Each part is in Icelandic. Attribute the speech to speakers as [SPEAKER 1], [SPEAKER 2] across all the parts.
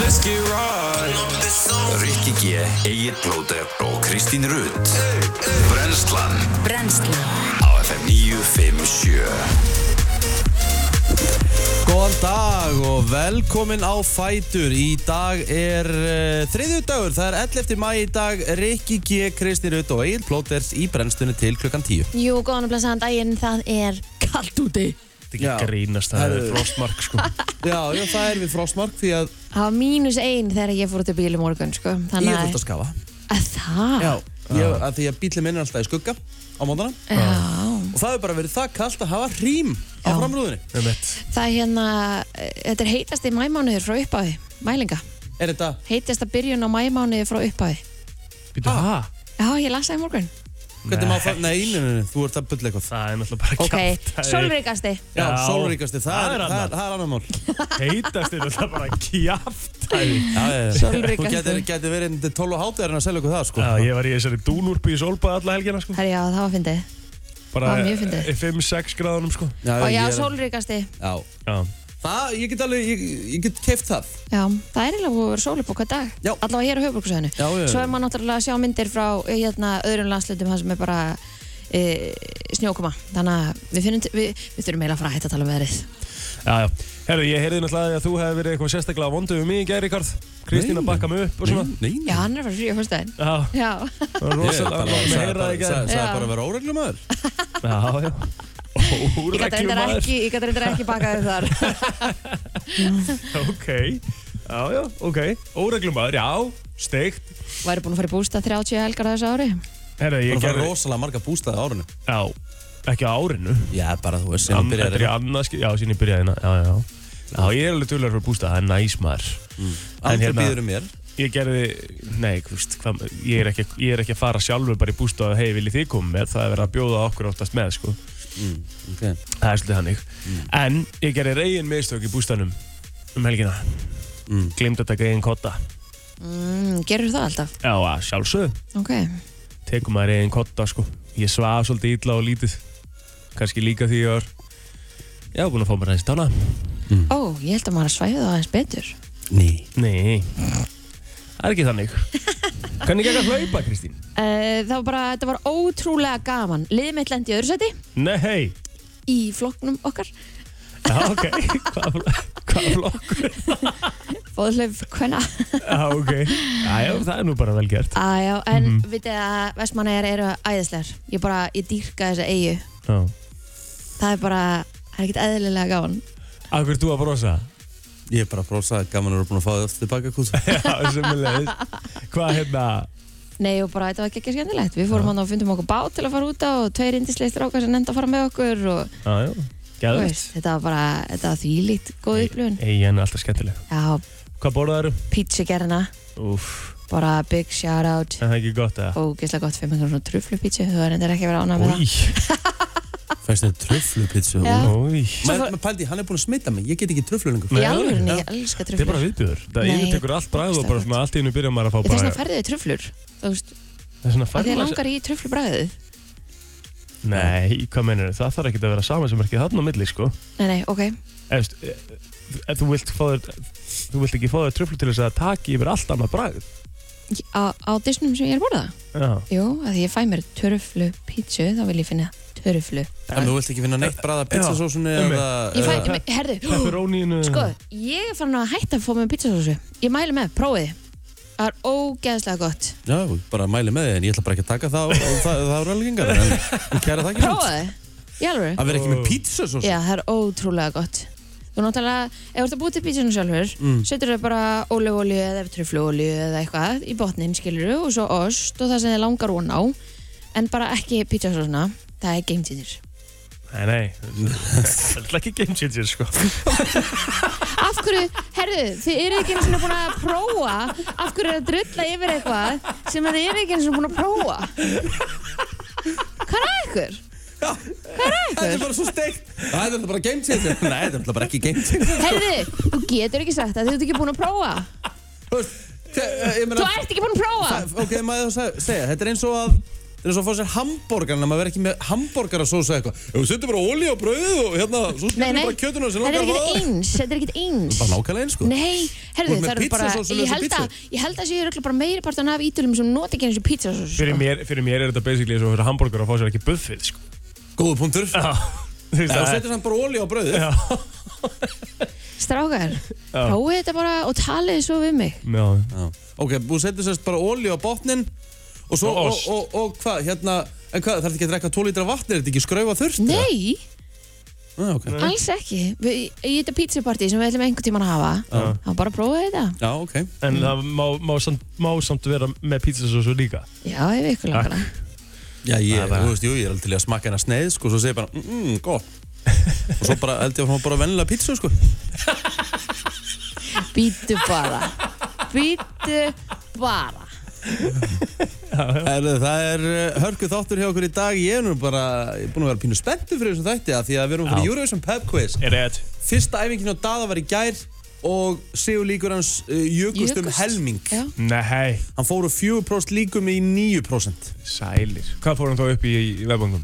[SPEAKER 1] Let's get right
[SPEAKER 2] Rikki G, Egil Blóter og Kristín Rutt Brenslan
[SPEAKER 3] Brennsla
[SPEAKER 2] á FM 957
[SPEAKER 4] Góðan dag og velkomin á Fætur. Í dag er uh, þriðju dagur, það er 11. mæ í dag, Rikki G, Kristi Rutt og Egil Plóters í brennstunni til klukkan 10.
[SPEAKER 5] Jú, góðan og blessaðan daginn, það er kallt úti.
[SPEAKER 6] Þetta er
[SPEAKER 4] Já.
[SPEAKER 6] ekki grínast, það
[SPEAKER 4] Herðu.
[SPEAKER 6] er frostmark sko.
[SPEAKER 4] Já, já, það er við frostmark því að
[SPEAKER 5] Það var mínus einn þegar ég fór út í bíl í morgun, sko.
[SPEAKER 4] ég
[SPEAKER 5] Þannig
[SPEAKER 4] er þurft að skafa.
[SPEAKER 5] að það.
[SPEAKER 4] Já, ég, að því að bílið minn er alltaf í skugga á mótana
[SPEAKER 5] Já.
[SPEAKER 4] og það hefur bara verið það kallt að hafa hrím á
[SPEAKER 5] Já.
[SPEAKER 4] framrúðinni.
[SPEAKER 6] Einmitt.
[SPEAKER 5] Það er hérna, eh, þetta er heitasti mæmánuður frá upphafi, mælinga.
[SPEAKER 4] Er þetta,
[SPEAKER 5] Heitasta byrjun á mæmánuði frá upphafi.
[SPEAKER 6] Býtu, ha?
[SPEAKER 5] Já, ég las það í morgun.
[SPEAKER 4] hvernig maður það, nei, nei, nei, nei, þú ert að bulla eitthvað.
[SPEAKER 6] Það er náttúrulega bara
[SPEAKER 5] Ok,
[SPEAKER 6] kjaftæði.
[SPEAKER 5] sólríkasti.
[SPEAKER 4] Já,
[SPEAKER 6] Já.
[SPEAKER 4] sólríkasti, það,
[SPEAKER 6] Það er
[SPEAKER 4] er- það,
[SPEAKER 6] annað.
[SPEAKER 4] er- það er annar mál.
[SPEAKER 6] Heitast er náttúrulega bara kjaftæði.
[SPEAKER 4] Já, já, já.
[SPEAKER 5] Sólríkasti.
[SPEAKER 4] Þú getur, getur verið undir 12 og hátuðarinn að selja okkur það, sko.
[SPEAKER 6] Já, ég var í þessari dúnúrpu í solbað alla helgina sko.
[SPEAKER 5] Herri, já, það var fyndið.
[SPEAKER 6] Bara
[SPEAKER 5] Já, mjög fyndið.
[SPEAKER 6] 5-6 gráðunum sko.
[SPEAKER 5] Og já,
[SPEAKER 4] ég er-
[SPEAKER 5] sólríkasti.
[SPEAKER 4] Já,
[SPEAKER 6] Já.
[SPEAKER 4] Það, ég get alveg, ég, ég get keift það
[SPEAKER 5] Já, það er eiginlega búið að vera sól upp á hvað dag
[SPEAKER 4] Já.
[SPEAKER 5] Allavega hér á höfbruksöðinu
[SPEAKER 4] Já, já, já.
[SPEAKER 5] Svo er maður náttúrulega að sjá myndir frá eh, hérna, öðrum landslutum Það sem er bara e, snjókuma Þannig að við, finnum, við, við þurfum eiginlega að fara að hætta að tala um veðrið
[SPEAKER 6] Já, já. Herru, ég heyrði náttúrulega að þú hefði verið eitthvað sérstaklega vondu um mig í gæri, Karð. Kristín að
[SPEAKER 4] Nei.
[SPEAKER 6] bakka mig upp og svona.
[SPEAKER 4] nei,
[SPEAKER 5] Já, hann er að fara frí á fyrstæðin
[SPEAKER 6] Já,
[SPEAKER 5] Já,
[SPEAKER 6] það var
[SPEAKER 4] Rosalega,
[SPEAKER 6] rosalega
[SPEAKER 4] ég
[SPEAKER 6] vondu með
[SPEAKER 4] sagði
[SPEAKER 6] heyra það í
[SPEAKER 4] bara,
[SPEAKER 6] gæri.
[SPEAKER 4] sagði
[SPEAKER 5] Já.
[SPEAKER 4] bara að vera óreglum aður
[SPEAKER 6] Já, já.
[SPEAKER 5] ég gæti
[SPEAKER 6] Óreglum
[SPEAKER 5] reyndar
[SPEAKER 6] maður.
[SPEAKER 5] ekki, ég gat reyndar ekki bakaði þar
[SPEAKER 6] Ok. Já, já, ok. Óreglum maður, já. Steikt.
[SPEAKER 5] Væri búin að fara í bústa 30 helgar á þessu ári
[SPEAKER 6] Herru,
[SPEAKER 4] Bara
[SPEAKER 6] ég
[SPEAKER 4] að fara
[SPEAKER 6] gerði...
[SPEAKER 4] rosalega marga bústaði á árinu
[SPEAKER 6] Já, ekki á árinu.
[SPEAKER 4] Já, bara þú veist, sem
[SPEAKER 6] Ann- Þetta
[SPEAKER 4] byrjar
[SPEAKER 6] er í annað skil, já, síðan ég byrjaði hérna, já, já, já. Já, ég er alveg dölur fyrir bústað, það er næs maður.
[SPEAKER 4] Aldrei hérna, býður um mér
[SPEAKER 6] ég gerði, nei, hvist, hva, ég, er ekki, ég er ekki að fara sjálfur bara í bústað og hei, viljið þið koma með, það er verið að bjóða okkur oftast með, sko.
[SPEAKER 4] Mm, okay.
[SPEAKER 6] Það er svolítið hannig.
[SPEAKER 4] Mm.
[SPEAKER 6] En ég gerði reygin mistök í bústaðnum um helgina.
[SPEAKER 4] Mm.
[SPEAKER 6] Glimt að taka eigin kotta.
[SPEAKER 5] mm, Gerur það alltaf
[SPEAKER 6] Já, að sjálfsögðu,
[SPEAKER 5] Ok,
[SPEAKER 6] tekum maður eigin kotta, sko. Ég svaf svolítið illa og lítið. Kanski líka því ég var, já, búin að fá mér aðeins tána.
[SPEAKER 5] ó, ég held að maður að svæfi það aðeins betur
[SPEAKER 4] Ný
[SPEAKER 6] Nei, það er ekki þannig. Hvernig gekk að hlaupa, Kristín?
[SPEAKER 5] uh, Það var bara, þetta var ótrúlega gaman Liðið mitt lendi í öðru seti
[SPEAKER 6] Nei,
[SPEAKER 5] í flokknum okkar
[SPEAKER 6] já,
[SPEAKER 5] Ah,
[SPEAKER 6] ok, hvað hva flokkur?
[SPEAKER 5] Fóðlöf hvenna
[SPEAKER 6] Já, ok, já, já, það er nú bara vel gert.
[SPEAKER 5] Æjá, en mm -hmm. vitið að Vestmannaðar eru æðislegar Ég bara, ég dýrka þessa eigu
[SPEAKER 6] Já.
[SPEAKER 5] Það er bara, það er ekkert eðlilega gáðan
[SPEAKER 6] Akkur þú að brosa?
[SPEAKER 4] Ég er bara að brosa, gaman að vera búin að fá það tilbaka kúsa
[SPEAKER 6] Já, semulegis. Hvað hérna,
[SPEAKER 5] Nei og bara, þetta var ekki skemmtilegt Við fórum hann og fundum okkur bát til að fara út á og tveir indislega strákar sem nefndi að fara með okkur og
[SPEAKER 6] já, já,
[SPEAKER 5] þú
[SPEAKER 6] gæðvægt.
[SPEAKER 5] veist, þetta var bara, þetta var þvílíkt góð upplifun
[SPEAKER 6] Egin er alltaf skemmtileg.
[SPEAKER 5] Já,
[SPEAKER 6] Hvað borðaðu?
[SPEAKER 5] pítsugerna,
[SPEAKER 6] Úff,
[SPEAKER 5] bara big shout out
[SPEAKER 6] er það ekki gott eða?
[SPEAKER 5] og gæslega gott 500 svona truflupítsu þú er reyndar ekki að vera ánað með það
[SPEAKER 6] Új,
[SPEAKER 4] Fæst þetta tröflupitsu
[SPEAKER 5] Já.
[SPEAKER 6] új.
[SPEAKER 4] Mér pældi, hann er búin að smita mig, ég get ekki tröflu lengur
[SPEAKER 6] Nei.
[SPEAKER 5] Í alvörinni,
[SPEAKER 6] Já.
[SPEAKER 5] ég elska
[SPEAKER 6] Þetta er bara
[SPEAKER 5] truflur
[SPEAKER 6] viðbjör. Það
[SPEAKER 5] Nei,
[SPEAKER 6] yfirtekur allt bræð og bara svona allt í hennu byrjar maður að fá
[SPEAKER 5] Þetta er svona
[SPEAKER 6] bara...
[SPEAKER 5] færðið truflur Þú veist,
[SPEAKER 6] Það er svona
[SPEAKER 5] að því að
[SPEAKER 6] maður-
[SPEAKER 5] langar í truflubræðið
[SPEAKER 6] Nei, hvað meinar það? þarf ekki að vera sama sem er ekki þarna á milli, sko.
[SPEAKER 5] Nei, nei, ok
[SPEAKER 6] Ef, ef e, þú vilt fá þér, þú vilt ekki fá þér tröflu til þess að það taki yfir allt annað bragð.
[SPEAKER 5] Á, á disnum sem ég er að borða?
[SPEAKER 6] Já.
[SPEAKER 5] Jú, að því ég fæ mér törflu pítsu, þá vil ég finna törflu
[SPEAKER 4] En þú vilt ekki finna neitt bræða pizzasósunni
[SPEAKER 6] Já,
[SPEAKER 4] eða
[SPEAKER 5] Ég fæ,
[SPEAKER 4] eða-
[SPEAKER 5] me- herðu,
[SPEAKER 6] Pepperónínu.
[SPEAKER 5] sko, ég er farin að hætta að fá mér pizzasósu Ég mæli með, prófið þið. Það er ógeðslega gott
[SPEAKER 4] Já, bara mæli með þig, en ég ætla bara ekki að taka það og og það, það eru alveg engar En en kæra þakkir samt.
[SPEAKER 5] Prófið þið, í alveg
[SPEAKER 4] Að vera ekki með pizzasósunni
[SPEAKER 5] Já, það er ótrúlega gott Þú náttúrulega, ef þú ert að búið til pítsunum sjálfur
[SPEAKER 4] Mm.
[SPEAKER 5] setur þau bara óleolíu eða trufluolíu eða eitthvað í botnin, skilur og svo ost og það sem þið langar von á en bara ekki pítsasósuna það er geimt í þér
[SPEAKER 6] Nei, nei. Það er ekki game changer, sko.
[SPEAKER 5] Af hverju, herðu, þið eru ekki eins og búin að prófa Af hverju er að drulla yfir eitthvað sem þið eru ekki eins og búin að prófa Hvað er að ykkur?
[SPEAKER 4] Þetta er bara svo steikt Það er þetta bara game changer Nei, þetta er náttúrulega bara ekki game changer
[SPEAKER 5] Herðu, þú getur ekki sagt að þið ert ekki búin að prófa
[SPEAKER 4] Þú veist, þe- eh, ég meina-
[SPEAKER 5] Þú ert ekki búin að prófa
[SPEAKER 4] Ok, maður þú segja, þetta er eins og að þetta er eins og að fá sér hambúrgar en maður verður ekki með hambúrgarasósu eða eitthvað Ef við setjum bara olí á brauðið og hérna svo
[SPEAKER 5] Nei,
[SPEAKER 4] skilum
[SPEAKER 5] nei,
[SPEAKER 4] við bara kjötuna sem
[SPEAKER 5] þetta er
[SPEAKER 4] langar
[SPEAKER 5] ekkert
[SPEAKER 4] að
[SPEAKER 5] eins, þetta er ekkert eins
[SPEAKER 4] Bara nákvæmlega eins, sko.
[SPEAKER 5] Nei, herðu,
[SPEAKER 4] Þú ert með
[SPEAKER 5] það eru bara,
[SPEAKER 4] pizzasósu
[SPEAKER 5] ég
[SPEAKER 4] lausa
[SPEAKER 5] held að, ég held að séu örugglega bara meiri partan af ítölum sem nota ekki eins og pizzasósu sko.
[SPEAKER 6] Fyrir mér, fyrir mér er þetta basically eins og fyrir hambúrgar að fá sér ekki buffið sko.
[SPEAKER 4] Góðu punktur
[SPEAKER 6] Já, þú
[SPEAKER 4] En
[SPEAKER 6] veist
[SPEAKER 4] þú
[SPEAKER 6] það er-
[SPEAKER 4] setjum samt bara olí á brauðið
[SPEAKER 6] Já.
[SPEAKER 5] Strákar, prófið þetta bara og talið svo við mig
[SPEAKER 6] Já,
[SPEAKER 4] Já. Ok, þú setjum sérst bara olí á botnin og svo,
[SPEAKER 6] Og
[SPEAKER 4] og,
[SPEAKER 6] ost.
[SPEAKER 4] og, og hvað, hérna En hvað, þarf ekki að drekka 2 lítra vatn, er þetta ekki skraufa þurft?
[SPEAKER 5] Nei,
[SPEAKER 4] Ah, okay.
[SPEAKER 5] alls ekki Við- Í þetta pizzapartí sem við ætlum einhvern tímann að hafa þá bara prófið þetta
[SPEAKER 4] Já, ok Mm.
[SPEAKER 6] en það má, má, samt, má samt vera með pizzasósu líka
[SPEAKER 5] Já, ef ykkur langar það.
[SPEAKER 4] Já, ég,
[SPEAKER 6] er bara-
[SPEAKER 4] þú veist, jú, ég er alveg til í að smakka hennar sneið, sko, svo segir ég bara, mmm, mm, gott. Og svo bara held ég að fá bara vennilega pítsu, sko.
[SPEAKER 5] Býtu bara Býtu bara
[SPEAKER 4] Herðu, það er uh, hörku þáttur hjá okkur í dag. Ég er nú bara, ég er búin að vera pínu spenntu fyrir þessum þætti, af því að við erum fyrir
[SPEAKER 6] Já.
[SPEAKER 4] Eurovision Pep Quiz.
[SPEAKER 6] Er þetta?
[SPEAKER 4] Fyrsta æfingin á Dada var í gær og Sigur líkur hans uh, jökust um
[SPEAKER 5] Jukust.
[SPEAKER 4] helming.
[SPEAKER 5] Já.
[SPEAKER 6] Nei,
[SPEAKER 4] Hann fór úr 4% líkum í 9%.
[SPEAKER 6] sælir Hvað fór hann þá upp í, í vefbangum?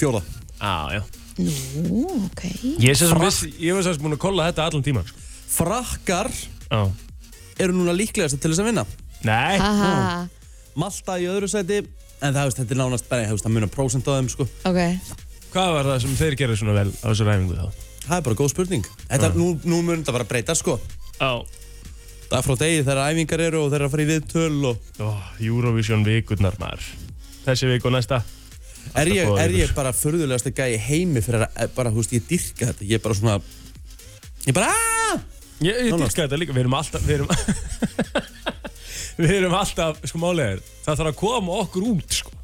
[SPEAKER 4] Fjóða.
[SPEAKER 6] Á, já
[SPEAKER 5] Nú, ok
[SPEAKER 6] Ég, sem sem vissi, ég var sérst búin að kolla þetta allan tíman sko.
[SPEAKER 4] Frakkar
[SPEAKER 6] Já
[SPEAKER 4] eru núna líklegast til þess að vinna.
[SPEAKER 6] Nei
[SPEAKER 5] Aha,
[SPEAKER 4] Malta í öðru sæti, en það, þú veist, þetta er nánast bara, þú veist, það munar prósent á þeim, sko.
[SPEAKER 5] ok
[SPEAKER 6] Hvað var það sem þeir gerðu svona vel á þessu ræfingu þá?
[SPEAKER 4] Það er bara góð spurning. Þetta, nú, nú mun þetta bara breyta sko.
[SPEAKER 6] Á
[SPEAKER 4] Dag frá degi þegar æfingar eru og þeir eru að fara í viðtöl og...
[SPEAKER 6] Ó, Eurovision vikurnar maður Þessi vik og næsta
[SPEAKER 4] Er ég,
[SPEAKER 6] góðar
[SPEAKER 4] er ég
[SPEAKER 6] vikur.
[SPEAKER 4] bara förðulegast að gæja heimi fyrir að, eh, bara, þú veist, ég dyrka þetta. Ég er bara svona... Ég bara, aaaah!
[SPEAKER 6] Ég, ég
[SPEAKER 4] Nánast.
[SPEAKER 6] dýrka þetta líka, við erum alltaf Við erum, við erum alltaf, sko málega er Það þarf að koma okkur út, sko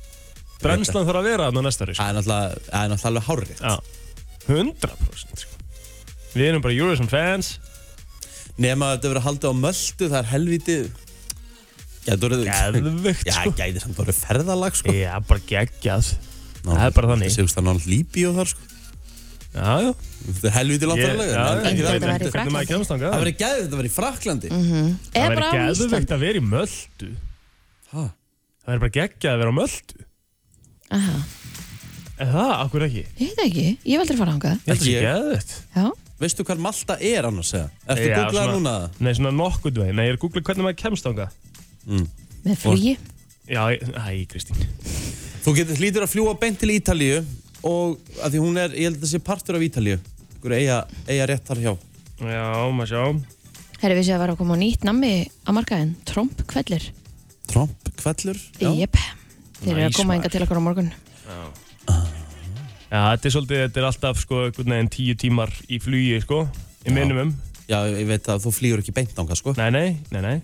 [SPEAKER 6] Brennslan þarf að vera þarna á næsta ári, sko
[SPEAKER 4] Það er náttúrulega, það er náttúrulega alveg hárrið.
[SPEAKER 6] Já 100% sko Við erum bara Eurovision fans
[SPEAKER 4] Nefn að þetta verið haldið á möldu, það er helviti... Gæður verið...
[SPEAKER 6] Geðvögt,
[SPEAKER 4] Já,
[SPEAKER 6] sko
[SPEAKER 4] gæði samt verið ferðalag, sko.
[SPEAKER 6] Já, bara geggjað það er bara þannig.
[SPEAKER 4] Sigust það náttúrulega líbi og þar, sko.
[SPEAKER 6] Já, já
[SPEAKER 4] Þetta er helviti langt
[SPEAKER 6] Ég-
[SPEAKER 4] ferðalag.
[SPEAKER 6] já,
[SPEAKER 4] en
[SPEAKER 6] ég-
[SPEAKER 4] ekki
[SPEAKER 5] Þetta
[SPEAKER 4] það.
[SPEAKER 5] var í
[SPEAKER 6] ég- hvernig maður
[SPEAKER 5] Frakklandi.
[SPEAKER 6] kemst þangað?
[SPEAKER 4] Það verið gæðið þetta verið í Fraklandi.
[SPEAKER 5] Eða
[SPEAKER 6] Það
[SPEAKER 5] bara
[SPEAKER 6] væri
[SPEAKER 5] á Ísland
[SPEAKER 6] geðvegt að vera í möldu
[SPEAKER 4] Ha?
[SPEAKER 6] Það væri bara geggjað að vera á möldu
[SPEAKER 5] Aha,
[SPEAKER 6] En það, akkur ekki Ég
[SPEAKER 5] Ég veit það ekki, ég veldur að fara ángað
[SPEAKER 6] held að það sé
[SPEAKER 4] Ég-
[SPEAKER 6] geðvegt
[SPEAKER 5] Já,
[SPEAKER 4] Veistu hvað Malta er annars, eða? Ertu
[SPEAKER 6] Já,
[SPEAKER 4] googlað
[SPEAKER 6] svona-
[SPEAKER 4] núna það?
[SPEAKER 6] Nei, svona nokkurn veginn Nei, ég er að googla hvernig maður kemst þangað
[SPEAKER 5] með flugi
[SPEAKER 6] Já, ég- æ, Kristín
[SPEAKER 4] Þú getur hlýtur að fljúa beint til Ítalíu og að því hún er, ég held að það sé partur af Ítalíu ykkur eiga, eiga rétt þar hjá
[SPEAKER 6] Já, maður sjá
[SPEAKER 5] Herri, vissi að var að koma á nýtt nammi á markaðin Tromp kvellir
[SPEAKER 4] Trump, kvellur
[SPEAKER 5] Jep, þeir eru að
[SPEAKER 6] Næs,
[SPEAKER 5] koma
[SPEAKER 6] maður.
[SPEAKER 5] enga til okkur á morgun
[SPEAKER 6] Já, þetta er svolítið, þetta er alltaf sko einhvern veginn tíu tímar í flugi sko Í minimum
[SPEAKER 4] Já, ég veit að þú flýgur ekki beint ánga, sko
[SPEAKER 6] Nei, nei, nei, nei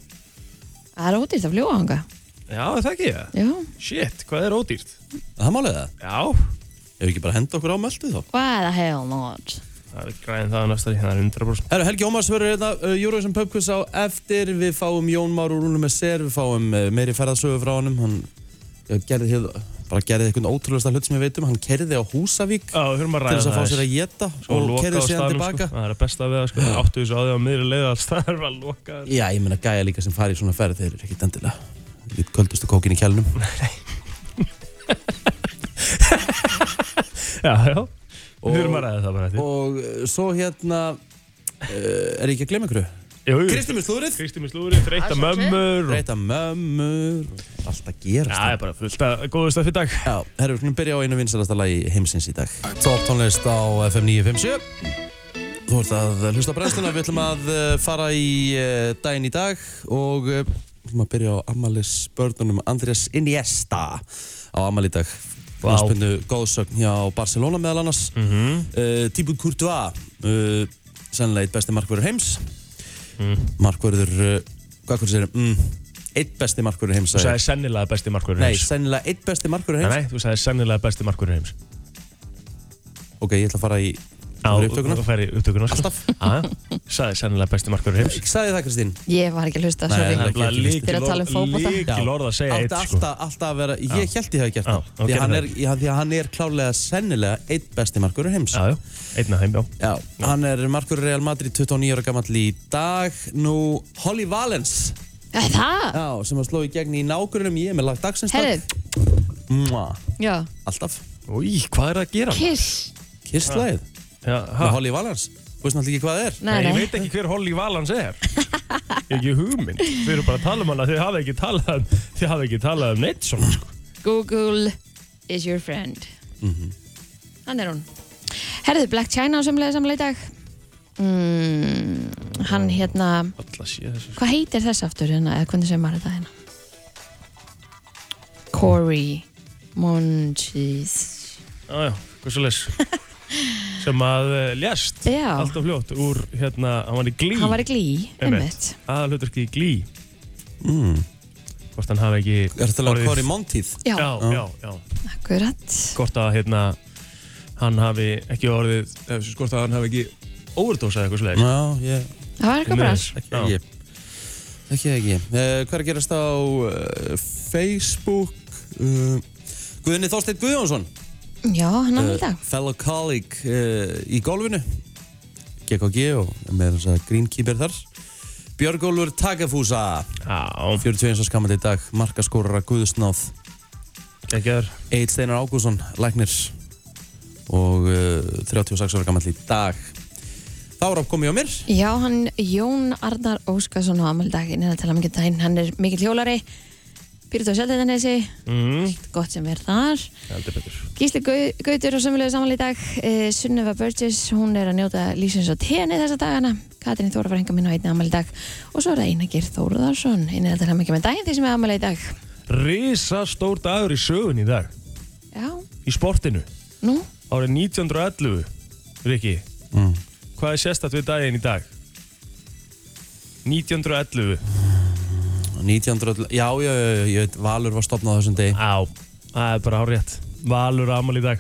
[SPEAKER 5] Það er ódýrt að fljúa ángað
[SPEAKER 6] Já, er það ekki það
[SPEAKER 5] Já,
[SPEAKER 6] Shit, hvað er ódýrt?
[SPEAKER 4] Það málið það,
[SPEAKER 6] Já,
[SPEAKER 4] ef við ekki bara henda okkur á möldu þá
[SPEAKER 5] why the hell not
[SPEAKER 6] það er græðin það á næsta því, það er 100%
[SPEAKER 4] Herru, Helgi Ómars verður hérna uh, Eurovision Pubquiz á eftir Við fáum Jón Már úr húnum með sér Við fáum uh, meiri ferðasögu frá honum Hann uh, gerði, hér- bara gerði eitthvað ótrúlega hlut sem ég veit um Hann kerði á Húsavík
[SPEAKER 6] Já, við höfum að
[SPEAKER 4] til
[SPEAKER 6] ræða
[SPEAKER 4] þess að
[SPEAKER 6] það
[SPEAKER 4] fá
[SPEAKER 6] aðeins.
[SPEAKER 4] sér að geta
[SPEAKER 6] Svo
[SPEAKER 4] og
[SPEAKER 6] loka
[SPEAKER 4] kerði
[SPEAKER 6] á
[SPEAKER 4] síðan
[SPEAKER 6] staðnum,
[SPEAKER 4] tilbaka
[SPEAKER 6] sko. Það er að besta við það sko Áttu þessu á því á miðri leið alls Það er bara að loka þessu.
[SPEAKER 4] Já, ég meina gæja líka sem fari í svona ferð þeir eru ekkit endilega Lít köldustu kókin í kjælnum
[SPEAKER 6] Já, já Við höfum að ræða það bara eftir
[SPEAKER 4] Og uh, svo hérna uh, Er ég ekki að glemma ykkur?
[SPEAKER 6] Jú, jú.
[SPEAKER 4] Kristín með slúðrið
[SPEAKER 6] Kristi með slúri, þreytta mömmur og-
[SPEAKER 4] Breyta mömmur Alltaf gerast
[SPEAKER 6] Já, það er bara fullt að góðu stöð fyrir dag
[SPEAKER 4] Já, herru, við skulum byrja á einu vinsalasta lagi heimsins í dag Top tónlist á FM 957 Þú ert að hlusta á brennsluna Við ætlum að uh, fara í uh, daginn í dag Og uh, við ætlum að byrja á Amalis börnunum Andrés Iniesta Á Amal í dag
[SPEAKER 6] Vá. Mhm.
[SPEAKER 4] Knarspinnu góðsögn hjá Barcelona meðal annars mm -hmm. uh, Tíbut Courtois uh, Sennilega eitt besti markverður heims
[SPEAKER 6] Mm.
[SPEAKER 4] Markverður uh, Hvað hvernig sér mm, Eitt besti markverður heims
[SPEAKER 6] Þú
[SPEAKER 4] sagði ég.
[SPEAKER 6] sagði sennilega besti markurinn
[SPEAKER 4] Nei,
[SPEAKER 6] heims
[SPEAKER 4] sennilega eitt besti markverður heims
[SPEAKER 6] Nei, þú sagði sennilega besti markurinn heims
[SPEAKER 4] Ok, ég ætla að fara í
[SPEAKER 6] Já,
[SPEAKER 4] fara í
[SPEAKER 6] þú færi upptökuna sko.
[SPEAKER 4] Alltaf.
[SPEAKER 6] Já, já. Sagði sennilega besti markurinn heims
[SPEAKER 4] Ég sagði það Kristín
[SPEAKER 5] Ég var ekki að hlusta,
[SPEAKER 4] Nei,
[SPEAKER 5] sorry
[SPEAKER 4] nei,
[SPEAKER 6] Það er bara
[SPEAKER 4] ekki listið.
[SPEAKER 5] Þeir eru að tala um fótbolta.
[SPEAKER 6] líkil orð að segja
[SPEAKER 4] Átti
[SPEAKER 6] eitt sko
[SPEAKER 4] alltaf, alltaf að vera, ég held ég hafi gert
[SPEAKER 6] Já,
[SPEAKER 4] það
[SPEAKER 6] og
[SPEAKER 4] því, að
[SPEAKER 6] gerði
[SPEAKER 4] hann
[SPEAKER 6] það
[SPEAKER 4] er, já, því að hann er klálega sennilega eitt besti markurur heims
[SPEAKER 6] Já, já, einn af þeim, já
[SPEAKER 4] Já, hann er markurur Real Madrid 29 ára gamall í dag Nú, Holly Valens
[SPEAKER 5] Eh, Það,
[SPEAKER 4] Já, sem að sló í gegn í nákvörunum Ég er með lagt dagsins
[SPEAKER 5] herru,
[SPEAKER 4] dag Mua.
[SPEAKER 5] Já,
[SPEAKER 4] Alltaf
[SPEAKER 6] Új, hvað er að gera?
[SPEAKER 5] kiss
[SPEAKER 4] Kisslæð
[SPEAKER 6] Já, ha?
[SPEAKER 4] Með Holly Valans Þú veist náttúrulega ekki hvað það er
[SPEAKER 5] Nei,
[SPEAKER 6] Ég
[SPEAKER 5] nei,
[SPEAKER 6] veit ekki hver Holly Valans er Ekki hugmynd Við erum bara að tala um hana Þið hafið ekki talað um Þið hafið ekki talað um neitt svona sko.
[SPEAKER 5] Google is your friend
[SPEAKER 4] Mhm.
[SPEAKER 5] Hann er hún Herðu, Black China á sömulega samlega í dag mm, Hann hérna
[SPEAKER 6] Alla sé þessu
[SPEAKER 5] Hvað heitir þess aftur hérna, eða hvernig segir maður þetta hérna? Corey Monchis
[SPEAKER 6] Jájá, hvað svo les Sem að uh, lést
[SPEAKER 5] Já.
[SPEAKER 6] Allt of fljótt Úr hérna Hann var í glí
[SPEAKER 5] Hann var í glý, einmitt
[SPEAKER 6] Einmitt. Aðalhutverki í glí Hvort hann hafi ekki
[SPEAKER 4] Mm. Er þetta
[SPEAKER 6] orðið-
[SPEAKER 4] alveg Cory Monteith?
[SPEAKER 5] Já,
[SPEAKER 6] Já, já, já
[SPEAKER 5] akkurat
[SPEAKER 6] Hvort að hérna Hann hafi ekki orðið eh, Hvort að hann hafi ekki Óverdósað eitthvað svo
[SPEAKER 4] Já, ég
[SPEAKER 5] Það var eitthvað bras
[SPEAKER 4] Ekki ekki Ekki ekki uh, Hvað er að gerast á uh, Facebook? Uh, Guðni Þorsteinn Guðjónsson
[SPEAKER 5] Já, hann á hann í
[SPEAKER 4] Eh,
[SPEAKER 5] dag
[SPEAKER 4] fellow colleague uh, í golfinu GKG og með þess að greenkeeper þar Björgólfur Takafúsa
[SPEAKER 6] Já,
[SPEAKER 4] 41 árs gamall í dag, markaskorara Guðsnáð
[SPEAKER 6] ekki aður
[SPEAKER 4] Eitt Steinar Ágússon, læknir og uh, 36 ára gamall í dag Þá er að komið á mér
[SPEAKER 5] Já, hann Jón Arnar Óskarsson á amaldaginn er að tala mikið daginn, hann er mikill hjólari Pyrrut á Sjöldindanesi
[SPEAKER 6] mm.
[SPEAKER 5] gott sem er þar
[SPEAKER 6] Heldur betur
[SPEAKER 5] Gísli Gau- Gautur og sömulegu saman í dag e, Sunneva Burgess, hún er að njóta lífsins á tenni þessa dagana Katrín Þóra var henga minn á einni amal í dag og svo er það Einagir Þóruðarsson einnig að tala mikið með daginn því sem er amal í dag
[SPEAKER 6] Risa stór dagur í sögun í dag
[SPEAKER 5] Já,
[SPEAKER 6] Í sportinu
[SPEAKER 5] nú,
[SPEAKER 6] Árið 1911 Riki
[SPEAKER 4] mm.
[SPEAKER 6] Hvað er sérstætt við daginn í dag? 1911
[SPEAKER 4] 1900, já, já, já, já, ég veit, Valur var stopnað á þessum degi
[SPEAKER 6] Á Það er bara árétt Valur ámal í dag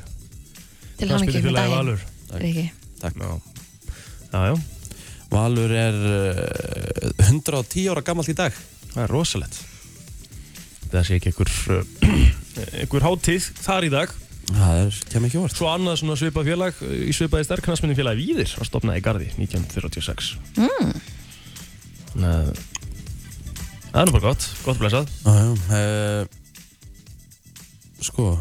[SPEAKER 5] til hann ekki með
[SPEAKER 6] Knattspyrnufélagið
[SPEAKER 5] daginn
[SPEAKER 6] Valur
[SPEAKER 5] Riki.
[SPEAKER 4] Takk.
[SPEAKER 6] Já, já
[SPEAKER 4] Valur er uh, 110 ára gamall í dag
[SPEAKER 6] Það er rosalegt Það sé ekki einhver einhver hátíð þar í dag
[SPEAKER 4] Það er, kemur ekki á óvart
[SPEAKER 6] Svo annað svona svipað félag eh, í svipaði sterknarsminni félag Víðir að stopnaði í Garði 1946 mm. Það er nú bara gott, gott blessað
[SPEAKER 4] Jájá, uh, sko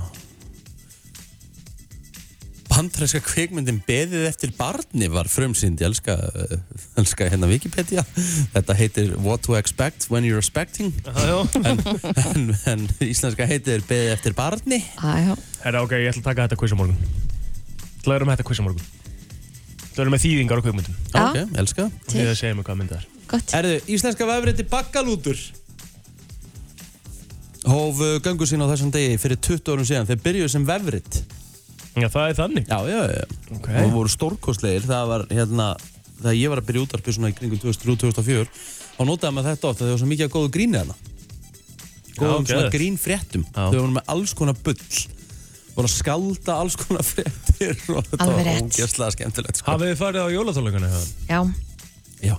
[SPEAKER 4] Bandræska kvikmyndin Beðið eftir barni var frumsýnd Ég elska, eh, elska hérna Wikipedia Þetta heitir What to expect when you're expecting
[SPEAKER 6] Jájó
[SPEAKER 4] En, en, en íslenska heitir Beðið eftir barni
[SPEAKER 5] Á, já.
[SPEAKER 6] Herra ok, ég ætla að taka þetta quiz á morgun Það verður með þetta quiz á morgun Það verður með þýðingar á kvikmyndum
[SPEAKER 5] Já.
[SPEAKER 4] Ok, elska
[SPEAKER 6] Þið að segja mig hvað mynd það er
[SPEAKER 5] Gott,
[SPEAKER 4] Erðu, íslenska vefrið til bakkalútur Hóf eh, göngu sín á þessum degi fyrir 20 árum síðan Þeir byrjuðu sem vefrið
[SPEAKER 6] Já, það er þannig
[SPEAKER 4] Já, já, já
[SPEAKER 6] Ok
[SPEAKER 4] og voru stórkostlegir það var hérna þegar ég var að byrja útarpið svona í kringum 2003-2004 þá notaði maður þetta ofta þegar það var svo mikið að góðu gríni hana góðum
[SPEAKER 6] Já,
[SPEAKER 4] svona
[SPEAKER 6] geðveikt.
[SPEAKER 4] grín fréttum
[SPEAKER 6] Já.
[SPEAKER 4] þau voru með alls konar bull voru að skalda alls konar fréttir og þetta
[SPEAKER 5] Alveg
[SPEAKER 4] var
[SPEAKER 5] rétt.
[SPEAKER 4] ógeðslega skemmtilegt sko.
[SPEAKER 6] Hafið þið farið á jólatólingana það?
[SPEAKER 5] já,
[SPEAKER 4] Já,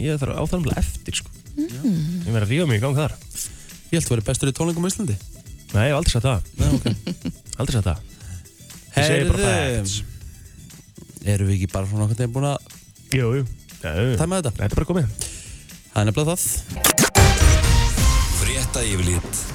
[SPEAKER 6] Ég þarf áþarmlega eftir sko Ég verð að ríða mig í gang þar
[SPEAKER 4] ég held að vera bestur í tónlingum á Íslandi
[SPEAKER 6] Nei, ég hef aldrei sagt það
[SPEAKER 4] Nei, ok
[SPEAKER 6] Aldrei sagt það Ég segi bara facts.
[SPEAKER 4] erum við ekki bara svona okkur tegum búin að
[SPEAKER 6] Jú, jú Það
[SPEAKER 4] tæma þetta?
[SPEAKER 6] Þetta er bara komið
[SPEAKER 4] Það er nefnilega það
[SPEAKER 2] Frétta yfirlit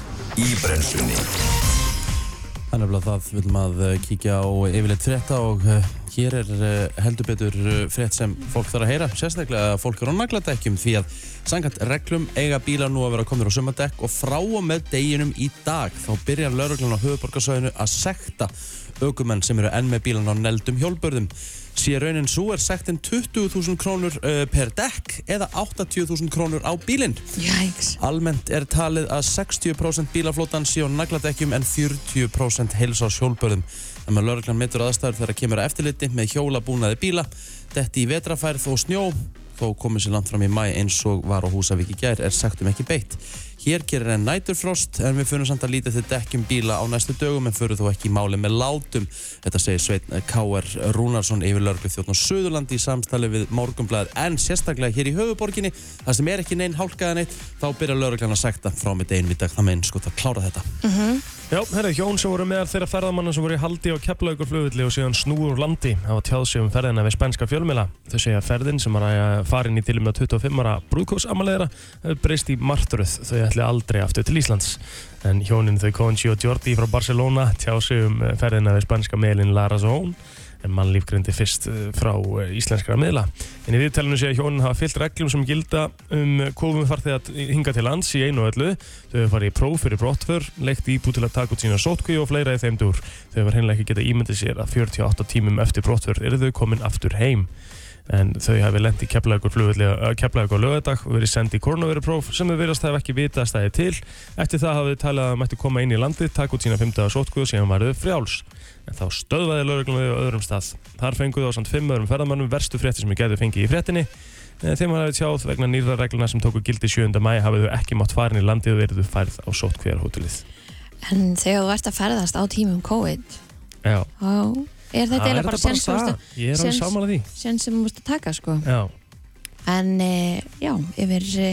[SPEAKER 2] í brennslunni
[SPEAKER 4] Það er nefnilega það, við viljum að eh, kíkja á yfirleitt frétta og eh, hér er eh, heldur betur eh, frétt sem fólk þarf að heyra, sérstaklega að fólk er á nagladekkjum því að sangat reglum eiga bílar nú að vera komnir á sumadekk og frá og með deginum í dag þá byrjar lauruglan á höfuborgarsöðinu að sekta aukumenn sem eru enn með bílan á neldum hjólbörðum. Sér raunin svo er sektin 20.000 krónur eh, per dekk eða 80.000 krónur á bílinn.
[SPEAKER 5] jæks
[SPEAKER 4] Almennt er talið að 60% bílaflótan sé á nagladekkjum en 40% heilsa á sjólbörðum. Þannig að lauruglan mittur aðstæður þegar kemur að eftirliti með hjólabúnaði bíla, detti í vetrafærð og snjó, þó komið sér langt fram í mæ eins og var á Húsavík í gær er sagtum ekki beitt. Hér gerir enn næturfrost en við funum samt að lítið til dekkjum bíla á næstu dögum en fyrir þó ekki í máli með látum. Þetta segir Sveitn K.R. Rúnarsson yfir lauruglu þjóttn og Suðurlandi í samstali við Morgunblæð en sérstaklega hér í höfuborginni þar sem er ekki neinn hálkaðan eitt þá byrjar lauruglan að sekta frá mitt einvitað það með einskot að sko, klára þetta.
[SPEAKER 6] Já, herru, hjón sem voru meðal þeirra ferðamanna sem voru í haldi á Keflaugur flugvilli og síðan snúður úr landi hafa tjáð sig um ferðina við spænska fjölmila. Þau segja að ferðin sem var að eh, farin í til og með 25 ára brúðkófsamaleira hefur breyst í martröð. Þau ætli aldrei aftur til Íslands. En hjónin þau Conchi og Jordi frá Barcelona tjáð sig um eh, ferðina við spænska meilin Lara Zón en mannlíf greindi fyrst eh, frá eh, íslenskra miðla. En í viðtælinu sé að hjónin hafa fyllt reglum sem gilda um komum farþegar hinga til lands í einu og öllu. Þau hefur farið í próf fyrir brottför, leikt íbú til að taka út sína sótkví og fleira í þeim dúr. Þau hefur hreinlega ekki getað ímyndið sér að 48 tímum eftir brottför eru þau komin aftur heim. En þau hefur lent í keflaðugur á lögadag og verið sendi í koronavörupróf sem þau verðast hafa ekki vita að stæði til. Eftir það hafið þau talað að þau mættu koma inn í landið, taka út sína 15. sótkvíu og síðan varuðu frjáls. En þá stöðvaði lögreglum þau á öðrum stað. Þar fenguðu á samt fimm öðrum ferðamannum verstu frétti sem þau gætu fengið í fréttinni Eh, Þeim hann hafið tjáð vegna nýrra regluna sem tóku gildi 7. mæ hafið þau ekki mátt farin í landið og verið þau færð á sótkvíjarhótelið.
[SPEAKER 5] En þegar þú ert að ferðast á tímum COVID,
[SPEAKER 6] Já.
[SPEAKER 5] þá er þetta eiginlega bara sens sem þú ert að-
[SPEAKER 6] Ég er alveg
[SPEAKER 5] séns-
[SPEAKER 6] samanlega því.
[SPEAKER 5] séns sem þú múst að taka, sko.
[SPEAKER 6] Já.
[SPEAKER 5] En e, já, yfir e,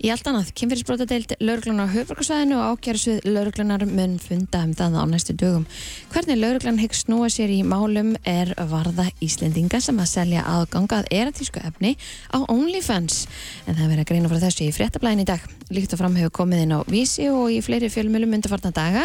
[SPEAKER 5] í allt annað, kynfyrirsbrotadeild lauruglunar á höfverkarsvæðinu og ákjærsvið lauruglunar mun funda um það á næstu dögum. Hvernig lauruglan hyggst snúa sér í málum er varða Íslendinga sem að selja aðganga að eratísku efni á OnlyFans. En það er verið að greina frá þessu í fréttablæðin í dag. Líkt og fram hefur komið inn á Vísi og í fleiri fjölmjölum undarfarna daga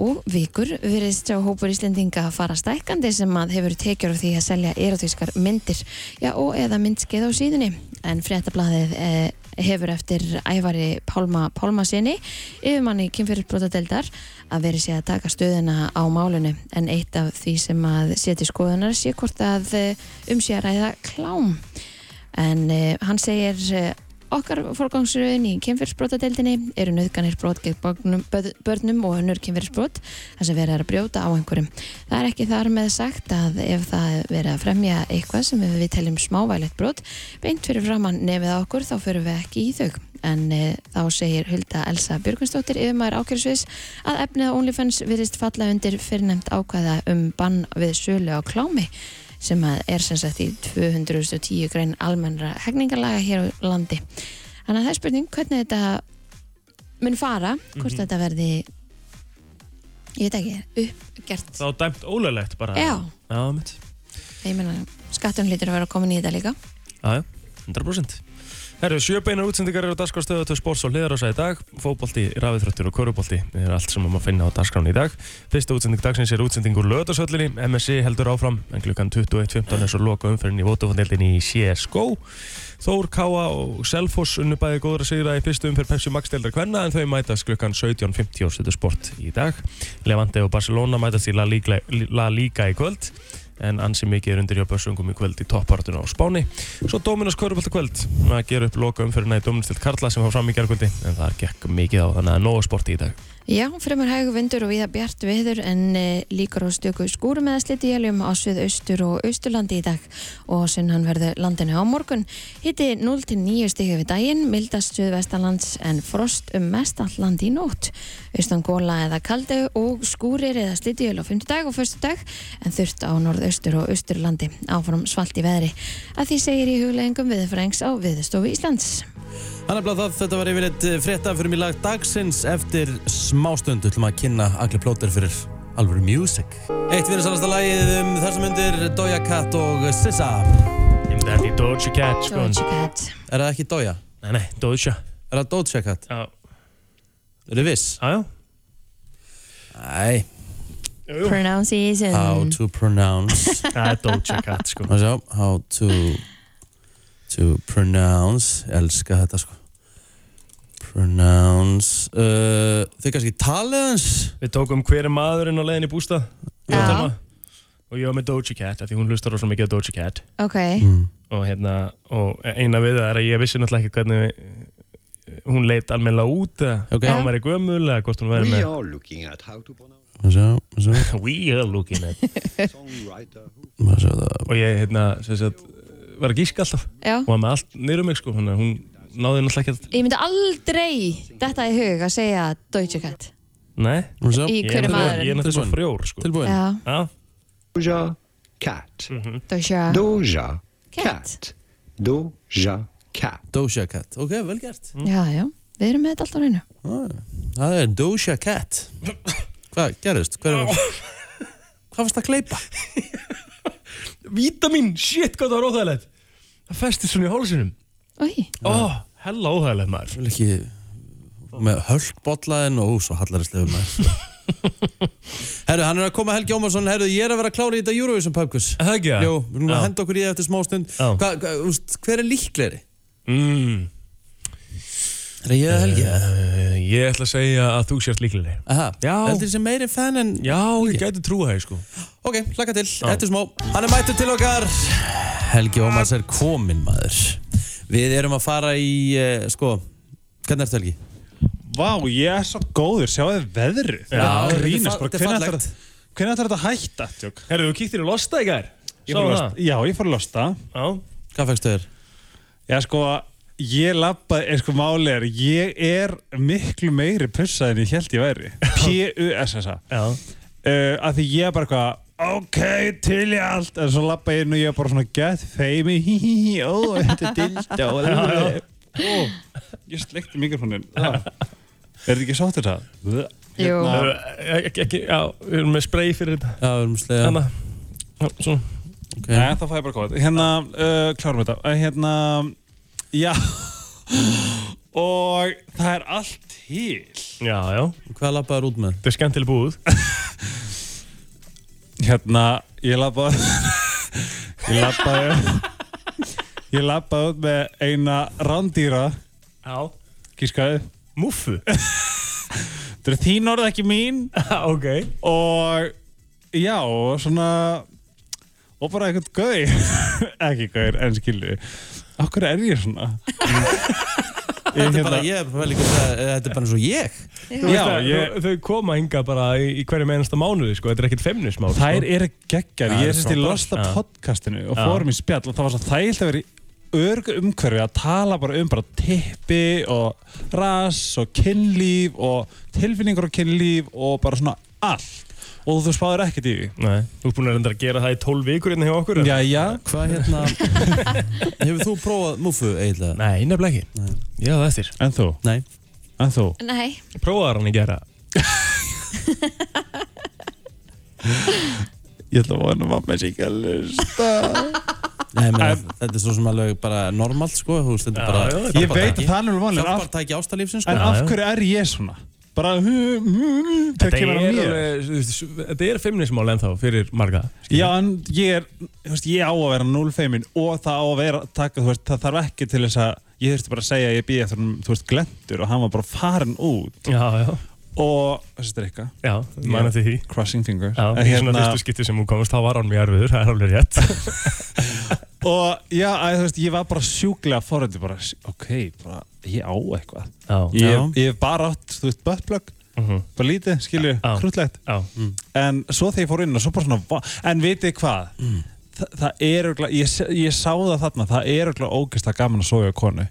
[SPEAKER 5] og vikur virðist á hópur Íslendinga að fara stækkandi sem að hefur tekjur á því að selja erotískar myndir já, og eða myndskeið á síðunni en fréttablaðið eh, hefur eftir ævari Pálma Pálmasinni yfirmanni kynfyrirbrotadeldar að veri sé að taka stöðuna á málunu en eitt af því sem að seti skoðunar sé hvort að eh, um sé að ræða klám en uh, hann segir uh, okkar forgangsröðin í kynfyrsbrotadeildinni eru nöðganir brot gegn börnum, böð- börnum og önnur kynfyrsbrot þar sem verið er að brjóta á einhverjum það er ekki þar með sagt að ef það er verið að fremja eitthvað sem við teljum smávægilegt brot beint fyrir framann nefið á okkur þá fyrir við ekki í þau en e, þá segir Hulda Elsa Björgvinsdóttir yfirmaður ákjörðsvis að efnið á OnlyFans virðist falla undir fyrirnefnd ákvæða um bann við sölu á klámi sem að er sem sagt í 210 grein almennra hegningarlaga hér á landi. Þannig að það er spurning hvernig þetta mun fara, hvort
[SPEAKER 6] Mhm.
[SPEAKER 5] þetta verði ég veit ekki, uppgert
[SPEAKER 6] Þá dæmt ólöglegt bara.
[SPEAKER 5] Já,
[SPEAKER 6] Já, mitt.
[SPEAKER 5] ég meina skattum hlýtur að vera komin í þetta líka
[SPEAKER 6] Já, já, 100%. Herru, sjöbeinar útsendingar eru á dagskráðstöðu til sports og hliðarósa í dag, fótbolti, rafiðröttur og körubolti er allt sem maður finna á dagskráðan í dag. Fyrsta útsending dagsins er útsending úr löðarsöllinni, MSC heldur áfram, en klukkan 21.15 er svo loka umferðin í vótafóndeldin í CSGO. Þór, Káa og Selfoss unnu bæði góðra sigra í fyrstu umferð Pepsi Max deildar kvenna en þau mætast klukkan 17.50 á stöðu sport í dag. Levante og Barcelona mætast í La Liga, La Liga í kvöld en ansi mikið er undir hjá Börsungum í kvöld í toppartuna á Spáni. Svo Dominos Körubolt kvöld að gera upp loka umferðina í Dominos til Karla sem var fram í gerkvöldi en það gekk mikið á þannig að nógu sporti í dag.
[SPEAKER 5] Já, fremur hægur vindur og viða bjart viður en e, líkur á stöku skúrum eða sliti jæljum á svið austur og austurlandi í dag og sunnan verður landinu á morgun. Hitti 0 til 9 stíka við daginn, mildast suð vestanlands en frost um mest all land í nótt. Austan góla eða kaldu og skúrir eða sliti jæl á 5. dag og 1. dag en þurft á norðaustur og austurlandi áfram svalt í veðri. Að því segir í hugleggingum viðfrængs á viðstofu Íslands.
[SPEAKER 4] Hann er blá það, þetta var yfirleitt frétta fyrir mig lag dagsins eftir smástundu til maður að kynna allir plóter fyrir alvöru music. Eitt fyrir salasta lagið um þar sem undir Doja Cat og Sissa.
[SPEAKER 6] Ég myndi að þetta í Doja Cat sko. en-
[SPEAKER 5] Doja Cat.
[SPEAKER 4] Er það ekki Doja?
[SPEAKER 6] Nei, nei, Doja.
[SPEAKER 4] Er það Doja Cat?
[SPEAKER 6] Já,
[SPEAKER 4] Er þið viss?
[SPEAKER 6] já.
[SPEAKER 4] Æ,
[SPEAKER 5] Pronunciation.
[SPEAKER 4] how to pronounce.
[SPEAKER 6] Það er Doja Cat sko.
[SPEAKER 4] Má sjá, how to, to pronounce. Ég elska þetta sko. Pronounce. Uh, þau kannski talið hans?
[SPEAKER 6] Við tókum hver er maðurinn á leiðin í bústað ég og
[SPEAKER 5] Já.
[SPEAKER 6] Telma. og ég var með Doja Cat af því hún lustar rosa mikið á Doja Cat
[SPEAKER 5] Ok.
[SPEAKER 4] Mm.
[SPEAKER 6] og hérna og eina við það er að ég vissi náttúrulega ekki hvernig eh, hún leit almennilega út eða
[SPEAKER 4] Ok.
[SPEAKER 6] hvað hún væri gömul eða hvort hún væri
[SPEAKER 1] We
[SPEAKER 6] með
[SPEAKER 1] are looking at how to pronounce
[SPEAKER 4] Má sjá, má sjá,
[SPEAKER 6] We are looking at
[SPEAKER 1] songwriter who
[SPEAKER 4] má sjá það.
[SPEAKER 6] og ég hérna sem sagt var að gíska alltaf
[SPEAKER 5] Já.
[SPEAKER 6] og var með allt niður um mig sko þannig að hún náði náttúrulega ekki að
[SPEAKER 5] Ég myndi aldrei þetta í hug að segja Deutsche Cat.
[SPEAKER 6] Nei
[SPEAKER 4] Má sjá.
[SPEAKER 5] Í
[SPEAKER 6] ég
[SPEAKER 5] hver
[SPEAKER 6] er
[SPEAKER 5] er
[SPEAKER 6] náttúrulega-
[SPEAKER 5] maðurinn?
[SPEAKER 6] Ég er náttúrulega svo frjór sko
[SPEAKER 4] Tilbúin?
[SPEAKER 5] Já,
[SPEAKER 6] Já Mm.
[SPEAKER 1] Doja Cat.
[SPEAKER 5] Deutsche
[SPEAKER 1] Doja
[SPEAKER 5] Cat.
[SPEAKER 1] Cat. Doja Cat.
[SPEAKER 4] Doja Cat, ok, vel gert
[SPEAKER 5] Já, já, við erum með þetta alltaf reynu.
[SPEAKER 4] ah, Það er Doja Cat Hvað gerðist? Hver var... Hvað varst að kleipa?
[SPEAKER 6] Vítamín, shit, hvað það var óþægilegt Það festist svona í hálsinum
[SPEAKER 5] Oi,
[SPEAKER 6] Ó, hella óþægilegt maður
[SPEAKER 4] Vel ekki með höllbollaðin og svo hallaristlega maður. herru, hann er að koma Helgi Ómarsson, herru, ég er að vera að klára í þetta Eurovision Pubquiz.
[SPEAKER 6] Er það ekki það?
[SPEAKER 4] Jú, við erum að
[SPEAKER 6] Já.
[SPEAKER 4] henda okkur í það eftir smá stund.
[SPEAKER 6] Já.
[SPEAKER 4] Hva, hva, úst, hver er líklegri?
[SPEAKER 6] mm,
[SPEAKER 4] Er það ég að Helgi?
[SPEAKER 6] uh, Ég ætla að segja að þú sért líklegri
[SPEAKER 4] Aha,
[SPEAKER 6] Já.
[SPEAKER 4] heldur þessi meiri fan en...
[SPEAKER 6] Já, ég gæti trúa það, sko
[SPEAKER 4] Ok, hlaka til, eftir smá Hann er mættur til okkar Helgi Ómars er kominn maður Við erum að fara í, eh, sko Hvernig ertu Helgi?
[SPEAKER 3] Vá, ég er svo góður, sjáðu veðrið Já,
[SPEAKER 4] þetta er
[SPEAKER 3] grínast
[SPEAKER 4] fa-
[SPEAKER 3] bara,
[SPEAKER 4] þetta er
[SPEAKER 3] hvernig ætlar
[SPEAKER 4] fallegt.
[SPEAKER 3] þetta- hvenær ætlar þetta að hætta? Tjók?
[SPEAKER 6] Herðu, þú kíktir í losta í gær Sá
[SPEAKER 3] Ég fór að
[SPEAKER 6] það?
[SPEAKER 3] losta- Já, ég fór að losta
[SPEAKER 6] Já,
[SPEAKER 4] Hvað fækstu þér?
[SPEAKER 3] Já, sko, ég lappaði, er sko máli er, ég er miklu meiri pussa en ég held ég væri P-U-S-S-A uh,
[SPEAKER 6] já
[SPEAKER 3] Af því ég er bara eitthvað ok, til í allt en svo lappa ég inn og ég er bara svona get feimi hí hí hí, ó, þetta er dildá ó, ég sleikti mikrofonin er þetta ekki sáttur það?
[SPEAKER 5] Jú.
[SPEAKER 3] Hérna-
[SPEAKER 6] e- Ekki, ekki, já, við erum með spray fyrir þetta Hérna.
[SPEAKER 4] Já, við erum slega
[SPEAKER 6] Þannig að Svona
[SPEAKER 4] okay.
[SPEAKER 3] Nei, það fæði bara góð. Hérna, uh, klárum þetta. Uh, hérna, já. Og það er allt til.
[SPEAKER 6] Já, já,
[SPEAKER 4] Hvað lappaður út með?
[SPEAKER 6] þetta er skemmtileg búð
[SPEAKER 3] Hérna, ég labbaði, ég labbaði, ég labbaði út með eina rándýra,
[SPEAKER 6] Já
[SPEAKER 3] kískaði.
[SPEAKER 6] Múfu
[SPEAKER 3] Þetta eru þín orð ekki mín.
[SPEAKER 6] Ok
[SPEAKER 3] Og já, og svona, og bara eitthvað gauð. ekki gauð, en skilju. Akkur er ég svona? Ég, hérna-
[SPEAKER 4] Þetta er bara ég, bara líka, það- eh, þetta er bara eins og ég
[SPEAKER 3] Já,
[SPEAKER 6] Já,
[SPEAKER 3] ég-
[SPEAKER 6] þau, þau koma hinga bara í, í hverjum einasta mánuði sko, þetta er ekkert femnismál
[SPEAKER 3] Þær
[SPEAKER 6] sko.
[SPEAKER 3] eru geggar,
[SPEAKER 6] Já,
[SPEAKER 3] ég
[SPEAKER 6] það er
[SPEAKER 3] er sérst í
[SPEAKER 6] frábært.
[SPEAKER 3] losta
[SPEAKER 6] Já.
[SPEAKER 3] podcastinu og
[SPEAKER 6] Já.
[SPEAKER 3] fórum í spjall og það var svo þægilt að vera í örgu umhverfi að tala bara um bara tippi og rass og kynlíf og tilfinningur og kynlíf og bara svona allt og þú spáður ekkert í því.
[SPEAKER 6] Nei, þú ert búin að reynda að gera það í 12 vikur hérna hjá okkur en-
[SPEAKER 3] Já, já,
[SPEAKER 4] Hvað hérna Hefur þú prófað múfu eiginlega?
[SPEAKER 6] Nei, nefnilega ekki
[SPEAKER 4] Nei.
[SPEAKER 6] Já, það eftir
[SPEAKER 3] en þú,
[SPEAKER 4] Nei
[SPEAKER 3] en þú.
[SPEAKER 5] nei,
[SPEAKER 6] Prófaðar hann í gera
[SPEAKER 3] Ég ætla að vona að mamma sé ekki að lusta.
[SPEAKER 4] Nei, meni, þetta er svo sem alveg bara normalt sko, þú veist, þetta er
[SPEAKER 6] Já,
[SPEAKER 4] bara
[SPEAKER 6] já, þetta
[SPEAKER 3] Ég veit að það er alveg vanlega,
[SPEAKER 4] Hjálpar
[SPEAKER 3] af,
[SPEAKER 4] tæki ástalífsins
[SPEAKER 3] en
[SPEAKER 4] sko
[SPEAKER 3] af hverju er ég svona? Bara, það kemur að mér.
[SPEAKER 6] alveg, þú veist, þetta er femnismál ennþá fyrir marga
[SPEAKER 3] Já, en ég er, þú veist, ég á að vera 0 feimin og það á að vera, taka, þú veist, það þarf ekki til þess að, ég þurfti bara að segja að ég býði eftir hann, þú veist, glendur og hann var bara farin út
[SPEAKER 6] Já, já,
[SPEAKER 3] og, þessi drikka,
[SPEAKER 6] já, mann
[SPEAKER 3] Já.
[SPEAKER 6] eftir því
[SPEAKER 3] crossing fingers,
[SPEAKER 6] Já,
[SPEAKER 3] Hérna- En
[SPEAKER 6] í svona fyrstu skipti sem hún komst, þá var hann mjög erfiður, það er alveg rétt
[SPEAKER 3] og já, að, þú veist, ég var bara sjúklega foröndi, bara, ok, bara, ég á eitthvað.
[SPEAKER 6] Já,
[SPEAKER 3] Ég,
[SPEAKER 4] Já.
[SPEAKER 3] ég hef bara átt, þú veist, buttplug,
[SPEAKER 6] Mhm.
[SPEAKER 3] bara lítið, skilju,
[SPEAKER 6] Já.
[SPEAKER 3] krútlegt,
[SPEAKER 6] já,
[SPEAKER 4] Mm.
[SPEAKER 3] en svo þegar ég fór inn og svo bara svona, va- en vitið hvað? Þa, það er örgla, ég, s- ég sá það þarna, það er örgla ógist að gaman að sofa á konu.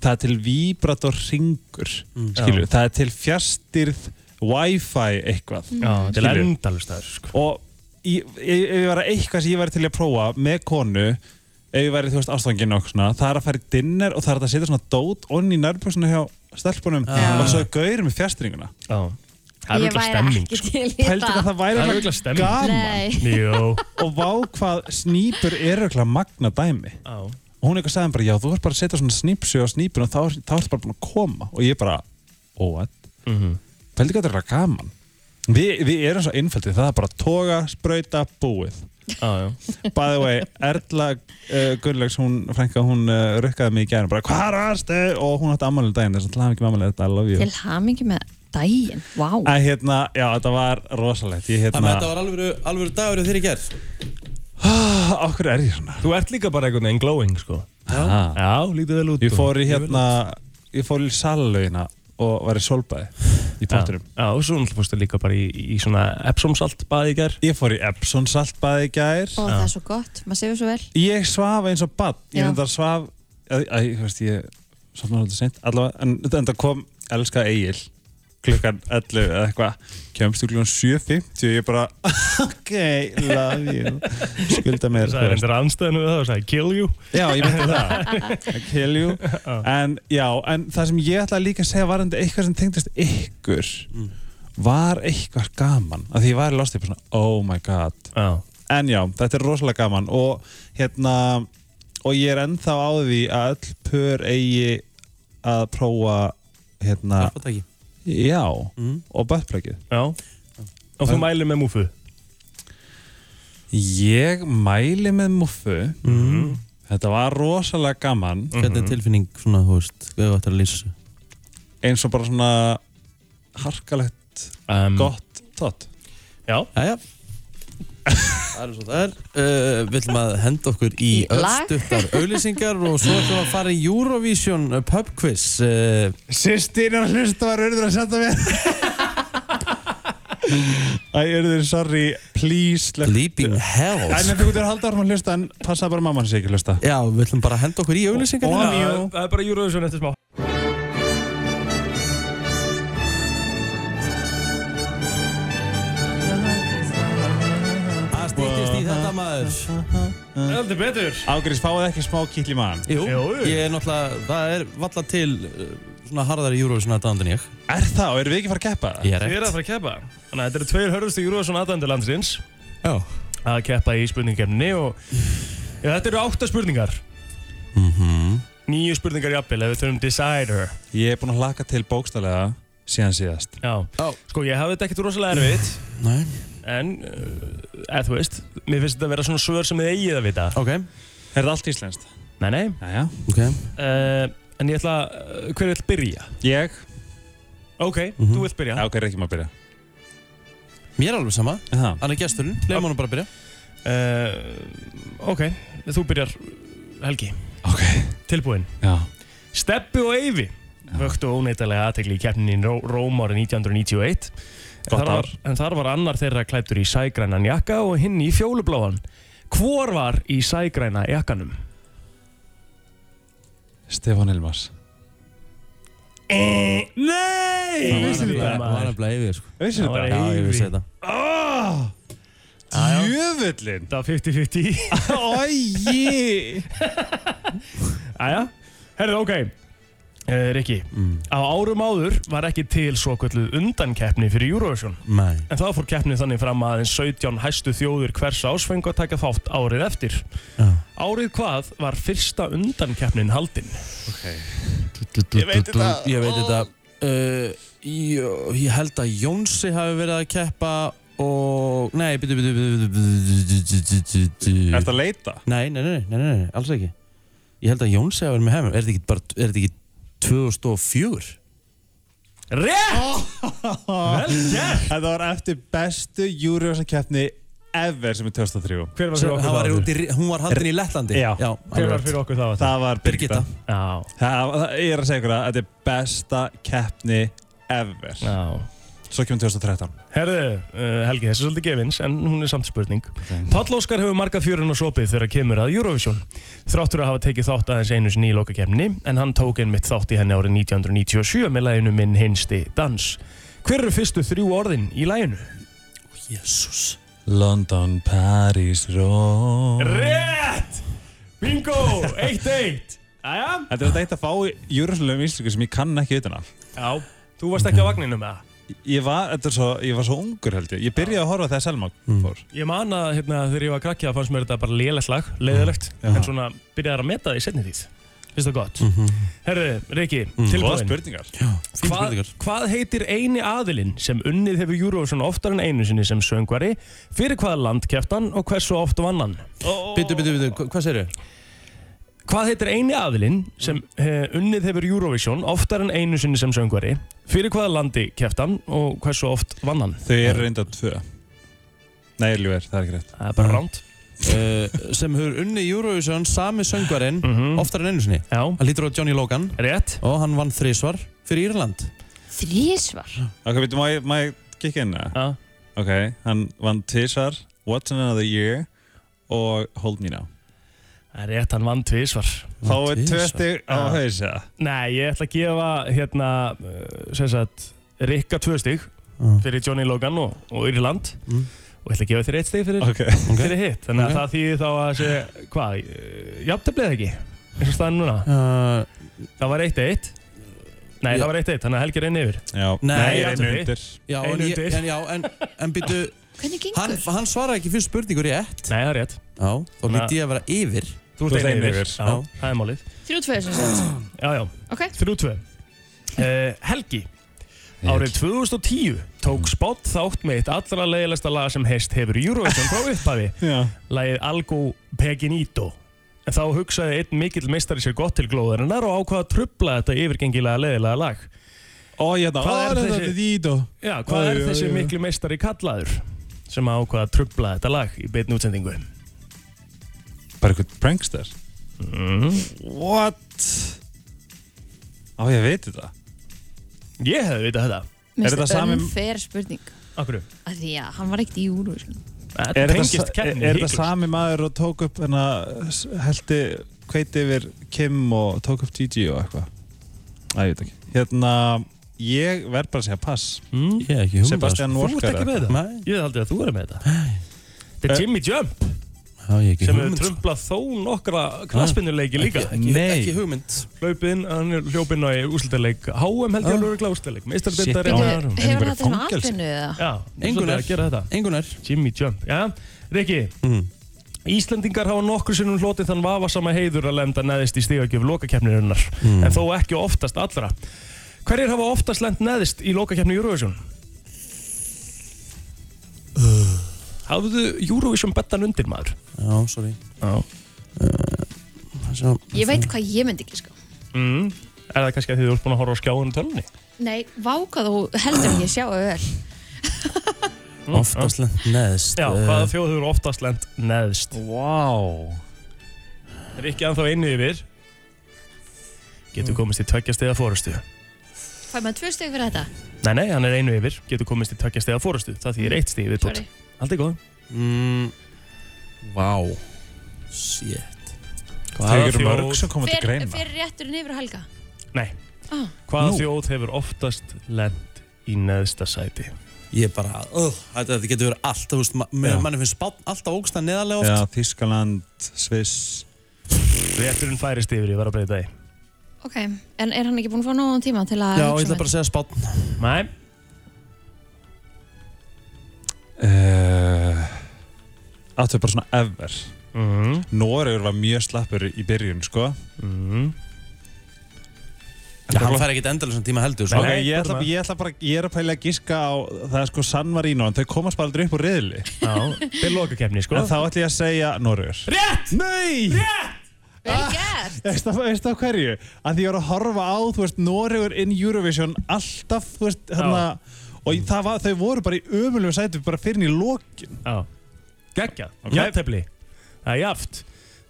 [SPEAKER 3] Það er til vibrator ringur,
[SPEAKER 6] Mm.
[SPEAKER 3] skilju, það er til fjastyrð wifi eitthvað.
[SPEAKER 6] já, þetta er
[SPEAKER 3] Skilurðu?
[SPEAKER 6] endalust það sko.
[SPEAKER 3] Og ég- ef ef ég var eitthvað sem ég væri til að prófa með konu, ef ég væri, þú veist, ástofanginn og svona, það er að fara í dinner og það er hægt að setja svona dót onni í nærbúksuna hjá stelpunum og svo er gaur með fjastringuna.
[SPEAKER 6] Já, það er
[SPEAKER 5] ég
[SPEAKER 6] örugglega
[SPEAKER 5] væri
[SPEAKER 6] stemming
[SPEAKER 5] ekki
[SPEAKER 6] sko.
[SPEAKER 5] til í
[SPEAKER 3] Pældi hvað
[SPEAKER 5] það
[SPEAKER 3] það
[SPEAKER 6] Það er
[SPEAKER 3] væri örugglega
[SPEAKER 6] örugglega stemming.
[SPEAKER 3] gaman.
[SPEAKER 5] Nei,
[SPEAKER 6] Jó,
[SPEAKER 3] og vá hvað snýpur er örugglega magna dæmi
[SPEAKER 6] já
[SPEAKER 3] og hún eitthvað sagði bara já þú ert bara að setja svona snýpsu á snýpun og þá, þá ertu bara búin að koma og ég bara oh what
[SPEAKER 6] Mhm.
[SPEAKER 3] fældi hvað það er örugglega gaman Vi, við erum svo einfældið það er bara toga, sprauta, búið
[SPEAKER 6] Já, já
[SPEAKER 3] by the way Erla uh, Gunnlegs hún frænka hún uh, rukkaði mig í gæðin bara hvað rastu og hún átti ammálið daginn þess að það hafði ekki ammálið þetta I love you
[SPEAKER 5] til hamingi með daginn, vá wow.
[SPEAKER 3] að hérna já þetta var rosalegt
[SPEAKER 4] Þannig að
[SPEAKER 3] ég
[SPEAKER 4] þetta
[SPEAKER 3] hérna
[SPEAKER 4] var alvöru, alvöru dagur þegar ég ger
[SPEAKER 6] Ah,
[SPEAKER 3] okkur er ég svona
[SPEAKER 6] Þú ert líka bara einhvern veginn glowing sko
[SPEAKER 3] ah.
[SPEAKER 6] Já, lítið vel út
[SPEAKER 3] Ég fór í
[SPEAKER 6] Lítið vel út.
[SPEAKER 3] hérna, ég fór í salauðina og var í solbæði í potturum.
[SPEAKER 6] Já, já, og svo náttúrulega fórstu líka bara í, í svona Epsom salt baði í gær
[SPEAKER 3] Ég fór í Epson saltbæði í gær.
[SPEAKER 5] og það er svo gott, maður séu svo vel
[SPEAKER 3] Ég svaf eins og badd. Ég
[SPEAKER 5] Já.
[SPEAKER 3] hendar svaf, að, að, þú veist, ég sofnaði alltaf sent, allavega, en þetta kom elska Egil klukkan 11 eða eitthvað, kemst í klukkan 7.50 og ég bara, ok, love you, skulda mér.
[SPEAKER 6] Það er endur anstæðinu við það og sagði kill you
[SPEAKER 3] Já, ég myndi það I kill you
[SPEAKER 6] Mm.
[SPEAKER 3] En já, en það sem ég ætlaði líka að segja varandi eitthvað sem tengdist ykkur var eitthvað gaman að því ég var í lostið svona, oh my god
[SPEAKER 6] Já,
[SPEAKER 3] en já, þetta er rosalega gaman og hérna og ég er ennþá á því að öll pör eigi að prófa hérna,
[SPEAKER 4] Alfataki
[SPEAKER 3] já
[SPEAKER 4] Mm.
[SPEAKER 3] og buttplugið
[SPEAKER 6] já Og þú mælir með múfu
[SPEAKER 3] ég mæli með muffu
[SPEAKER 4] mm.
[SPEAKER 3] þetta var rosalega gaman
[SPEAKER 6] Mhm.
[SPEAKER 4] Hvernig er tilfinning svona, þú veist, hvað þú ættir að lýsa þessu?
[SPEAKER 3] eins og bara svona harkalegt
[SPEAKER 6] um,
[SPEAKER 3] gott tótt
[SPEAKER 6] Já,
[SPEAKER 4] Jæja Það er svo það er uh, Við ætlum að henda okkur í
[SPEAKER 5] Í lag.
[SPEAKER 4] öllstuttar auðlýsingar og svo ætlum við að fara í Eurovision pub quiz uh,
[SPEAKER 3] Sistín er að hlusta var urður að senda mér Æ, urður, sorry, please slökk-
[SPEAKER 4] Leaping
[SPEAKER 3] En
[SPEAKER 4] Hells
[SPEAKER 3] ef þú getur að halda áfram að hlusta en passa bara að mamman sé ekki að hlusta
[SPEAKER 4] Já, við ætlum bara að henda okkur í auðlýsingar
[SPEAKER 3] Og- og-
[SPEAKER 6] það
[SPEAKER 3] Jú.
[SPEAKER 6] það er bara Eurovision eftir smá
[SPEAKER 4] Það stýttist í þetta maður
[SPEAKER 6] Heldur betur
[SPEAKER 3] Ágrís, fáið ekki smá kýtli mann
[SPEAKER 4] Jú,
[SPEAKER 6] Jú.
[SPEAKER 4] ég er náttúrulega, það er valla til uh, svona harðari Eurovision að dandan ég
[SPEAKER 3] Er það, og erum við ekki að fara að keppa það?
[SPEAKER 4] Ég er
[SPEAKER 6] Við erum að
[SPEAKER 4] rekt
[SPEAKER 6] fara að keppa Þannig að þetta eru tveir hörðustu Eurovision aðdæmdu landsins
[SPEAKER 4] Já
[SPEAKER 6] að keppa í spurningkefni og já, þetta eru átta spurningar Níu spurningar jafnvel ef við þurfum decider
[SPEAKER 3] Mhm. Ég er búin að hlaka til bókstælega síðan síðast
[SPEAKER 6] Já,
[SPEAKER 4] Já.
[SPEAKER 6] sko ég hafði þetta ekkert rosalega erfitt
[SPEAKER 4] Nei,
[SPEAKER 6] en, uh, eða þú veist mér finnst þetta að vera svona svör sem þið eigið að vita
[SPEAKER 4] ok,
[SPEAKER 3] Er það allt íslenskt?
[SPEAKER 6] Nei, nei
[SPEAKER 3] Jæja
[SPEAKER 4] ok
[SPEAKER 6] uh, En ég ætla, uh, hver vil byrja?
[SPEAKER 3] Ég?
[SPEAKER 6] Ok, þú vilt byrja
[SPEAKER 3] Mhm. Já, ok, er ekki maður að byrja
[SPEAKER 4] Mér er alveg sama,
[SPEAKER 3] Það
[SPEAKER 4] hann er gesturinn, leiðum hann bara að byrja
[SPEAKER 6] uh, Ok, þú byrjar Helgi,
[SPEAKER 3] Ok,
[SPEAKER 6] tilbúinn
[SPEAKER 3] já
[SPEAKER 6] Steppi og Eyvi vöktu óneitalega aðtegli í keppninni í Ró- Róm árið 1991 En
[SPEAKER 3] Gott
[SPEAKER 6] þar var,
[SPEAKER 3] ár.
[SPEAKER 6] en þar var annar þeirra klættur í sægrænan jakka og hinn í fjólubláan Hvor var í sægræna jakkanum?
[SPEAKER 3] Stefán Hilmars
[SPEAKER 6] Eh, Nei!
[SPEAKER 4] Það var
[SPEAKER 6] Vissi
[SPEAKER 4] nefnilega-
[SPEAKER 6] þetta
[SPEAKER 4] það var
[SPEAKER 6] maður
[SPEAKER 4] nefnilega yfir sko.
[SPEAKER 3] Veistu
[SPEAKER 6] Það var
[SPEAKER 3] þetta?
[SPEAKER 6] Eyvi.
[SPEAKER 4] Já, ég vissi þetta
[SPEAKER 3] Oh,
[SPEAKER 4] Ah!
[SPEAKER 6] Já, já.
[SPEAKER 3] Jöfullin
[SPEAKER 6] Þetta var 50-50
[SPEAKER 3] Æji
[SPEAKER 6] Æja, herrið, ok uh, Rikki,
[SPEAKER 4] Mm.
[SPEAKER 6] á árum áður var ekki til svo kvölduð undankeppni fyrir Eurovision
[SPEAKER 4] Nei
[SPEAKER 6] En þá fór keppnið þannig fram að aðeins 17 hæstu þjóður hvers ásfengu að taka þátt árið eftir.
[SPEAKER 4] Já.
[SPEAKER 6] Árið hvað var fyrsta undankeppnin haldin?
[SPEAKER 4] Ég veit þetta Ég veit þetta uh, jó, Ég held að Jónsi hafi verið að keppa og... Nei, byrju, byrju, byrju, byrju,
[SPEAKER 3] Er
[SPEAKER 4] byrju
[SPEAKER 3] þetta að leita?
[SPEAKER 4] Nei, nei, nei, nei, nei, nei, nei, alls ekki Ég held að Jónsi hafi verið með hefum Er þetta ekki bara, er þetta ekki 2004?
[SPEAKER 6] Rétt! Vel gert!
[SPEAKER 3] Þetta var eftir bestu Eurovision keppni ever sem er 2003
[SPEAKER 6] Hver var
[SPEAKER 4] Sem-
[SPEAKER 6] fyrir okkur
[SPEAKER 4] hann var
[SPEAKER 6] það?
[SPEAKER 4] út í ri- Hún var haldin í Lettlandi
[SPEAKER 3] Já.
[SPEAKER 4] já
[SPEAKER 6] Hver
[SPEAKER 4] alveg
[SPEAKER 6] var
[SPEAKER 4] rétt.
[SPEAKER 6] fyrir okkur það? var það?
[SPEAKER 3] Það var
[SPEAKER 4] Birgitta
[SPEAKER 3] Birgitta
[SPEAKER 6] Já,
[SPEAKER 3] það, það, Ég er að segja ykkur að þetta er besta keppni ever
[SPEAKER 6] já.
[SPEAKER 3] Svo kemur 2013
[SPEAKER 6] Herðu, uh, Helgi, þessi er svolítið gefins, en hún er samt spurning.
[SPEAKER 3] Mhm.
[SPEAKER 6] Páll Óskar hefur marga fjörun og sopið þegar kemur að Eurovision. Þráttur að hafa tekið þátt aðeins einu sinni í lokakefni, en hann tók einmitt þátt í henni árið 1997 með læginu Minn hinsti dans. Hver eru fyrstu þrjú orðin í læginu?
[SPEAKER 4] Jésús
[SPEAKER 3] London, Paris, Rome
[SPEAKER 6] Rétt! Bingo! 1-1! Æja?
[SPEAKER 3] Þetta er þetta eitt að fá í Eurovision íslensku sem ég kann ekki utan að
[SPEAKER 6] Já, þú varst ekki á vagninu með það.
[SPEAKER 3] Ég var, þetta er svo, ég var svo ungur held ég Ég byrjaði að horfa þegar Selma fór
[SPEAKER 6] Ég man að hérna, þegar ég var krakki að fannst mér þetta bara lélegt lag,
[SPEAKER 3] Mhm.
[SPEAKER 6] leiðilegt, en svona byrjaði að meta það í setni tíð. Finnst það gott.
[SPEAKER 3] Mhm.
[SPEAKER 6] Herðu, Riki, mm.
[SPEAKER 3] Góða
[SPEAKER 6] tilbúin.
[SPEAKER 3] spurningar
[SPEAKER 4] Fín
[SPEAKER 6] Hvað,
[SPEAKER 4] spurningar
[SPEAKER 6] hvað heitir eini aðilinn sem unnið hefur Eurovision oftar en einu sinni sem söngvari, fyrir hvaða land keftan og hversu oft vann hann?
[SPEAKER 4] Byttu, byttu, byttu, hva- hvað segirðu?
[SPEAKER 6] Hvað heitir eini aðilinn sem he, unnið hefur Eurovision oftar en einu sinni sem söngvari, fyrir hvaða landi keftan og hversu oft vann hann?
[SPEAKER 3] Þau eru reynda tvö Nei, ljúver, það er ekki rétt
[SPEAKER 6] Það er bara ránt.
[SPEAKER 4] Uh, sem hefur unni Eurovision sami söngvarinn oftar en einu sinni
[SPEAKER 6] Mhm. Já,
[SPEAKER 4] hann lítur á Johnny Logan
[SPEAKER 6] rétt.
[SPEAKER 4] og hann vann þrísvar fyrir Írland
[SPEAKER 5] Þrísvar
[SPEAKER 3] Ok, veitum, má ég, má ég kikka inn það?
[SPEAKER 6] Já.
[SPEAKER 3] Ok, hann vann Tissar, What's in Another Year og Hold Me Now
[SPEAKER 6] Það er rétt, hann vann tvísvar.
[SPEAKER 3] Þá er
[SPEAKER 4] Vann tvisvar.
[SPEAKER 3] 20 á
[SPEAKER 6] Já.
[SPEAKER 3] hausa
[SPEAKER 6] Nei, ég ætla að gefa hérna, uh, sem sagt, Rikka tvö stig fyrir Johnny Logan og, og Írland
[SPEAKER 4] Mm.
[SPEAKER 6] og ég ætla að gefa þér eitt stig fyrir,
[SPEAKER 3] Ok
[SPEAKER 6] fyrir hitt. Þannig
[SPEAKER 4] Ok.
[SPEAKER 6] að það þýðir þá að sé, hvað, uh, jafntöflið ekki? Eins og staðan núna.
[SPEAKER 4] uh,
[SPEAKER 6] Það var eitt eitt. Nei,
[SPEAKER 4] Já.
[SPEAKER 6] það var eitt eitt, þannig að Helgi reyni yfir
[SPEAKER 3] Já,
[SPEAKER 4] Nei,
[SPEAKER 3] einu
[SPEAKER 6] Andri.
[SPEAKER 3] undir
[SPEAKER 4] Já, en,
[SPEAKER 6] Einu
[SPEAKER 4] ég,
[SPEAKER 6] undir.
[SPEAKER 4] en, já, en, en býtu,
[SPEAKER 5] Hvernig
[SPEAKER 4] hann,
[SPEAKER 5] gengur?
[SPEAKER 4] hann svaraði ekki fyrst spurningu rétt.
[SPEAKER 6] Nei, það er rétt
[SPEAKER 4] Já, þá lítið ég að vera yfir.
[SPEAKER 6] Þú
[SPEAKER 3] ert
[SPEAKER 6] ert
[SPEAKER 3] einu
[SPEAKER 6] einu
[SPEAKER 3] yfir.
[SPEAKER 6] yfir Já,
[SPEAKER 4] Já.
[SPEAKER 6] það er málið
[SPEAKER 5] Þrjú tvö sem sagt.
[SPEAKER 6] Já, já,
[SPEAKER 5] Ok.
[SPEAKER 6] þrjú tvö uh, Helgi Árið 2010 tók Spott þátt með eitt allra leiðilegsta lag sem heist hefur í Eurovision frá upphafi
[SPEAKER 3] Já,
[SPEAKER 6] lagið Algo Peginito en þá hugsaði einn mikill meistari sér gott til glóðarinnar og ákvaða að trubla þetta yfirgengilega leiðilega lag
[SPEAKER 3] Ó, ég þetta,
[SPEAKER 6] Hvað er
[SPEAKER 3] ó, hérna,
[SPEAKER 6] þessi-
[SPEAKER 3] þetta dýdó
[SPEAKER 6] Já, hvað
[SPEAKER 3] Æ,
[SPEAKER 6] er
[SPEAKER 3] já,
[SPEAKER 6] þessi
[SPEAKER 3] já.
[SPEAKER 6] miklu meistari kallaður sem ákvaða að trubla þetta lag í beitn útsendingu?
[SPEAKER 3] Bara eitthvað prankster Mm. What? Á, ég veit þetta
[SPEAKER 6] Ég hefði vitað þetta.
[SPEAKER 3] Er þetta sami-
[SPEAKER 5] Unfair spurning.
[SPEAKER 6] Akkur,
[SPEAKER 5] Af því að hann var ekkert í sko. Eurovision.
[SPEAKER 6] þetta
[SPEAKER 3] Er þetta,
[SPEAKER 6] tengist
[SPEAKER 3] sa- er,
[SPEAKER 6] keppni
[SPEAKER 3] er þetta
[SPEAKER 6] hiklaust.
[SPEAKER 3] sami maður og tók upp hérna, s- heldi kveiti yfir Kim og tók upp Gigi og eitthvað Æ, ég veit ekki Hérna, ég verð bara að segja pass
[SPEAKER 6] Mm?
[SPEAKER 4] Ég er ekki hugmynd.
[SPEAKER 3] Sebastian
[SPEAKER 6] Þú ert
[SPEAKER 3] Walker
[SPEAKER 6] ekki með
[SPEAKER 3] eitthvað.
[SPEAKER 6] þetta?
[SPEAKER 4] Nei.
[SPEAKER 6] Ég hefði haldið að þú eru með þetta. Þetta
[SPEAKER 3] Eh.
[SPEAKER 6] er Jimmy Jump
[SPEAKER 4] Já, ég er ekki
[SPEAKER 6] sem hefur
[SPEAKER 4] hugmynd.
[SPEAKER 6] trumplað þó nokkra knaspinnuleiki líka.
[SPEAKER 4] Ég er
[SPEAKER 3] Nei,
[SPEAKER 4] Ekki hugmynd.
[SPEAKER 6] Hlaupið inn, hann er hljópið inn á úslutaleg HM held ég
[SPEAKER 4] Ah.
[SPEAKER 6] alveg örugglega úrslitaleik.
[SPEAKER 3] Shit,
[SPEAKER 6] Meistaradeildar-
[SPEAKER 3] Já,
[SPEAKER 5] Bíddu,
[SPEAKER 6] Já,
[SPEAKER 3] já, já. En
[SPEAKER 5] Hefur
[SPEAKER 3] bara
[SPEAKER 5] hann þetta sem
[SPEAKER 3] fangelsi.
[SPEAKER 5] atvinnu eða?
[SPEAKER 6] Já,
[SPEAKER 4] Engunar.
[SPEAKER 6] úrslitaleg að gera þetta.
[SPEAKER 4] Engunar.
[SPEAKER 6] Jimmy Jump, já. Rikki,
[SPEAKER 4] Mm.
[SPEAKER 6] Íslendingar hafa nokkur sinnum hlotið þann vafasama heiður að lenda neðist í stígagjöf lokakeppnirinnar, en þó ekki oftast allra. Hverjir hafa oftast lent neðist í lokakeppni Eurovision? Hafðu Eurovision bettan undir maður?
[SPEAKER 4] Já, sorry. Eh,
[SPEAKER 6] Já.
[SPEAKER 4] Sjá.
[SPEAKER 5] Ég veit hvað ég myndi ekki sko.
[SPEAKER 6] Mm. Er það kannski að þið eru búin að horfa á skjáinu tölunni?
[SPEAKER 5] Nei, váka þú heldur ekki sjá öll.
[SPEAKER 4] Oftast lent neðst.
[SPEAKER 6] Mm, Já,
[SPEAKER 4] eh,
[SPEAKER 6] hvaða þjóð hefur oftast lent neðst?
[SPEAKER 3] wow
[SPEAKER 6] Rikki anþá inni yfir.
[SPEAKER 3] Mm.
[SPEAKER 6] Getur komist í tveggja stiða fórustu.
[SPEAKER 5] Fæ maður tvö steg fyrir þetta?
[SPEAKER 6] Nei, nei, hann er einu yfir, getur komist í tveggja stiða fórustu. Það því er eitt stig viðbútt.
[SPEAKER 5] Sorry.
[SPEAKER 6] Allt er góð.
[SPEAKER 4] Mm, Vá Shit
[SPEAKER 3] Það eru
[SPEAKER 6] þjóð-
[SPEAKER 3] mörg sem komið til
[SPEAKER 5] Fer,
[SPEAKER 3] greina
[SPEAKER 5] fer rétturinn yfir á helga?
[SPEAKER 6] Nei.
[SPEAKER 5] Ah.
[SPEAKER 6] Hvaða
[SPEAKER 4] Nú.
[SPEAKER 6] þjóð hefur oftast lent í neðsta sæti?
[SPEAKER 4] Ég bara, uh, þetta, þetta getur verið allt þú veist, ma mér-
[SPEAKER 3] Já.
[SPEAKER 4] manni finnst spátt alltaf ógsta neðarlega oft
[SPEAKER 3] Já, Þískaland, Sviss
[SPEAKER 6] Rétturinn færist yfir, ég var að breyta því.
[SPEAKER 5] Ok, en er hann ekki búinn að fá nóðan tíma til að
[SPEAKER 4] Já, ég
[SPEAKER 5] hugsa
[SPEAKER 4] ætla
[SPEAKER 5] um
[SPEAKER 4] bara að
[SPEAKER 5] þetta?
[SPEAKER 4] segja spátt
[SPEAKER 6] Nei,
[SPEAKER 3] uh, Áttu bara svona ever
[SPEAKER 6] mm,
[SPEAKER 3] Noregur var mjög slappur í byrjun, sko
[SPEAKER 6] mm.
[SPEAKER 4] Já, hann fær ekkert endalösan tíma heldur
[SPEAKER 3] Ok,
[SPEAKER 4] sko.
[SPEAKER 6] Nei,
[SPEAKER 3] ég, ætla,
[SPEAKER 6] bara-
[SPEAKER 3] ég ætla bara, ég er að pæla að giska á Það er sko San Marino, en þau komast bara aldrei upp úr riðli
[SPEAKER 6] Já, þetta er lokakefni, sko.
[SPEAKER 3] En þá ætla ég að segja Noregur
[SPEAKER 6] Rétt!
[SPEAKER 3] Nei!
[SPEAKER 5] Vel gert!
[SPEAKER 3] Veist það, veist það hverju? Að því ég var að horfa á, þú veist, Noregur in Eurovision Alltaf, þú veist, hérna Og það var, þau voru bara í ömulum sætum Bara fyrir í lokin
[SPEAKER 6] Já. Geggjað.
[SPEAKER 3] Ok.
[SPEAKER 6] Jafntefli. Það er jaft.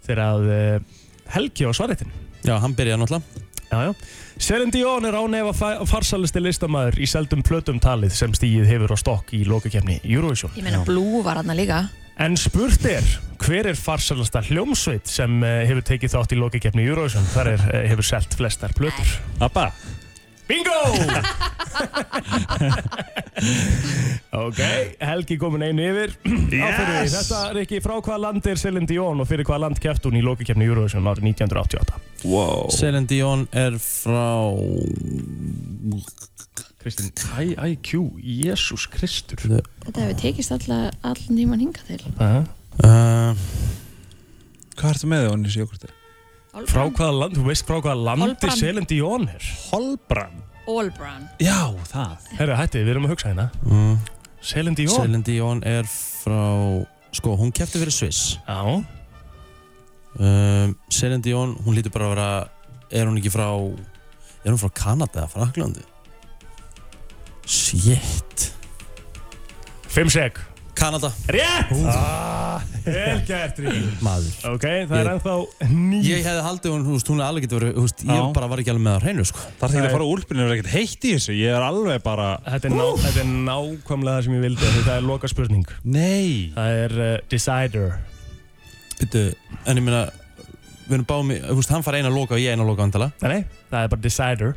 [SPEAKER 6] Þegar að uh, Helgi á svaretin.
[SPEAKER 4] Já, hann byrjaði náttúrulega
[SPEAKER 6] Já, já. Celine Dion er ánefa fa- farsalisti listamaður í seldum plötum talið sem stíið hefur á stokk í lokakefni Eurovision.
[SPEAKER 5] Ég meina Blue var hann líka.
[SPEAKER 6] En spurt er, hver er farsalasta hljómsveit sem eh, hefur tekið þátt í lokakefni Eurovision? Þar er, eh, hefur selt flestar plötur.
[SPEAKER 3] Abba
[SPEAKER 6] Bingo! ok, Helgi komin einu yfir. Yes! Þetta er ekki frá hvaða land er Celine Dion og fyrir hvaða land keft hún í lokakefni Eurovision árið 1988.
[SPEAKER 3] Wow
[SPEAKER 4] Celine Dion er frá
[SPEAKER 6] Kristinn, IIQ, Jésús Kristur.
[SPEAKER 5] Þetta hefur tekist alla- allan tíman hinga til.
[SPEAKER 6] Aha.
[SPEAKER 4] uh,
[SPEAKER 3] Ehm, Hvað ertu með þau, Onnis Jókurti?
[SPEAKER 6] Frá hvaða land, þú veist frá hvaða landi
[SPEAKER 5] Kolbrand.
[SPEAKER 6] Celine Dion er?
[SPEAKER 3] Holbrann
[SPEAKER 5] Allbran.
[SPEAKER 3] Já, það
[SPEAKER 6] Herra, hætti, við erum að hugsa hérna.
[SPEAKER 4] mm,
[SPEAKER 6] Celine Dion?
[SPEAKER 4] Celine Dion er frá Sko, hún kefti fyrir Sviss
[SPEAKER 6] Já.
[SPEAKER 4] um, Celine Dion, hún lítur bara að vera Er hún ekki frá Er hún frá Kanada eða Fraklandi? Shit
[SPEAKER 6] Fimm sek.
[SPEAKER 4] Kanada,
[SPEAKER 6] Rétt! Ah, vel gert, Ríkir.
[SPEAKER 4] maður
[SPEAKER 6] Ok, það er
[SPEAKER 4] Ég-
[SPEAKER 6] ennþá nýja.
[SPEAKER 4] Ég hefði haldið hún, þú veist, hún er alveg getur verið, þú veist,
[SPEAKER 3] Já.
[SPEAKER 4] ég bara var ekki alveg með það á hreinu, sko.
[SPEAKER 3] Það er ekki
[SPEAKER 6] Nei.
[SPEAKER 3] að fara úlpunni og ekkert heitt í þessu Ég er alveg bara
[SPEAKER 6] Þetta er, ná, þetta er nákvæmlega það sem ég vildi, af því það er loka spurning.
[SPEAKER 3] Nei
[SPEAKER 6] Það er uh, Decider.
[SPEAKER 4] Bittu, en ég meina, við erum báðum, í- þú veist, hann far eina loka og ég eina loka andala.
[SPEAKER 6] Nei, nei, það er bara Decider.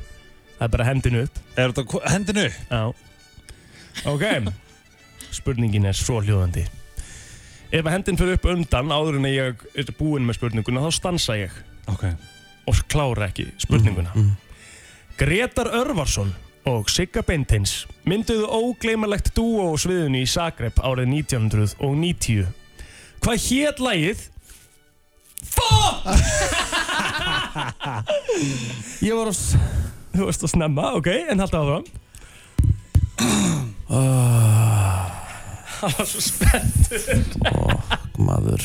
[SPEAKER 6] Það er bara hendin upp.
[SPEAKER 3] Er þetta ko- hendinu?
[SPEAKER 6] Já. Ok, spurningin er svo hljóðandi. Ef hendin fyrir upp undan áður en ég er búinn með spurninguna, þá stansa ég
[SPEAKER 3] Ok
[SPEAKER 6] og klára ekki spurninguna.
[SPEAKER 4] Mm.
[SPEAKER 6] Gretar Örvarsson og Sigga Beintens mynduðu ógleymalegt dúo á sviðinu í Zagreb árið 1990. Hvað hét lagið? Fuck!
[SPEAKER 4] Ég var á... s-
[SPEAKER 6] Þú varst að snemma, ok, en halda áfram. Það Ah. var svo spennt.
[SPEAKER 4] Maður.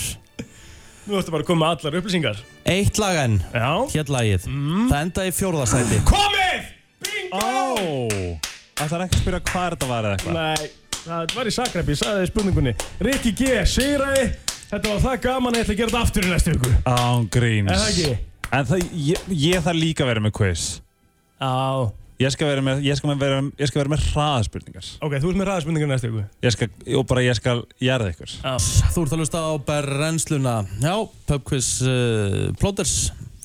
[SPEAKER 6] Nú ertu bara að koma með allar upplýsingar.
[SPEAKER 4] Eitt lag enn.
[SPEAKER 6] Já. Mm.
[SPEAKER 4] Hér lagið. Það endaði í fjórðastæti.
[SPEAKER 6] Komið! Bingo!
[SPEAKER 3] Það er ekki að spyrja hvað þetta var eða eitthvað.
[SPEAKER 6] Nei, það var í Sakrep, ég sagði það í spurningunni Rikki G, sigraði Þetta var það gaman að ég ætla að gera þetta aftur í næstu viku
[SPEAKER 3] Án gríns.
[SPEAKER 6] Er það ekki?
[SPEAKER 3] En það, ég, ég þarf líka að vera með quiz.
[SPEAKER 6] Já
[SPEAKER 3] Ég skal vera með, ég skal með, vera, ég skal vera með hraðaspurningar.
[SPEAKER 6] Ok, þú ert með ræðaspurningunni næstu viku
[SPEAKER 3] Ég skal, og bara ég skal jarða ykkur.
[SPEAKER 4] Þú ert að lusta á berrensluna. Já, pubquiz uh, plóters.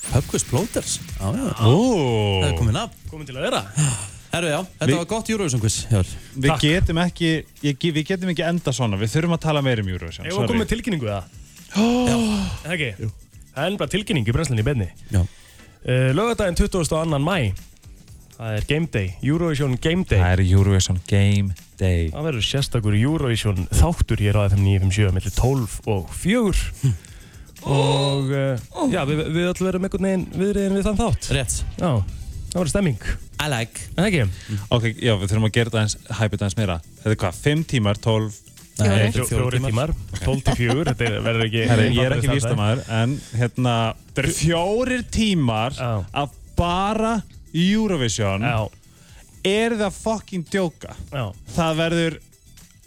[SPEAKER 4] Pubquiz plóters? Já, já.
[SPEAKER 3] Ó.
[SPEAKER 4] Það er komið nafn.
[SPEAKER 6] Komum til að vera
[SPEAKER 4] Herru, já. Þetta
[SPEAKER 3] Vi-
[SPEAKER 4] var gott Eurovision quiz. Hjör.
[SPEAKER 3] Við getum ekki, ég, ge- við getum ekki enda svona. Við þurfum að tala meir um Eurovision.
[SPEAKER 6] Ég var komið tilkynningu það Já Það ekki? Það er bara tilkynning í brennslinni í beinni
[SPEAKER 4] Já.
[SPEAKER 6] uh, Lögadaginn 22. mæ Það er Game Day, Eurovision Game Day
[SPEAKER 3] Það er Eurovision Game Day.
[SPEAKER 6] Það verður sérstakur Eurovision þáttur hér á FM 957 mellir 12 og 4
[SPEAKER 3] Hm.
[SPEAKER 6] og uh, já, við, við öll verðum einhvern veginn viðriðin við þann þátt
[SPEAKER 4] Rétt.
[SPEAKER 6] Já, það verður stemming
[SPEAKER 4] I like.
[SPEAKER 6] En ekki?
[SPEAKER 3] Ok, já, við þurfum að gera þetta eins, hæpa þetta eins meira. Þetta er hvað, 5 tímar, 12,
[SPEAKER 4] Nei,
[SPEAKER 6] Fjó-
[SPEAKER 4] þetta er
[SPEAKER 6] Fjóri tímar, 12 til 4 Þetta er- verður ekki
[SPEAKER 3] Herri, ég er ekki
[SPEAKER 6] einfaldari stærðfræði.
[SPEAKER 3] vístamæður, en hérna, þetta eru fjórir tímar
[SPEAKER 6] Já.
[SPEAKER 3] af bara Eurovision.
[SPEAKER 6] Já,
[SPEAKER 3] Er það fucking djóka?
[SPEAKER 6] já
[SPEAKER 3] Það verður,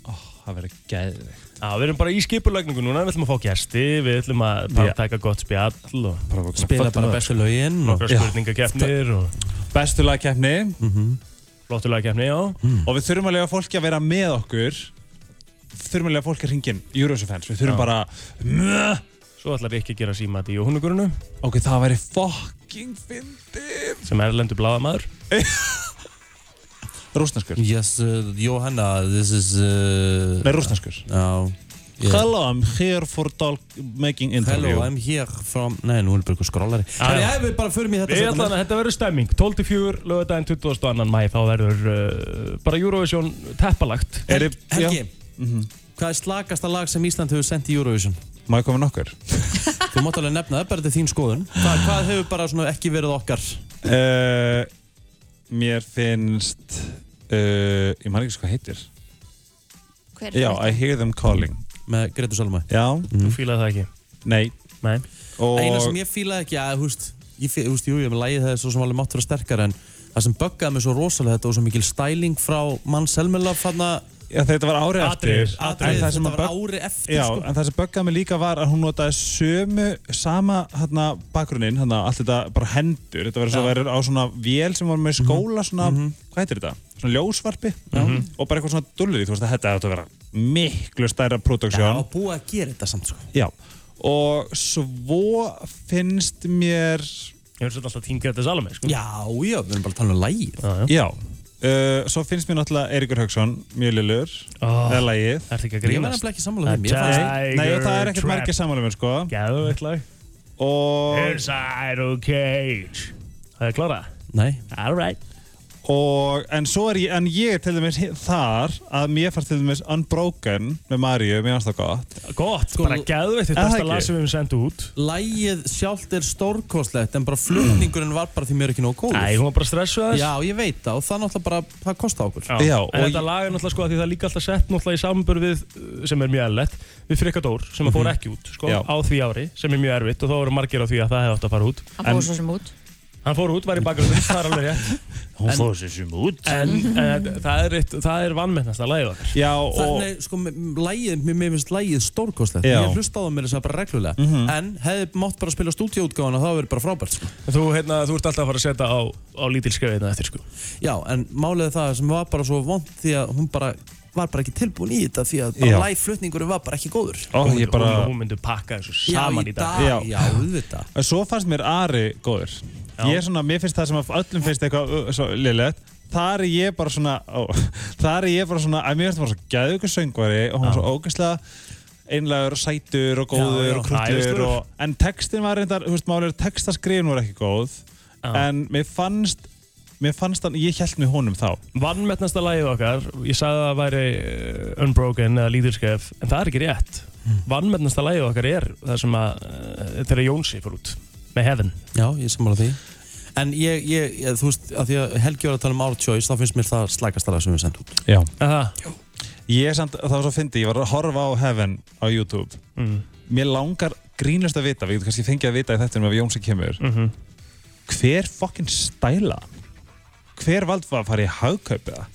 [SPEAKER 3] ó, það verður geðvikt.
[SPEAKER 6] Já, við erum bara í skipulagningu núna, við ætlum að fá gæsti, við ætlum að bara
[SPEAKER 3] Já.
[SPEAKER 6] taka gott spjall og
[SPEAKER 4] Spila bara bestu lögin og...
[SPEAKER 6] nokkra spurningakeppnir og
[SPEAKER 3] Bestu lagkeppni Mhm.
[SPEAKER 6] flottulega keppni, já.
[SPEAKER 4] Mm.
[SPEAKER 3] og við þurfum að lega fólki að vera með okkur. Þurfum að lega fólki að ringin Eurovision fans. Við þurfum bara, Mö!
[SPEAKER 6] Svo ætlar ég ekki að gera símat í jónugurinu
[SPEAKER 3] ok, það væri fucking fyndið.
[SPEAKER 6] sem er lendur bláðamaður.
[SPEAKER 3] Rúsnarskur.
[SPEAKER 4] Yes, uh, Johanna, this is... Uh,
[SPEAKER 3] Nei, rúsnarskur.
[SPEAKER 4] Já. Ég-
[SPEAKER 3] Hello, I'm here for talk making interview. Ah,
[SPEAKER 4] Hello, I'm here from... Nei, nú erum við eitthvað skrólari. Herri,
[SPEAKER 6] já.
[SPEAKER 4] já, við bara förum í þetta.
[SPEAKER 6] Við
[SPEAKER 4] seinna
[SPEAKER 6] ætlum
[SPEAKER 4] meir.
[SPEAKER 6] að þetta verður stemming 12 til 4, lögadaginn 22. mæ þá verður uh, bara Eurovision teppalagt
[SPEAKER 3] Er þið,
[SPEAKER 4] Helgi,
[SPEAKER 6] Mhm.
[SPEAKER 4] hvað er slakasta lag sem Ísland hefur sendt í Eurovision?
[SPEAKER 3] má ég koma nokkur?
[SPEAKER 4] Þú mátt alveg nefna það, bara þetta er þín skoðun. Hvað, hvað hefur bara svona ekki verið okkar?
[SPEAKER 3] Uh, mér finnst, uh, ég man ekki hvað heitir.
[SPEAKER 5] Hver er
[SPEAKER 3] Já,
[SPEAKER 5] þetta?
[SPEAKER 3] I hear them calling.
[SPEAKER 4] Með Gretur Salma. Mm.
[SPEAKER 3] Já,
[SPEAKER 6] Þú fílaði það ekki
[SPEAKER 3] nei.
[SPEAKER 6] Nei.
[SPEAKER 3] Og,
[SPEAKER 4] Eina sem ég fílaði ekki, að, húst, ég fí, húst, jú, ég með lagið það er svo sem alveg mátt vera sterkar, en það sem böggaði mig svo rosalega þetta og svo mikil stæling frá mann Selmela fann að...
[SPEAKER 3] já, þetta var árið
[SPEAKER 6] Atriði,
[SPEAKER 3] eftir.
[SPEAKER 4] Atriðið,
[SPEAKER 3] en það sem
[SPEAKER 4] þetta
[SPEAKER 3] að
[SPEAKER 4] var
[SPEAKER 3] bögg-
[SPEAKER 4] ári eftir,
[SPEAKER 3] Já,
[SPEAKER 4] sko.
[SPEAKER 3] en það sem böggaði mig líka var að hún notaði sömu, sama hérna, bakgrunnin, hérna, allt þetta bara hendur, þetta verður svo verður á svona vél sem var með skóla, svona, hvað heitir þetta? Svona ljósvarpi og bara eitthvað svona dullir í, þú veist að þetta átti að vera miklu stærra
[SPEAKER 4] Já,
[SPEAKER 3] produksjón.
[SPEAKER 4] og búið að gera þetta samt, sko.
[SPEAKER 3] Já, og svo finnst mér,
[SPEAKER 6] Ég verður svolítið alltaf tíngið þetta salami sko.
[SPEAKER 4] Já, já, við erum bara að tala um lagið.
[SPEAKER 6] já.
[SPEAKER 3] já, uh, svo finnst mér náttúrulega Eiríkur Hauksson, mjög lillur,
[SPEAKER 6] Ah.
[SPEAKER 3] eða lagið.
[SPEAKER 6] Ertu ekki að
[SPEAKER 4] Ég var
[SPEAKER 6] grínast?
[SPEAKER 4] nefnilega ekki sammála þeim. Ég fannst
[SPEAKER 6] Tiger
[SPEAKER 3] Nei, það er ekkert
[SPEAKER 6] Trap.
[SPEAKER 3] margir samanlega mér, sko.
[SPEAKER 6] Gæðu eitt lag
[SPEAKER 3] Og,
[SPEAKER 6] Inside a cage Það er klára
[SPEAKER 4] Nei,
[SPEAKER 6] Alright
[SPEAKER 3] og, en svo er ég, en ég er til dæmis hi- þar að mér fannst til dæmis Unbroken með Maríu, mér fannst það gott.
[SPEAKER 6] Gott,
[SPEAKER 4] Sko,
[SPEAKER 6] bara gæðu eitt
[SPEAKER 3] er
[SPEAKER 6] Þetta
[SPEAKER 3] það
[SPEAKER 6] besta
[SPEAKER 3] ekki?
[SPEAKER 6] lag sem við hefum sendt út
[SPEAKER 4] lagið sjálft er stórkostlegt, en bara flutningurinn var bara því mér ekki nóg góður.
[SPEAKER 6] Æ, hún var bara stressuð aðeins
[SPEAKER 4] Já, ég veit það og það náttúrulega bara, það kostar okkur.
[SPEAKER 6] Já,
[SPEAKER 3] Já,
[SPEAKER 6] en
[SPEAKER 3] og
[SPEAKER 6] þetta
[SPEAKER 3] ég-
[SPEAKER 6] lag er náttúrulega sko að því það er líka alltaf sett náttúrulega í samanbörð við, uh, sem er mjög erlett, við Frikadór sem að fór ekki út sko,
[SPEAKER 3] Mhm. Já.
[SPEAKER 6] á því ári, sem er mjög erfitt og þá eru margir á því að það hefði átt að fara út.
[SPEAKER 5] Hann fór svo sem út
[SPEAKER 6] Hann fór út, var í bakgrunum, það er alveg rétt. Hún fór sér sem út. En en, það er, eitt- það er vannmennasta lagið okkar.
[SPEAKER 3] Já, og,
[SPEAKER 4] Þannig, sko, m- m- lagið, mér mér finnst lagið stórkostlegt
[SPEAKER 3] Já.
[SPEAKER 4] Ég hlusta á það mér þess að bara reglulega
[SPEAKER 6] Mhm.
[SPEAKER 4] En hefði mátt bara spila stúdíóutgáðan og það verið bara frábært sko.
[SPEAKER 6] Þú, hérna, þú ert alltaf að fara að setja á, á lítil skrefiðna eftir sko.
[SPEAKER 4] Já, en málið er það sem var bara svo vond Því að hún bara var bara ekki tilbúin í þetta Því að
[SPEAKER 3] Já.
[SPEAKER 4] bara lægflutningurinn var bara ekki góður
[SPEAKER 3] ó,
[SPEAKER 6] Hún
[SPEAKER 3] ég
[SPEAKER 6] myndi-
[SPEAKER 3] bara,
[SPEAKER 6] Hún, hún myndi pakka þessu saman
[SPEAKER 4] Já,
[SPEAKER 6] í dag.
[SPEAKER 4] Já,
[SPEAKER 3] Já.
[SPEAKER 4] já auðvitað
[SPEAKER 3] En Svo fannst mér Ari góður. Ég er svona, mér finnst það sem að öllum finnst eitthvað uh, svo liðlegt. Þar er ég bara svona, ó, þar er ég bara svona, að mér finnst það bara svo gæðugur söngvari og hún var svo ógeðslega einlegur og sætur og góður
[SPEAKER 6] Já, já.
[SPEAKER 3] og krúllur
[SPEAKER 6] Æðislegur.
[SPEAKER 3] og, en textin var reyndar, þú veist, málið er textaskrifin voru ekki góð, en mér fannst mér fannst hann, ég held með honum þá
[SPEAKER 6] Vannmettnasta lagið okkar, ég sagði að það væri eh, Unbroken eða Lítilskref en það er ekki rétt.
[SPEAKER 3] Hmm.
[SPEAKER 6] Vannmettnasta lagið okkar er það sem að uh, þegar Jónsi fór út með Heaven.
[SPEAKER 4] Já, ég er sammála því En ég, ég, ég þú veist, að því að Helgi var að tala um Our Choice þá finnst mér það slækast alveg sem við sendum út
[SPEAKER 3] Já.
[SPEAKER 6] Aha.
[SPEAKER 3] Ég er samt, það var svo fyndi, ég var að horfa á Heaven á YouTube
[SPEAKER 6] Mm.
[SPEAKER 3] Mér langar grínlust að vita, við getum kannski fengið að vita í þettunum ef Jónsi kemur
[SPEAKER 6] Mhm.
[SPEAKER 3] Hver fokkin stæla? Hver vald var að fara í hagkaupiða?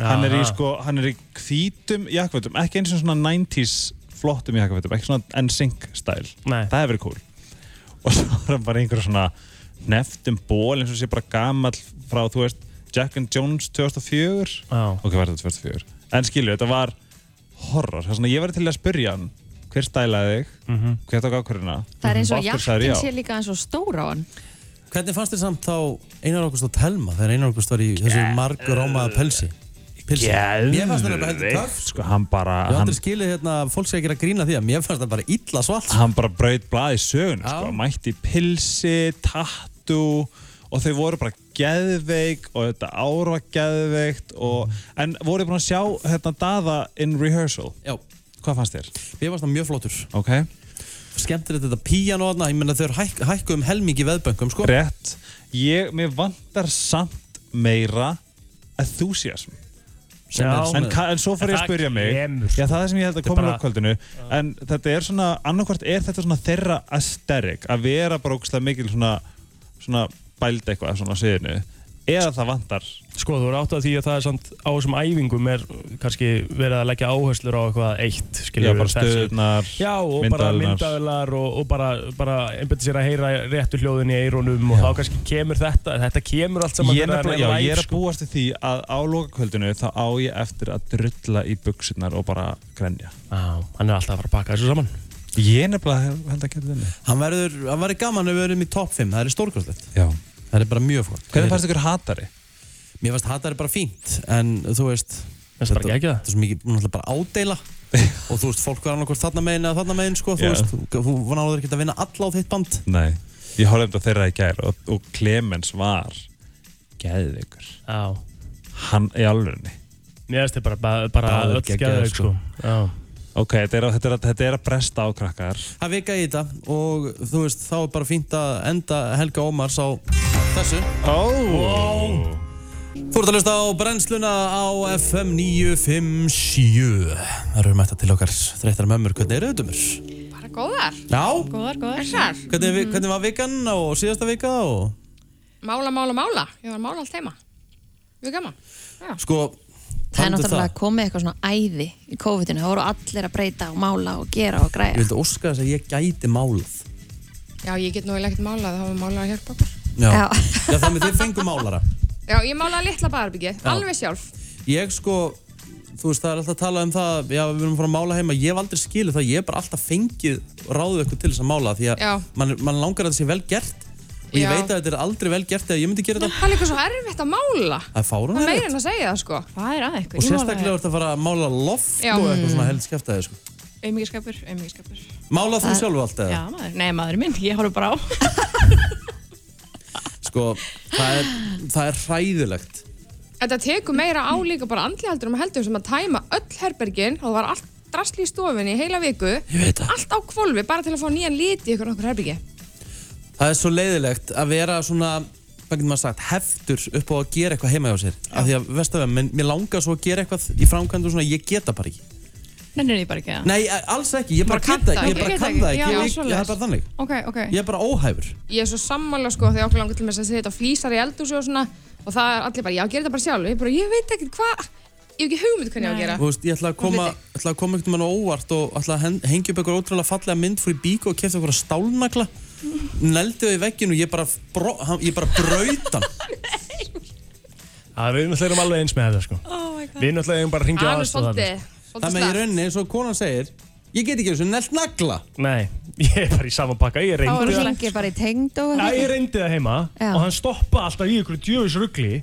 [SPEAKER 3] Hann er í
[SPEAKER 6] Aha.
[SPEAKER 3] sko, hann er í hvítum jakkvöldum, ekki eins og svona 90s flottum jakkvöldum, ekki svona NSYNC stæl.
[SPEAKER 6] Nei.
[SPEAKER 3] Það hefur verið cool. Og svo var hann bara í einhverju svona neftum ból eins og sé bara gamall frá, þú veist, Jack and Jones 2004.
[SPEAKER 6] Já.
[SPEAKER 3] Ok, var þetta 2004? En skilju, þetta var horror. Það er svona, ég var til að spyrja hann, hver stælaði þig,
[SPEAKER 4] Mhm.
[SPEAKER 3] hver tók ákvörðina?
[SPEAKER 5] Það er eins og
[SPEAKER 3] af hverju sagðirðu
[SPEAKER 5] jakkin
[SPEAKER 3] já?
[SPEAKER 5] sé líka eins og stór á hann
[SPEAKER 4] Hvernig fannst þér samt þá Einar Ágúst og Telma þegar Einar Ágúst var í þessu margur rómaða pelsi? Pilsi. Mér fannst það bara heldur töff
[SPEAKER 3] Sko, hann bara,
[SPEAKER 4] Ég
[SPEAKER 3] hann,
[SPEAKER 4] aldrei skilið hérna að fólk sé ekki að grína því að mér fannst það bara illa svalt
[SPEAKER 3] hann bara braut blað í sögun
[SPEAKER 4] Já.
[SPEAKER 3] sko. mætti í pilsi, tattu og þau voru bara geðveik og þetta ár var geðveikt og, en voru búin að sjá hérna daða in rehearsal
[SPEAKER 4] Já,
[SPEAKER 3] hvað fannst þér?
[SPEAKER 4] mér fannst það mjög flottur
[SPEAKER 3] Ok,
[SPEAKER 4] Skemmtilegt þetta píano þarna, ég menna þau hæk, hækku um helmingi veðböngum sko
[SPEAKER 3] rétt ég, mér vantar samt meira enthusiasm
[SPEAKER 4] Sem
[SPEAKER 6] Já.
[SPEAKER 4] er svona-
[SPEAKER 3] en, ka- en svo fyrir
[SPEAKER 6] En
[SPEAKER 3] ég
[SPEAKER 6] það
[SPEAKER 3] að spyrja mig
[SPEAKER 6] kemur,
[SPEAKER 3] já, það er sem ég held að
[SPEAKER 6] Þetta er
[SPEAKER 3] koma
[SPEAKER 6] bara-
[SPEAKER 3] úr kvöldinu en þetta er svona, annarkvart er þetta svona þeirra aesthetic að vera bara ógustlega mikil svona, svona bæld eitthvað svona á sviðinu eða það vantar
[SPEAKER 6] Sko þú eru átt að því að það er samt á þessum æfingum er kannski verið að leggja áherslur á eitthvað eitt
[SPEAKER 3] já,
[SPEAKER 6] skilur
[SPEAKER 3] bara stöðunar
[SPEAKER 6] Já og bara
[SPEAKER 3] myndavélarnar.
[SPEAKER 6] myndavelar og, og bara, bara einbætti sér að heyra réttu hljóðin í eyrunum og þá kannski kemur þetta þetta kemur allt saman
[SPEAKER 3] ég,
[SPEAKER 6] þegar það
[SPEAKER 3] nefnilega- já,
[SPEAKER 6] live,
[SPEAKER 3] ég er að
[SPEAKER 6] sko.
[SPEAKER 3] búast við því að á lokakvöldinu þá á ég eftir að drulla í buksunar og bara grenja
[SPEAKER 6] Já, Hann er alltaf að fara að pakka þessu saman
[SPEAKER 3] ég nefnilega held að geta þenni
[SPEAKER 4] Hann verður, hann verður gaman ef við verðum í topp 5, það er stórkostlegt
[SPEAKER 3] já.
[SPEAKER 4] Það er bara mjög flott
[SPEAKER 3] hvernig fannst ykkur hatari?
[SPEAKER 4] Mér fannst hatari bara fínt, en þú veist
[SPEAKER 6] Finnst bara
[SPEAKER 4] þetta-
[SPEAKER 6] geggjað.
[SPEAKER 4] Þetta er svo mikið, náttúrulega bara ádeila Og þú veist, fólk var annarkvort þarna megin eða þarna megin, sko Þú
[SPEAKER 3] Já.
[SPEAKER 4] veist, þú- þú vonar að þú ekki að vinna alla á þitt band
[SPEAKER 3] nei, ég horfði um þetta þeirra í gær og, og Clemens var geðið ykkur
[SPEAKER 6] Já
[SPEAKER 3] hann í alvörunni
[SPEAKER 6] Mér finnst þið bara, bara, bara
[SPEAKER 4] Báðir
[SPEAKER 6] öll
[SPEAKER 4] geggjaðir,
[SPEAKER 6] geðveik sko. Já.
[SPEAKER 3] ok, þetta er, að- þetta, er, að- þetta er að bresta á krakkar
[SPEAKER 4] Það vika í þetta og þú veist, þá er bara fínt að enda Helga Ómars á þessu.
[SPEAKER 3] oh.
[SPEAKER 4] Þú ert að hlusta á brennsluna á FM 957. Það eru mætta til okkar þreyttar mömmur. Hvernig eru auðvitaðmur?
[SPEAKER 7] Bara góðar,
[SPEAKER 4] Já,
[SPEAKER 5] Góðar, góðar
[SPEAKER 7] þessar.
[SPEAKER 4] hvernig, vi- hvernig var vikan og síðasta vika og...
[SPEAKER 7] Mála, mála, mála. Ég var að mála allt heima. Mjög gaman.
[SPEAKER 4] Sko,
[SPEAKER 5] Það er
[SPEAKER 4] talandi um
[SPEAKER 5] náttúrulega komið eitthvað svona æði í COVID-inu, það voru allir að breyta og mála og gera og
[SPEAKER 4] Ég
[SPEAKER 5] græja
[SPEAKER 4] vildi óska þess að ég gæti málað.
[SPEAKER 7] Já, ég get nú eiginlega ekkert málað, þá var málar að hjálpa okkur.
[SPEAKER 4] Já.
[SPEAKER 5] Já.
[SPEAKER 4] Já, þannig þið fengum málara.
[SPEAKER 7] Já, ég málaði litla barbyggið, alveg sjálf.
[SPEAKER 4] Ég sko, þú veist, það er alltaf að tala um það, já, við erum að fara að mála heima, ég hef aldrei skilið það, ég hef bara alltaf fengið ráðu eitthvað til þess að mála, því að
[SPEAKER 7] Já.
[SPEAKER 4] mann man langar að þetta sé vel gert og ég
[SPEAKER 7] Já.
[SPEAKER 4] veit að þetta er aldrei vel gert eða ég myndi gera þetta.
[SPEAKER 7] Það er líka svo erfitt að mála.
[SPEAKER 4] Það er fárun
[SPEAKER 7] Það er meira en að segja það, sko.
[SPEAKER 5] Hvað er að ykkur?
[SPEAKER 4] Og sérstaklega er þetta að fara að mála loft
[SPEAKER 7] Já. Mm.
[SPEAKER 4] og eitthvað svona held skeftaði, sko.
[SPEAKER 7] Auðmyggiskapur, auðmyggiskapur.
[SPEAKER 4] Mála þú sjálfu allt eða?
[SPEAKER 7] maður. Nei, maður minn, ég horf bara á.
[SPEAKER 4] Sko, það er, það er hræðilegt.
[SPEAKER 7] Þetta tekur meira á líka bara andli heldur um heldur sem að tæma öll herbergin og það var allt drasli í stofunni í heila viku
[SPEAKER 4] veit það.
[SPEAKER 7] allt á kvolfi bara til að fá nýjan lit í ykkur okkur herbergi
[SPEAKER 4] Það er svo leiðilegt að vera svona hvað getur maður sagt, heftur upp á að gera eitthvað heima hjá sér. Af því að, veistu það, mér langar svo að gera eitthvað í framkvæmdu og svona, ég geta bara ekki.
[SPEAKER 8] Nennir því bara ekki það?
[SPEAKER 4] Nei, a- alls ekki, ég bara
[SPEAKER 7] Bara
[SPEAKER 4] kann
[SPEAKER 7] kannt
[SPEAKER 4] það
[SPEAKER 7] það
[SPEAKER 4] ekki, ég bara
[SPEAKER 7] ekki.
[SPEAKER 4] kann það ekki,
[SPEAKER 7] Já,
[SPEAKER 4] ég, ég,
[SPEAKER 7] svoleiðis.
[SPEAKER 4] ég það er bara þannig.
[SPEAKER 8] Ok, ok.
[SPEAKER 4] Ég er bara óhæfur.
[SPEAKER 7] Ég er svo sammála sko þegar okkur langar til þess að þetta flýsar í eldúsi og svona og það er allir bara, já, gera þetta bara sjálf ég, bara, ég veit ekkert hvað, ég hef ekki hugmynd hvernig ég á að gera
[SPEAKER 4] Þú veist, ég ætla að koma, ætla að koma einhvern veginn á óvart og ætla að hen- hengja upp eitthvað ótrúlega fallega mynd fyrir bíku og kefta eitthvað stálnagla, neldi þau í vegginu og ég bara, bro, hann- ég bara braut hann.
[SPEAKER 6] Já, Við náttúrulega erum alveg eins með þetta sko. oh Við náttúrulega erum bara að ringja á
[SPEAKER 7] Alveg
[SPEAKER 6] aðstoð þarna,
[SPEAKER 7] svolítið,
[SPEAKER 4] Það
[SPEAKER 5] Ah.
[SPEAKER 7] svolítið
[SPEAKER 4] með í
[SPEAKER 7] slagt.
[SPEAKER 4] rauninni, eins og konan segir, ég get ekki þessu nelt nagla.
[SPEAKER 6] sko. Nei, ég er bara í sama pakka Ég
[SPEAKER 5] Þá
[SPEAKER 6] reyndi
[SPEAKER 5] voru
[SPEAKER 6] það
[SPEAKER 5] hringið bara í tengd og
[SPEAKER 6] Já, ég reyndi það heima
[SPEAKER 5] Já.
[SPEAKER 6] og hann stoppaði alltaf í ykkur djöfis ruggli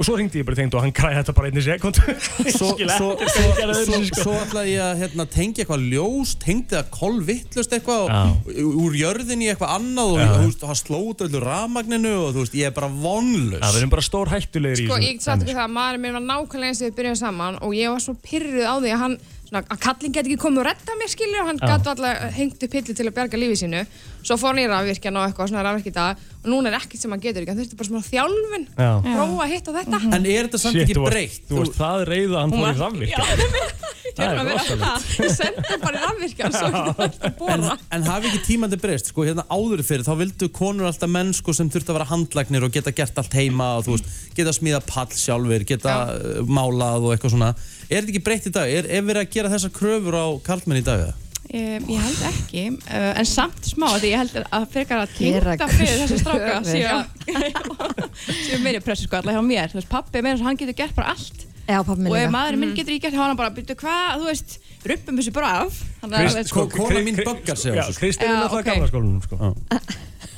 [SPEAKER 6] og svo ringdi ég bara þengt og hann græði þetta bara einni sekund
[SPEAKER 4] Svo,
[SPEAKER 6] Skil
[SPEAKER 4] svo, svo,
[SPEAKER 6] ekkert hvað hann gerði
[SPEAKER 4] svo,
[SPEAKER 6] þessu, sko.
[SPEAKER 4] svo ætlaði ég að hérna, tengja eitthvað ljós, tengdi það kolvittlust eitthvað
[SPEAKER 6] Já.
[SPEAKER 4] og, úr- úr jörðinni í eitthvað annað og þú veist, það slóta öllu rafmagninu og þú veist, ég er bara vonlaus.
[SPEAKER 6] Já, við erum bara stór hættulegir í
[SPEAKER 7] Sko,
[SPEAKER 6] þessu.
[SPEAKER 7] ég get sagt ykkur það að maðurinn minn var nákvæmlega eins og við byrjuðum saman og ég var svo pyrruð á því að hann, svona, að kallinn geti ekki komið og redda mér skilur og hann gæti alltaf hengt upp hillu til að berga lífið sínu. Svo fór hann í rafvirkjan og eitthvað svona rafvirk í dag og núna er ekkert sem hann getur ekki, hann þurfti bara svona þjálfun,
[SPEAKER 6] Já. Mhm.
[SPEAKER 7] prófa hitt og þetta.
[SPEAKER 4] En er þetta samt
[SPEAKER 6] Shit,
[SPEAKER 4] ekki
[SPEAKER 6] þú varst-
[SPEAKER 4] breytt?
[SPEAKER 6] Þú veist, það reyða að hann fór í rafvirkja. Það er
[SPEAKER 7] Ég
[SPEAKER 6] rosalegt.
[SPEAKER 7] sendi hann bara í rafvirkjan svo getur hann alltaf
[SPEAKER 4] En,
[SPEAKER 7] borða.
[SPEAKER 4] en hafi ekki tímandi breyst, sko, hérna áður fyrir, þá vildu konur alltaf menn, sko, sem þurft að vera handlagnir og geta gert allt heima og, þú veist, geta smíða pall sjálfur, geta ja. málað og eitthvað svona. Er þetta ekki breytt í dag? Er, er verið að gera þessar kröfur á karlmenn í dag, eða?
[SPEAKER 8] Um, ég held ekki, uh, en samt smá af því ég held að frekar að
[SPEAKER 5] Gera
[SPEAKER 8] tengta fyrir þessu stráka
[SPEAKER 5] kröfur.
[SPEAKER 8] sem er meiri pressu sko allavega hjá mér, þú veist pappi er meira svo hann getur gert bara allt
[SPEAKER 5] Já, pappi minn
[SPEAKER 8] og ef
[SPEAKER 5] líka.
[SPEAKER 8] maðurinn minn getur ekki gert hjá hann bara byrju hvað, þú veist, rumpum þessu bara af þannig að
[SPEAKER 6] Krist-
[SPEAKER 8] þú veist,
[SPEAKER 4] sko,
[SPEAKER 8] sko,
[SPEAKER 4] kona mín böggar sig á
[SPEAKER 6] Já,
[SPEAKER 4] þessu, sko.
[SPEAKER 6] Kristín er
[SPEAKER 8] Já,
[SPEAKER 6] náttúrulega
[SPEAKER 8] ok.
[SPEAKER 6] gamla skólanum sko.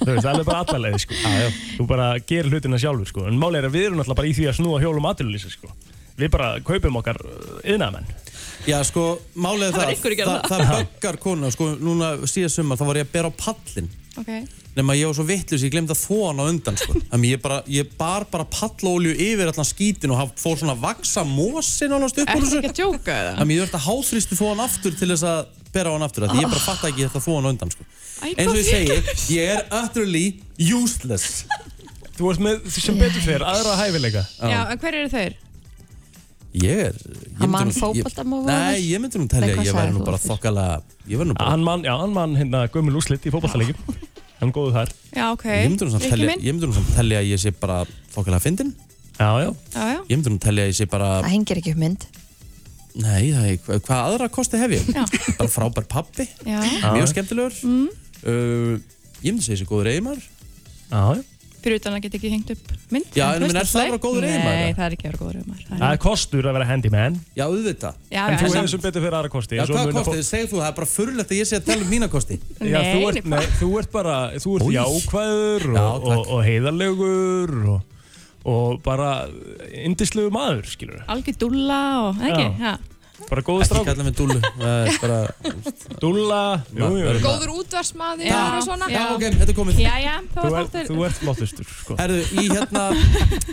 [SPEAKER 6] Þú veist, það er bara allalegið sko. Þú bara gerir hlutina sjálfur sko. En máli er að við erum náttúrulega bara í því að snúa hjólum aðlýsa sko. Við bara kaupum okkar uh, yðnaðmenn
[SPEAKER 4] Já, sko,
[SPEAKER 8] Það
[SPEAKER 4] málið er
[SPEAKER 8] var
[SPEAKER 4] það,
[SPEAKER 8] einhver að gera
[SPEAKER 4] það, það böggar konur, sko, núna síðast sumar, þá var ég að bera á pallin.
[SPEAKER 8] ok,
[SPEAKER 4] Nefn að ég var svo vittlust, ég glemdi að þóa hann á undan, sko. Þannig ég bara, ég bar bara pallolju yfir allan skítin og haf- fór svona að vaksa mosin alveg upp úr
[SPEAKER 8] er
[SPEAKER 4] þessu.
[SPEAKER 8] ekki að djóka eða?
[SPEAKER 4] Þannig ég verði að háþrýstu þóan aftur til þess að bera á hann aftur Því ég bara fatta ekki þetta þóan á undan sko.
[SPEAKER 8] Æ,
[SPEAKER 4] Eins og ég
[SPEAKER 8] hvað
[SPEAKER 4] segi, ég er utterly useless
[SPEAKER 6] Þú veist með sem betur fyrir aðra hæfileika
[SPEAKER 8] Já, en hver eru þeir?
[SPEAKER 4] Ég er ég
[SPEAKER 5] Hann
[SPEAKER 4] myndi
[SPEAKER 5] man
[SPEAKER 4] nú- ég-
[SPEAKER 5] fótboltamóður.
[SPEAKER 4] Nei, ég myndi nú telja
[SPEAKER 5] Nei, hvað
[SPEAKER 4] að Ég væri
[SPEAKER 5] sagðir
[SPEAKER 4] nú
[SPEAKER 5] þú?
[SPEAKER 4] bara þokkalega Ég væri nú bara
[SPEAKER 6] Hann mann, já, hann mann hérna gömul úslit í fótballtalegjum Hann góðu þar
[SPEAKER 8] Já, ok,
[SPEAKER 4] Ég myndi nú samt
[SPEAKER 8] Rikki
[SPEAKER 4] telja-
[SPEAKER 8] minn?
[SPEAKER 4] ég myndi nú samt telja að ég sé bara þokkalega fyndin
[SPEAKER 6] Já, já,
[SPEAKER 8] Já, já,
[SPEAKER 4] Ég myndi nú telja að ég sé bara
[SPEAKER 5] Það hengir ekki upp mynd.
[SPEAKER 4] Nei, það er, hva- hvað aðra kosti hef ég?
[SPEAKER 8] Já. Mm.
[SPEAKER 4] Bara frábær pappi
[SPEAKER 8] já,
[SPEAKER 4] Mjög skemmtilegur Uh, Ég myndi segja þessi góður eiginmaður
[SPEAKER 6] já, já.
[SPEAKER 8] fyrir utan að geta ekki hengt upp mynd
[SPEAKER 4] Já, en
[SPEAKER 8] þú
[SPEAKER 4] menn,
[SPEAKER 8] veist,
[SPEAKER 4] er það að vera góður eiginmaður,
[SPEAKER 8] Nei,
[SPEAKER 4] eða?
[SPEAKER 8] það er ekki að vera góður eiginmaður það er-
[SPEAKER 6] Það er kostur að vera handyman
[SPEAKER 4] Já, auðvitað
[SPEAKER 8] Já,
[SPEAKER 6] En
[SPEAKER 8] já, en
[SPEAKER 6] þú hefur
[SPEAKER 8] samt-
[SPEAKER 6] sem betur fyrir aðra kosti
[SPEAKER 4] Já,
[SPEAKER 6] en svo
[SPEAKER 4] hvaða
[SPEAKER 6] muna
[SPEAKER 4] kosti? Segðu þú, það er bara furulegt að ég sé að tala um mína kosti
[SPEAKER 6] fólk- Já, þú
[SPEAKER 8] Nei,
[SPEAKER 6] ert,
[SPEAKER 8] nei,
[SPEAKER 6] nei, þú ert bara, þú ert
[SPEAKER 4] Új.
[SPEAKER 6] jákvæður
[SPEAKER 4] Já,
[SPEAKER 6] og,
[SPEAKER 4] takk.
[SPEAKER 6] og, og heiðarlegur og, og bara indislegu maður, skilur
[SPEAKER 8] algjör dúlla og, eða
[SPEAKER 6] Já.
[SPEAKER 8] ekki, já
[SPEAKER 6] Bara góðu
[SPEAKER 4] Ekki
[SPEAKER 6] strákur
[SPEAKER 4] kalla mig dúllu Það er bara
[SPEAKER 6] Dúlla jú, jú.
[SPEAKER 4] Verður-
[SPEAKER 7] Góður útvarsmaður
[SPEAKER 8] Já.
[SPEAKER 7] og svona.
[SPEAKER 4] Já, ok, þetta er komið
[SPEAKER 8] Já, já, það
[SPEAKER 6] Þú,
[SPEAKER 8] var
[SPEAKER 6] er,
[SPEAKER 8] þáttur
[SPEAKER 6] þú ert flottustur sko.
[SPEAKER 4] Herðu, í hérna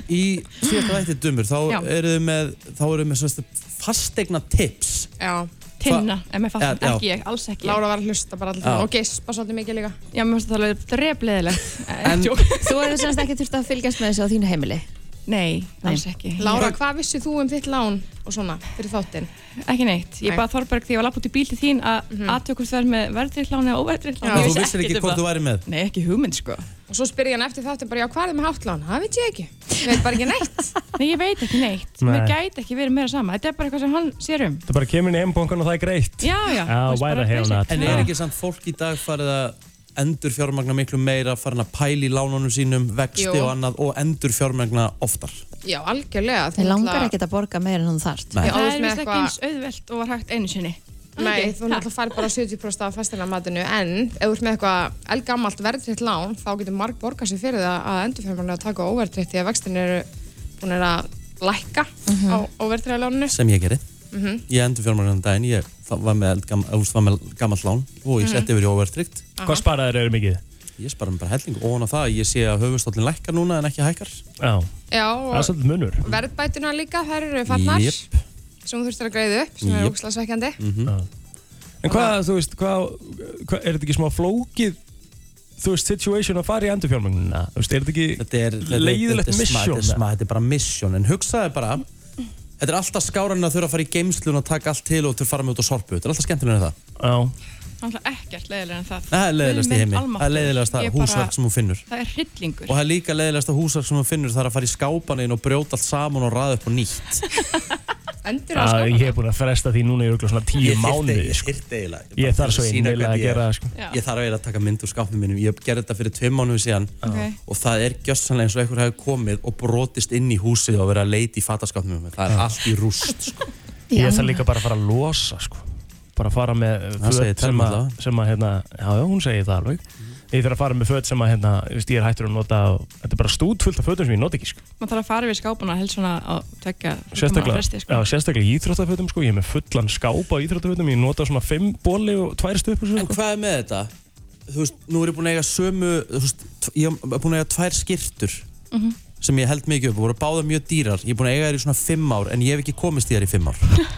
[SPEAKER 4] Í síðasta vætti dumur Þá
[SPEAKER 8] Já.
[SPEAKER 4] eru þau með Þá eru þau með svona fastegna tips
[SPEAKER 7] Já.
[SPEAKER 8] Tinna, ef mér fattar,
[SPEAKER 4] Já, já.
[SPEAKER 8] ekki ég, alls ekki
[SPEAKER 7] Lára var að hlusta bara alltaf
[SPEAKER 4] Já.
[SPEAKER 7] og gespa svolítið mikið líka.
[SPEAKER 8] Já, mér finnst það alveg Eh, drefleðilegt
[SPEAKER 4] En-
[SPEAKER 8] Djók.
[SPEAKER 5] Þú hefur semst ekki þurft að fylgjast með þessu á þínu heimili.
[SPEAKER 8] Nei, alls ekki
[SPEAKER 7] Lára, hvað vissið þú um þitt lán og svona fyrir þáttinn? Mhm.
[SPEAKER 8] Ég- Ekki neitt, ég
[SPEAKER 7] Nei.
[SPEAKER 8] bað Þorberg þegar ég var lapp út í bíl til þín að mm -hmm. aðtökust verð með verðriðláni og
[SPEAKER 7] Já,
[SPEAKER 8] óverðriðláni
[SPEAKER 4] Og þú vissir
[SPEAKER 7] um
[SPEAKER 4] ekki
[SPEAKER 8] um
[SPEAKER 4] hvort þú væri með
[SPEAKER 8] Nei, ekki hugmynd sko
[SPEAKER 7] Og svo spyr ég hann eftir þáttinn bara, já, hvað er þið með hátlán? Það veit ég ekki. Ég veit bara ekki neitt.
[SPEAKER 8] Nei, ég veit ekki neitt,
[SPEAKER 6] Nei.
[SPEAKER 8] mér gæti ekki verið meira sama Þetta er bara eitthvað sem hann sér um
[SPEAKER 6] Það bara kemur inn í heimbóngan og það er greitt
[SPEAKER 8] Já, já,
[SPEAKER 6] Já,
[SPEAKER 8] þú veist,
[SPEAKER 6] why
[SPEAKER 8] bara
[SPEAKER 6] the hell
[SPEAKER 8] basic.
[SPEAKER 6] not?
[SPEAKER 4] En
[SPEAKER 8] Já.
[SPEAKER 4] er ekki samt fólk í dag farið að endur fjármagna miklu meira farin að pæla í lánunum sínum vexti
[SPEAKER 7] Jú.
[SPEAKER 4] og annað og endur fjármagna oftar
[SPEAKER 7] Já, algjörlega. þú
[SPEAKER 5] Þeir langar
[SPEAKER 7] náttúrulega-
[SPEAKER 5] ekkert að borga meira en hann þarft.
[SPEAKER 4] Nei.
[SPEAKER 7] Já, þú
[SPEAKER 8] Það
[SPEAKER 7] veist
[SPEAKER 8] er
[SPEAKER 7] með
[SPEAKER 8] vist ekki
[SPEAKER 7] eitthvað-
[SPEAKER 8] eins auðvelt og var hægt einu sinni
[SPEAKER 7] Nei, þú náttúrulega fær bara 70% af fastina matinu en ef þú ert með eitthvað elgamalt verðtritt lán þá getur marg borgað sér fyrir það að endurfjörmarni að taka óverðtritt því að vextin eru búin að lækka á óverðtritt láninu Mhm.
[SPEAKER 4] sem ég gerði Ég endur fjármagna um daginn Ég þá var með, eldgam- þú veist, var með gammalt lán og
[SPEAKER 8] Mhm.
[SPEAKER 4] ég setti yfir í óverðtrygt
[SPEAKER 6] Hvað sparaður eru mikið?
[SPEAKER 4] Ég spara mér bara helling og á það ég sé að höfuðstóllin lækkar núna en ekki hækkar.
[SPEAKER 6] Já,
[SPEAKER 7] Já,
[SPEAKER 6] það er
[SPEAKER 7] og
[SPEAKER 6] svolítið munur
[SPEAKER 7] verðbætuna líka, þær eru farnar
[SPEAKER 4] Jep.
[SPEAKER 7] sem þú þurftir að greiða upp, sem er
[SPEAKER 4] Jep.
[SPEAKER 7] ógslag svekkjandi
[SPEAKER 4] Mhm.
[SPEAKER 6] En hvað, þú veist, hvað, hvað er þetta ekki smá flókið þú veist, situation að fara í endurfjármögnuna Hérna, Þú veist, er þetta ekki
[SPEAKER 4] Þetta er þetta er-
[SPEAKER 6] Leiðilegt
[SPEAKER 4] þetta er smá- Þetta
[SPEAKER 6] misjón,
[SPEAKER 4] er, smá,
[SPEAKER 6] eða?
[SPEAKER 4] þetta er bara misjón en hugsaði bara Þetta er alltaf skáran að þurfa að fara í geimslun og taka allt til og til að fara með út á sorpu. Þetta er alltaf skemmtilega en það.
[SPEAKER 6] Já,
[SPEAKER 8] Þannig ekkert leiðilega en það
[SPEAKER 4] Það er leiðilegast
[SPEAKER 8] Guð
[SPEAKER 4] í
[SPEAKER 8] minn
[SPEAKER 4] heimi. Það er
[SPEAKER 8] almáttugur,
[SPEAKER 4] leiðilegast
[SPEAKER 8] ég
[SPEAKER 4] að
[SPEAKER 8] bara-
[SPEAKER 4] húsverk sem hún finnur.
[SPEAKER 8] Það er hryllingur
[SPEAKER 4] Og það er líka leiðilegast að húsverk sem hún finnur það er að fara í skápanin og brjóta allt saman og ræða upp og nýtt.
[SPEAKER 7] Endur að
[SPEAKER 6] að
[SPEAKER 7] skapa
[SPEAKER 6] ég er búin að fresta því núna í örgulega svona tíu mánuði sko.
[SPEAKER 4] þyrfti eiginlega. bara
[SPEAKER 6] Ég
[SPEAKER 4] til
[SPEAKER 6] þarf svo
[SPEAKER 4] að sýna
[SPEAKER 6] einnilega
[SPEAKER 4] hvernig
[SPEAKER 6] að
[SPEAKER 4] ég er.
[SPEAKER 6] gera það sko.
[SPEAKER 8] Já.
[SPEAKER 4] Ég þarf eiginlega að taka mynd úr skápnum mínum. Ég gerði þetta fyrir tveim mánuði síðan
[SPEAKER 8] Ok.
[SPEAKER 4] og það er gjössanlega eins og einhver hafi komið og brotist inn í húsið og verið að leita í fataskápnum mínum. Það er allt í rúst. Sko.
[SPEAKER 6] Ég þarf líka bara að fara að losa sko. bara að fara
[SPEAKER 4] Það
[SPEAKER 6] með föt
[SPEAKER 4] segir
[SPEAKER 6] sem
[SPEAKER 4] Telma Mhm.
[SPEAKER 6] að,
[SPEAKER 4] allavega.
[SPEAKER 6] sem að hérna, já, já, hún segir það alveg ég þarf að fara með föt sem að hérna, þú veist, ég er hættur að nota og þetta er bara stútfullt af fötum sem ég nota ekki sko.
[SPEAKER 8] maður þarf að fara við skápuna helst svona að tekja
[SPEAKER 6] sérstaklega,
[SPEAKER 8] fresti,
[SPEAKER 6] já,
[SPEAKER 8] sko.
[SPEAKER 6] sérstaklega í íþróttafötum sko. ég er með fullan skáp á íþróttafötum ég nota svona 5 bóli og 2 stöpur
[SPEAKER 4] En
[SPEAKER 6] sko.
[SPEAKER 4] hvað er með þetta? Þú veist, nú er ég búin að eiga sömu þú veist, tv- Ég er búin að eiga tvær skirtur
[SPEAKER 5] Mhm.
[SPEAKER 4] sem ég held mikið upp og voru báða mjög dýrar Ég er búin að eiga þær í svona fimm ár en ég hef ekki komist í þær í fimm ár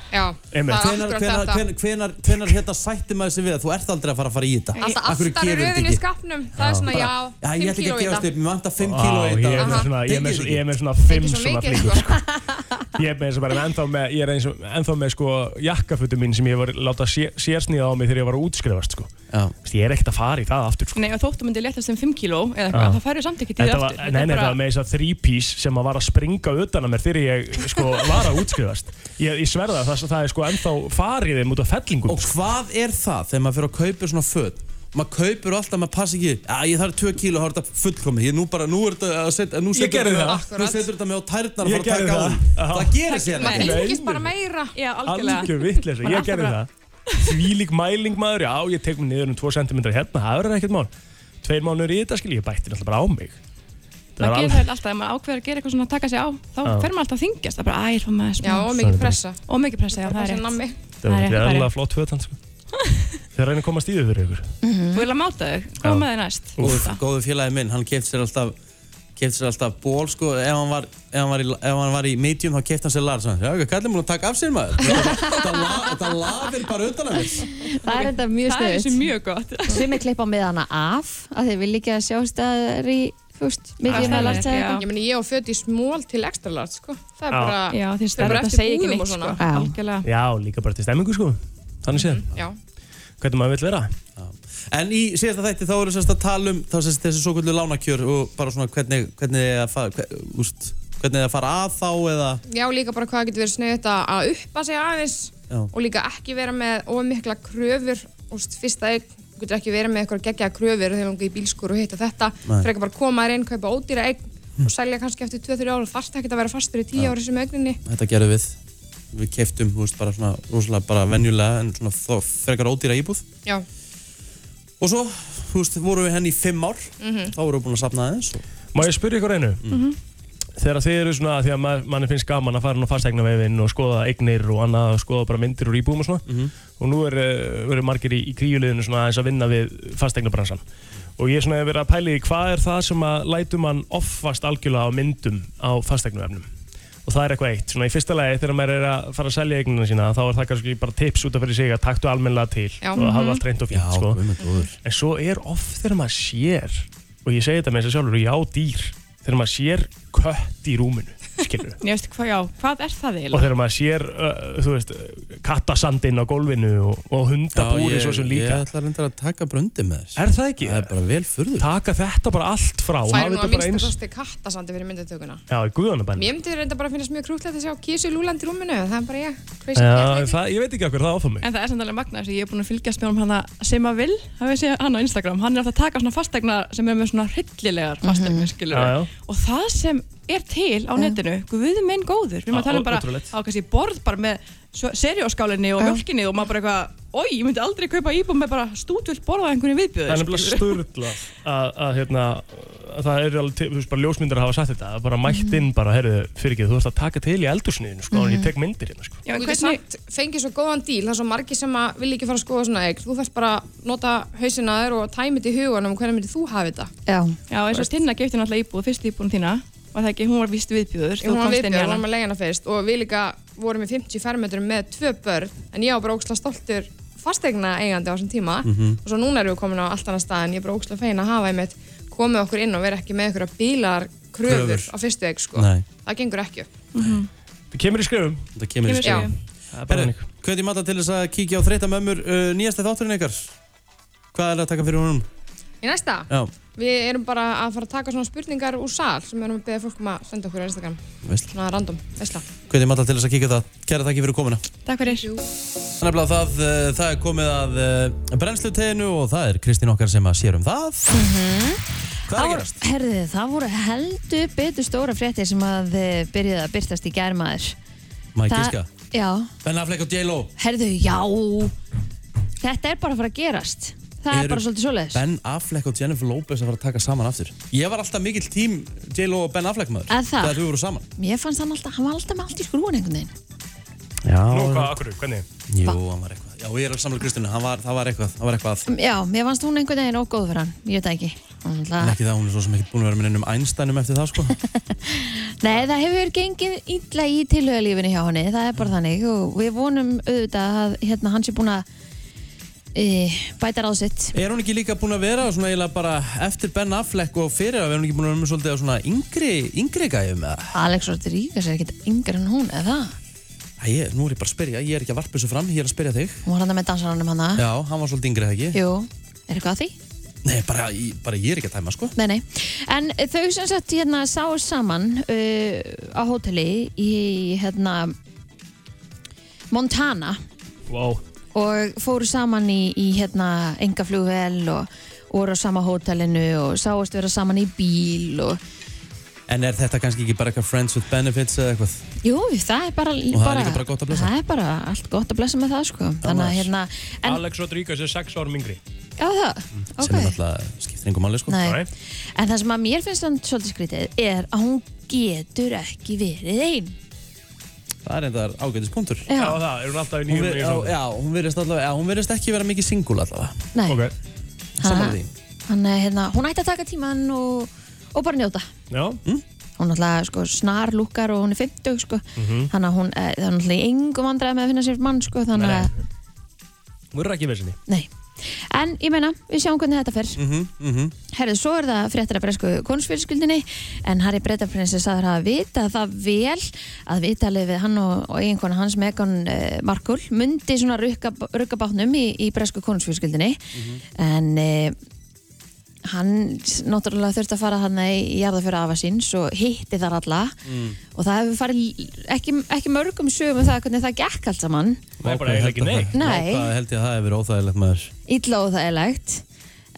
[SPEAKER 7] Já, það
[SPEAKER 6] Einmitt.
[SPEAKER 7] er
[SPEAKER 4] Hvenar,
[SPEAKER 7] akkurat
[SPEAKER 4] hvenar,
[SPEAKER 7] þetta
[SPEAKER 4] hvenar, hvenar, hvenar hérna sætti maður sig við að þú ert aldrei að fara að fara í þetta?
[SPEAKER 7] Alltaf
[SPEAKER 4] Af hverju
[SPEAKER 7] aftar í
[SPEAKER 4] gerirðu þetta
[SPEAKER 7] röðinni í
[SPEAKER 4] ekki?
[SPEAKER 7] skapnum Það er svona, já,
[SPEAKER 4] Já, ég
[SPEAKER 7] 5
[SPEAKER 4] ætla ekki
[SPEAKER 7] kíló
[SPEAKER 4] að
[SPEAKER 7] í
[SPEAKER 4] gefast
[SPEAKER 7] þetta
[SPEAKER 4] upp, mér vantar 5
[SPEAKER 6] Á,
[SPEAKER 4] kíló í
[SPEAKER 6] ég er
[SPEAKER 4] þetta
[SPEAKER 6] með
[SPEAKER 7] Aha.
[SPEAKER 6] svona, ég er með
[SPEAKER 4] Degið
[SPEAKER 6] svona,
[SPEAKER 4] ekki.
[SPEAKER 6] ég er með svona
[SPEAKER 7] Ekki
[SPEAKER 6] 5
[SPEAKER 7] svo
[SPEAKER 6] svona
[SPEAKER 7] mikið,
[SPEAKER 6] flíkur
[SPEAKER 7] sko.
[SPEAKER 6] Ég er með þess að bara ennþá með, ég er eins og, ennþá með sko jakkafötum mín sem ég var láta sé, sérsnýða á mig þegar ég var að útskrifast sko.
[SPEAKER 4] Já.
[SPEAKER 6] Þú veist, Ég er ekkert að fara í það aftur sko.
[SPEAKER 8] Nei, og þóttu myndi léttast um 5 kíló eða eitthvað,
[SPEAKER 6] Já.
[SPEAKER 8] það færðu samt ekki til
[SPEAKER 6] Þetta
[SPEAKER 8] aftur
[SPEAKER 6] var, nei, nei, þetta var með þess að þrípís sem að var að springa utan að mér þegar ég sko var að útskrifast Ég, ég sverða það, það er sko ennþá farið þeim út af fellingum
[SPEAKER 4] Og hvað er það þegar maður fyrir að kaupa svona föt? Maður kaupir alltaf, maður passa ekki Já, ég þarf 2 kíló, þá er þetta fullkomið Ég nú bara, nú er þetta að setja Nú setur
[SPEAKER 6] gerði
[SPEAKER 4] þetta-
[SPEAKER 7] það.
[SPEAKER 4] nú setur þetta með á tærnar að
[SPEAKER 6] Ég
[SPEAKER 4] fara að taka á
[SPEAKER 6] gerði
[SPEAKER 4] það hérna.
[SPEAKER 6] það.
[SPEAKER 4] Það gerir sér
[SPEAKER 7] Það
[SPEAKER 4] ekki
[SPEAKER 6] Nei.
[SPEAKER 7] fylgist bara meira
[SPEAKER 8] Já, algjörlega
[SPEAKER 6] Algjör vittlega,
[SPEAKER 8] Bara
[SPEAKER 6] ég
[SPEAKER 8] alltaf
[SPEAKER 6] gerði
[SPEAKER 8] bara-
[SPEAKER 6] það Þvílík mæling maður, já ég tek mig niður um 2 cm hérna, það verður ekkert mál Tveir mánuður í þetta skil, ég bætti náttúrulega bara á mig Það
[SPEAKER 8] Það
[SPEAKER 6] er
[SPEAKER 8] gerir
[SPEAKER 6] alveg-
[SPEAKER 8] það alltaf, ef maður ákveður að gera eitthvað svona að taka sig á þá
[SPEAKER 6] Já.
[SPEAKER 8] fer maður alltaf að þingjast, það er bara, æ, ég er maður smá
[SPEAKER 7] Já, og mikið pressa
[SPEAKER 8] og mikið pressa, já, það er
[SPEAKER 7] Þessi nammi.
[SPEAKER 8] rétt
[SPEAKER 6] Það
[SPEAKER 8] Það
[SPEAKER 6] var
[SPEAKER 8] er rétt, það er
[SPEAKER 6] greiðlega
[SPEAKER 8] rétt.
[SPEAKER 6] flott fötan sko. Þeir reyna að koma stíðu fyrir ykkur
[SPEAKER 8] Þú vil að máta þau,
[SPEAKER 6] Já.
[SPEAKER 8] koma með þau næst
[SPEAKER 4] Úf,
[SPEAKER 8] Þetta.
[SPEAKER 4] góðu félagi minn, hann keft sér alltaf keft sér alltaf ból sko ef hann var, ef hann var, í, ef hann var í medium þá keft hann sér large Hann, já, hvað kallið múin að taka af sér maður þetta, la, þetta lafir bara utan að mér
[SPEAKER 5] Það er enda mjög
[SPEAKER 8] Það er þessi
[SPEAKER 5] stöðut.
[SPEAKER 8] mjög gott
[SPEAKER 5] Sumir klippa með hana af, af því við líka að sjá staðar í, þú veist, mikið
[SPEAKER 8] Aðstæður,
[SPEAKER 5] með lartæði
[SPEAKER 8] já.
[SPEAKER 5] eitthvað.
[SPEAKER 7] Ég meni, ég og föt í smól til extra large, sko Það er
[SPEAKER 6] Já.
[SPEAKER 7] bara,
[SPEAKER 8] Já, því
[SPEAKER 7] Það er
[SPEAKER 8] stærðar
[SPEAKER 7] bara
[SPEAKER 8] þetta
[SPEAKER 7] eftir
[SPEAKER 8] segir ekki
[SPEAKER 7] búðum og
[SPEAKER 8] neitt sko,
[SPEAKER 7] svona.
[SPEAKER 5] Já.
[SPEAKER 8] algjörlega
[SPEAKER 6] Já, líka bara til stemmingu sko Þannig séð,
[SPEAKER 7] já,
[SPEAKER 6] hvernig maður vill vera
[SPEAKER 4] en í síðasta þætti þá eru sérst að tala um þá sérst þessi svo kvöldu lánakjör og bara svona hvernig hvernig er að fara hver, úst, hvernig er að fara að þá eða
[SPEAKER 7] já, líka bara hvað getur verið snöðut að uppa sig aðeins
[SPEAKER 4] Já.
[SPEAKER 7] og líka ekki vera með ómikla kröfur Úst, fyrsta einn, þú getur ekki verið með eitthvað geggjaða kröfur þegar langar í bílskur og hitt og þetta
[SPEAKER 4] Nei.
[SPEAKER 7] frekar bara koma þær inn, kaupa ódýra einn og selja kannski eftir 2-3 ára þarft ekki að vera fastur í 10 ára sem eigninni
[SPEAKER 4] þetta gerum við við keftum úst, bara svona rosalega bara venjulega en svona þó frekar ódýra íbúð
[SPEAKER 7] Já,
[SPEAKER 4] og svo úst, vorum við henni í fimm ár þá vorum við búin að sapna aðeins og Mm.
[SPEAKER 6] Má ég spyrja ykkur einu? Þegar þið eru svona, því að ma- manni finnst gaman að fara inn á fastegnavefinn og skoða eignir og annað og skoða bara myndir úr íbúum og svona og nú er, eh, eru margir í, í kríuliðinu svona aðeins að vinna við fastegnabransan og ég er svona að vera að pæli í hvað er það sem að lætu mann offast algjörlega á myndum á fastegnavefnum og það er eitthvað eitt, svona í fyrsta lagi þegar maður er að fara að selja eignina sína þá er það kannski bara tips út af fyrir sig að taktu almennilega til
[SPEAKER 7] Já.
[SPEAKER 6] og hafa allt reynd og fínt sko.
[SPEAKER 4] minn góður
[SPEAKER 6] En svo er oft þegar maður sér og ég segi þetta með þess að sjálfur og já dýr þegar maður sér kött í rúminu skilur
[SPEAKER 8] Ég veist hvað, já, hvað er það
[SPEAKER 6] og
[SPEAKER 8] eiginlega?
[SPEAKER 6] þegar maður sér uh, þú veist, kattasandinn á gólfinu og, og hundabúri svo sem líka
[SPEAKER 4] Ég ætla reyndar að taka bröndi með þess
[SPEAKER 6] er það ekki?
[SPEAKER 4] Það er bara vel furður
[SPEAKER 6] taka þetta bara allt frá og
[SPEAKER 7] færum
[SPEAKER 6] hafa
[SPEAKER 7] nú að
[SPEAKER 6] þetta bara
[SPEAKER 7] minnstu
[SPEAKER 6] eins
[SPEAKER 7] kosti kattasandi fyrir myndatökuna
[SPEAKER 6] já, í guðanabænum
[SPEAKER 7] Mér myndi reynda bara að finnast mjög krútlegt að sjá kísu lúland í rúminu, það er bara ég, crazy
[SPEAKER 6] já,
[SPEAKER 7] cat lady.
[SPEAKER 6] það, ég veit ekki okkur það áfram mig
[SPEAKER 8] En það er samt alveg magna þess að ég er búin að fylgjast með honum hana sem að vil, það veist ég hann á Instagram hann er alltaf að taka svona fastegna sem er með svona hryllilegar fastegna, skilur
[SPEAKER 6] Já, já.
[SPEAKER 8] og það sem er til á netinu guð minn góður, við erum
[SPEAKER 6] Já,
[SPEAKER 8] að tala um
[SPEAKER 6] ó-
[SPEAKER 8] bara
[SPEAKER 6] ótrúlegt.
[SPEAKER 8] á kannski borð bara með svo- serióskálinni og mjölkinni og maður bara eitthvað oi, ég myndi aldrei kaupa íbúð með bara stútvöld borða einhvern
[SPEAKER 6] það er
[SPEAKER 8] viðbjöður
[SPEAKER 6] nefnilega sturgla að, að, hérna, að það eru alveg til, þú veist bara ljósmyndar hafa sagt þetta að bara mætt inn bara, herðu, fyrir þú ert að taka til í eldursniðinu sko, en ég tek myndir hérna sko.
[SPEAKER 8] Já, en
[SPEAKER 7] Þú getur
[SPEAKER 8] hvernig,
[SPEAKER 7] samt fengið svo góðan díl, það er svo margir sem að vilja ekki fara að skoða svona eign. Þú þarf bara að nota hausina þér og tæmið til hugunum hvernig myndið þú hafa þetta.
[SPEAKER 5] Já,
[SPEAKER 8] já, eins og Tinna gefti náttúrulega íbúð, fyrst íbúðin þína var það ekki, hún var vist viðbjöður
[SPEAKER 7] Ég hún var viðbjörn, hún var með leiðina fyrst og við líka vorum í 50 fermetrum með tvö börn en ég var bara ókslega stoltur fastegna eigandi á þessum tíma og svo núna erum við komin á allt annað stað en ég er bara ókslega fein að hafa einmitt komið okkur inn og vera ekki með ykkur að bílar kröfur
[SPEAKER 4] Kröfur.
[SPEAKER 7] á fyrstu eign sko.
[SPEAKER 4] Nei.
[SPEAKER 7] Það gengur ekki. upp.
[SPEAKER 8] Mhm.
[SPEAKER 6] það kemur í skrifum
[SPEAKER 4] Það kemur
[SPEAKER 8] Kemur
[SPEAKER 4] í
[SPEAKER 8] í
[SPEAKER 4] skjá
[SPEAKER 7] Já.
[SPEAKER 6] það er bara
[SPEAKER 4] Herri,
[SPEAKER 6] þannig.
[SPEAKER 4] hvernig matta til þess að kíkja á þreytta mömmur uh, Nýjasta þátturinn ykkar Hvað er að taka fyrir honum?
[SPEAKER 7] Í næsta,
[SPEAKER 4] Já,
[SPEAKER 7] við erum bara að fara að taka svona spurningar úr sal sem við erum að beða fólk um að senda okkur á Instagram,
[SPEAKER 4] veist
[SPEAKER 7] svona random, veistla.
[SPEAKER 4] Hvernig matta til þess að kíkja á það? Kæra takk fyrir komuna
[SPEAKER 8] Takk fyrir
[SPEAKER 4] Þannig að það, uh, það er komið að uh, brennsluteginu og það er Kristín okkar sem að sér um það
[SPEAKER 5] Mhm.
[SPEAKER 4] Hvað er að
[SPEAKER 5] voru-
[SPEAKER 4] gerast?
[SPEAKER 5] Herðu, það voru heldur betur stóra fréttir sem að eh, byrjuðu að byrtast í gærmaður.
[SPEAKER 4] Mæ
[SPEAKER 5] Það-
[SPEAKER 4] Gíska
[SPEAKER 5] Já,
[SPEAKER 4] Ben Affleck og J-Lo
[SPEAKER 5] herðu, já. Þetta er bara að fara að gerast. Það er
[SPEAKER 4] Eru
[SPEAKER 5] bara svolítið svoleiðis.
[SPEAKER 4] Ben Affleck og Jennifer Lopez að fara að taka saman aftur Ég var alltaf mikill tím J-Lo og Ben Affleck maður
[SPEAKER 5] Að það?
[SPEAKER 4] Þegar þau voru saman
[SPEAKER 5] Mér fannst hann alltaf, hann var alltaf með allt í skrúan einhvern veginn.
[SPEAKER 4] Já
[SPEAKER 6] Nú, hvað, akkur, hvernig?
[SPEAKER 4] Jú, hann var eitthvað Já, ég er alveg samlega Kristina hann var, Það var eitthvað Það var eitthvað
[SPEAKER 5] Já, mér fannst hún einhvern veginn ógóð fyrir hann, ég veit það ekki. Hún
[SPEAKER 4] En
[SPEAKER 5] ætla-
[SPEAKER 4] ekki það hún er svo sem ekkert búin að vera með neinum Einstænum eftir það sko
[SPEAKER 5] Nei, það hefur gengið illa í tilhauðalífinu hjá henni, það er bara þannig og við vonum auðvitað að hérna, hann sé búin að e, bæta ráð sitt.
[SPEAKER 4] Er hún ekki líka búin að vera svona eiginlega bara Eftir Ben Affleck og fyrir að Er hún ekki búin að vera með svolítið á svona yngri, yngri gæjum eða?
[SPEAKER 5] Alex Rodríguez er ekkert yngar en hún, eða það?
[SPEAKER 4] Æ, ég, nú er ég bara að spyrja Ég er ekki að varpa þessu fram Ég er að spyrja þig
[SPEAKER 5] Hún var hann með dansaranum hann
[SPEAKER 4] Já, hann var svolítið yngri, eða ekki?
[SPEAKER 5] Jú, er eitthvað að því?
[SPEAKER 4] Nei, bara, ég- bara ég er ekki að tæma, sko.
[SPEAKER 5] Nei, nei. En þau sem sagt hérna sáu saman uh, á hóteli í hérna Montana
[SPEAKER 6] Wow.
[SPEAKER 5] og fóru saman í, í hérna engaflugvel og voru á sama hótelinu og sáast vera saman í bíl og
[SPEAKER 4] En er þetta kannski ekki bara eitthvað friends with benefits eða eitthvað?
[SPEAKER 5] jú, það er bara
[SPEAKER 4] Og það er líka bara gott að blessa.
[SPEAKER 5] Það er bara allt gott að blessa með það sko þannig að
[SPEAKER 4] maður.
[SPEAKER 5] hérna en,
[SPEAKER 6] Alex Rodríguez er 6 árum yngri.
[SPEAKER 5] já það,
[SPEAKER 4] Sem er
[SPEAKER 5] ok
[SPEAKER 4] náttúrulega skiptir engum máli, sko.
[SPEAKER 5] Nei.
[SPEAKER 6] Nei.
[SPEAKER 5] en það sem að mér finnst hann svolítið skrítið er að hún getur ekki verið einn
[SPEAKER 4] Það er einhver ágætis punktur.
[SPEAKER 6] Já, það, er hún alltaf í
[SPEAKER 4] Hún
[SPEAKER 6] nýjum
[SPEAKER 4] ver-
[SPEAKER 6] nýjum
[SPEAKER 4] já, já, hún verðist allavega, já, hún verðist ekki vera mikið singul allavega.
[SPEAKER 5] nei,
[SPEAKER 6] Ok,
[SPEAKER 4] Sammála því.
[SPEAKER 5] hann, eh, hérna, hún ætti að taka tíman og, og bara njóta
[SPEAKER 6] já,
[SPEAKER 8] Hm?
[SPEAKER 5] hún alltaf sko, snar lúkar og hún er 50 sko.
[SPEAKER 6] Mhm.
[SPEAKER 5] þannig að hún eh, það er alltaf í engum vandræði með að finna sér mann sko, þannig
[SPEAKER 6] Nei,
[SPEAKER 5] að,
[SPEAKER 6] hún er ekki verið sinni.
[SPEAKER 5] nei en ég meina, við sjáum hvernig þetta fer
[SPEAKER 6] Mm.
[SPEAKER 4] Mhm, mhm.
[SPEAKER 5] herðu, svo er það fréttir að bresku konusfyrirskuldinni en Harry Breitaprinsir sagður hafa vita það vel að vitalið við hann og, og eiginkona hans Megan uh, Markle myndi svona rukka, rukka bátnum í, í bresku konusfyrirskuldinni
[SPEAKER 4] mhm.
[SPEAKER 5] en uh, hann s- náttúrulega þurfti að fara hann í jarðafjöra afa síns og hitti þar alla
[SPEAKER 4] Mm.
[SPEAKER 5] og það hefur farið l- ekki, ekki mörgum sögum um það hvernig það gekk allt saman
[SPEAKER 6] Það er bara eiginlega ekki neitt.
[SPEAKER 5] Nei.
[SPEAKER 4] Það held ég að það hefur verið óþægilegt maður.
[SPEAKER 5] illa og það er legt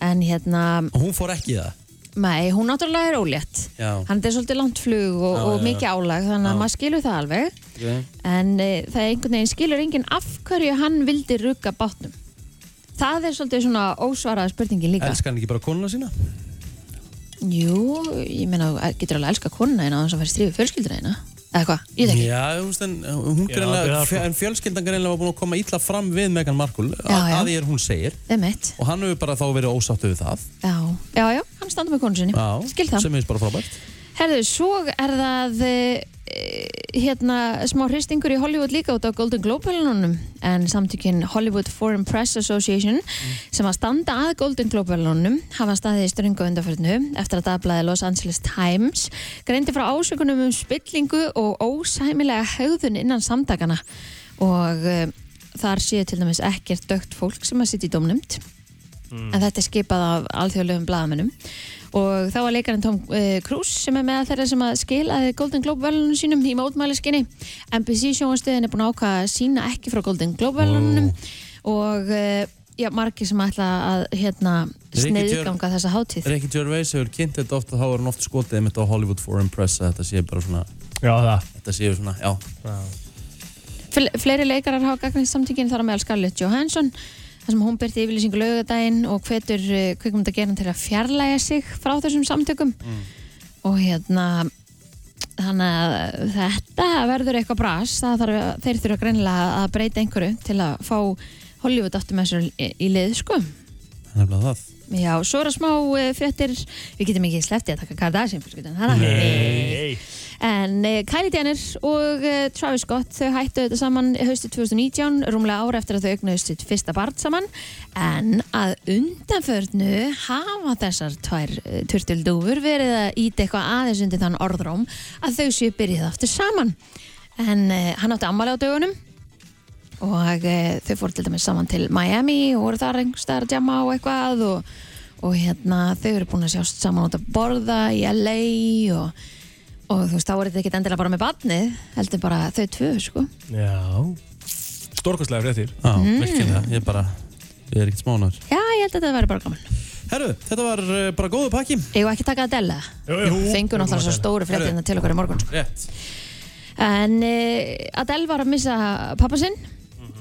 [SPEAKER 5] en hérna,
[SPEAKER 4] Og hún fór ekki í það.
[SPEAKER 5] mei, hún náttúrulega er ólétt
[SPEAKER 4] Já.
[SPEAKER 5] hann er svolítið langt flug og,
[SPEAKER 4] Já,
[SPEAKER 5] og
[SPEAKER 4] já, já.
[SPEAKER 5] mikið álag þannig að
[SPEAKER 4] Já.
[SPEAKER 5] maður skilur það alveg
[SPEAKER 4] Okay.
[SPEAKER 5] en e, það er einhvern veginn skilur enginn af hverju hann vildi rugga bátnum það er svolítið svona ósvaraða spurningin líka
[SPEAKER 4] Elskar hann ekki bara konuna sína?
[SPEAKER 5] Jú, ég meina, þú getur alveg að elska konuna eina á þess að fara í strífi fjölskylduna eina eða hvað, ég veit ekki
[SPEAKER 4] Já, þú veist, en hún
[SPEAKER 6] Já, það
[SPEAKER 4] greinlega,
[SPEAKER 6] er sko-
[SPEAKER 4] en fjölskyldan greinlega var búin að koma illa fram við Megan Markle,
[SPEAKER 5] Já, já.
[SPEAKER 4] að því er hún segir,
[SPEAKER 5] Emmett,
[SPEAKER 4] og hann hefur bara þá verið ósáttu við það.
[SPEAKER 5] já, já, já, hann standa með konu sinni
[SPEAKER 4] Já,
[SPEAKER 5] skil það
[SPEAKER 4] sem er bara frábært.
[SPEAKER 5] Herðu, svo er það e, hérna smá hristingur í Hollywood líka út á Golden Globe velunum en samtökin Hollywood Foreign Press Association sem að standa að Golden Globe velunum hafa staðið í ströngu undarförnu eftir að dagblæði Los Angeles Times greindi frá ásökunum um spillingu og ósæmilega haugðun innan samtakana og e, þar séu til dæmis ekkert dögt fólk sem að sitja í dómnumt en þetta er skipað af alþjóðlegum blaðamennum og þá var leikarinn Tom uh, Cruise sem er með þeirra sem að skilaði Golden Globe velunum sínum í mótmæliskinni NBC sjónastöðin er búin að ákvaða að sína ekki frá Golden Globe velunum og uh, já, margir sem ætla að hérna
[SPEAKER 4] Ríkisstjórn-
[SPEAKER 5] sneiðganga þessa hátíð
[SPEAKER 4] Ricky Gervais hefur kynnt þetta ofta þá er hann oft skotið einmitt á Hollywood Foreign Press að þetta séu bara svona,
[SPEAKER 6] Já, það.
[SPEAKER 4] þetta séu svona, já
[SPEAKER 5] Fle fleiri leikarar hafa gagnið samtíkinn þar á meðal Scarlett Johansson þar sem hún byrti yfirlýsingu laugadaginn og hvetur uh, kvikmyndagerðan til að fjarlæga sig frá þessum samtökum og hérna þannig að þetta verður eitthvað bras það þarf, þeir þurfa greinilega að breyta einhverju til að fá Hollywood aftur með sér í, í lið sko
[SPEAKER 4] það er nefnilega það.
[SPEAKER 5] Já, svo er að smá uh, fréttir við getum ekki sleftið að taka Kardashian fjölskyldan, það er ekki
[SPEAKER 6] Nei.
[SPEAKER 5] En uh, Kylie Jenner og uh, Travis Scott þau hættu þetta saman haustið 2019 rúmlega ára eftir að þau eignuðust sitt fyrsta barn saman en að undanförnu hafa þessar tvær uh, turtildúfur verið að íta eitthvað aðeins undir þann orðróm að þau séu byrjið aftur saman en uh, hann átti ammali á dögunum og uh, þau fóru til dæmis saman til Miami og voru þar einhverstaðar að jamma og eitthvað og, og hérna þau eru búin að sjást saman út að borða í LA og og þú veist, þá er þetta ekkert endilega bara með badnið heldur bara þau tvö, sko
[SPEAKER 6] Já. Stórkostlega fréttir.
[SPEAKER 4] Já,
[SPEAKER 5] Mhm.
[SPEAKER 4] virkilega, ég er bara, ég er ekkert smánar.
[SPEAKER 5] Já, ég held að þetta væri bara gaman
[SPEAKER 4] Herru, þetta var uh, bara góðu pakki.
[SPEAKER 5] Ég var ekki að taka að dela
[SPEAKER 6] Jú, jú.
[SPEAKER 5] Fengu náttúrulega svo stóru fréttina til okkar í morgun sko.
[SPEAKER 4] Rétt.
[SPEAKER 5] eh,
[SPEAKER 6] Mhm.
[SPEAKER 5] En uh, Adele var að missa pappa sinn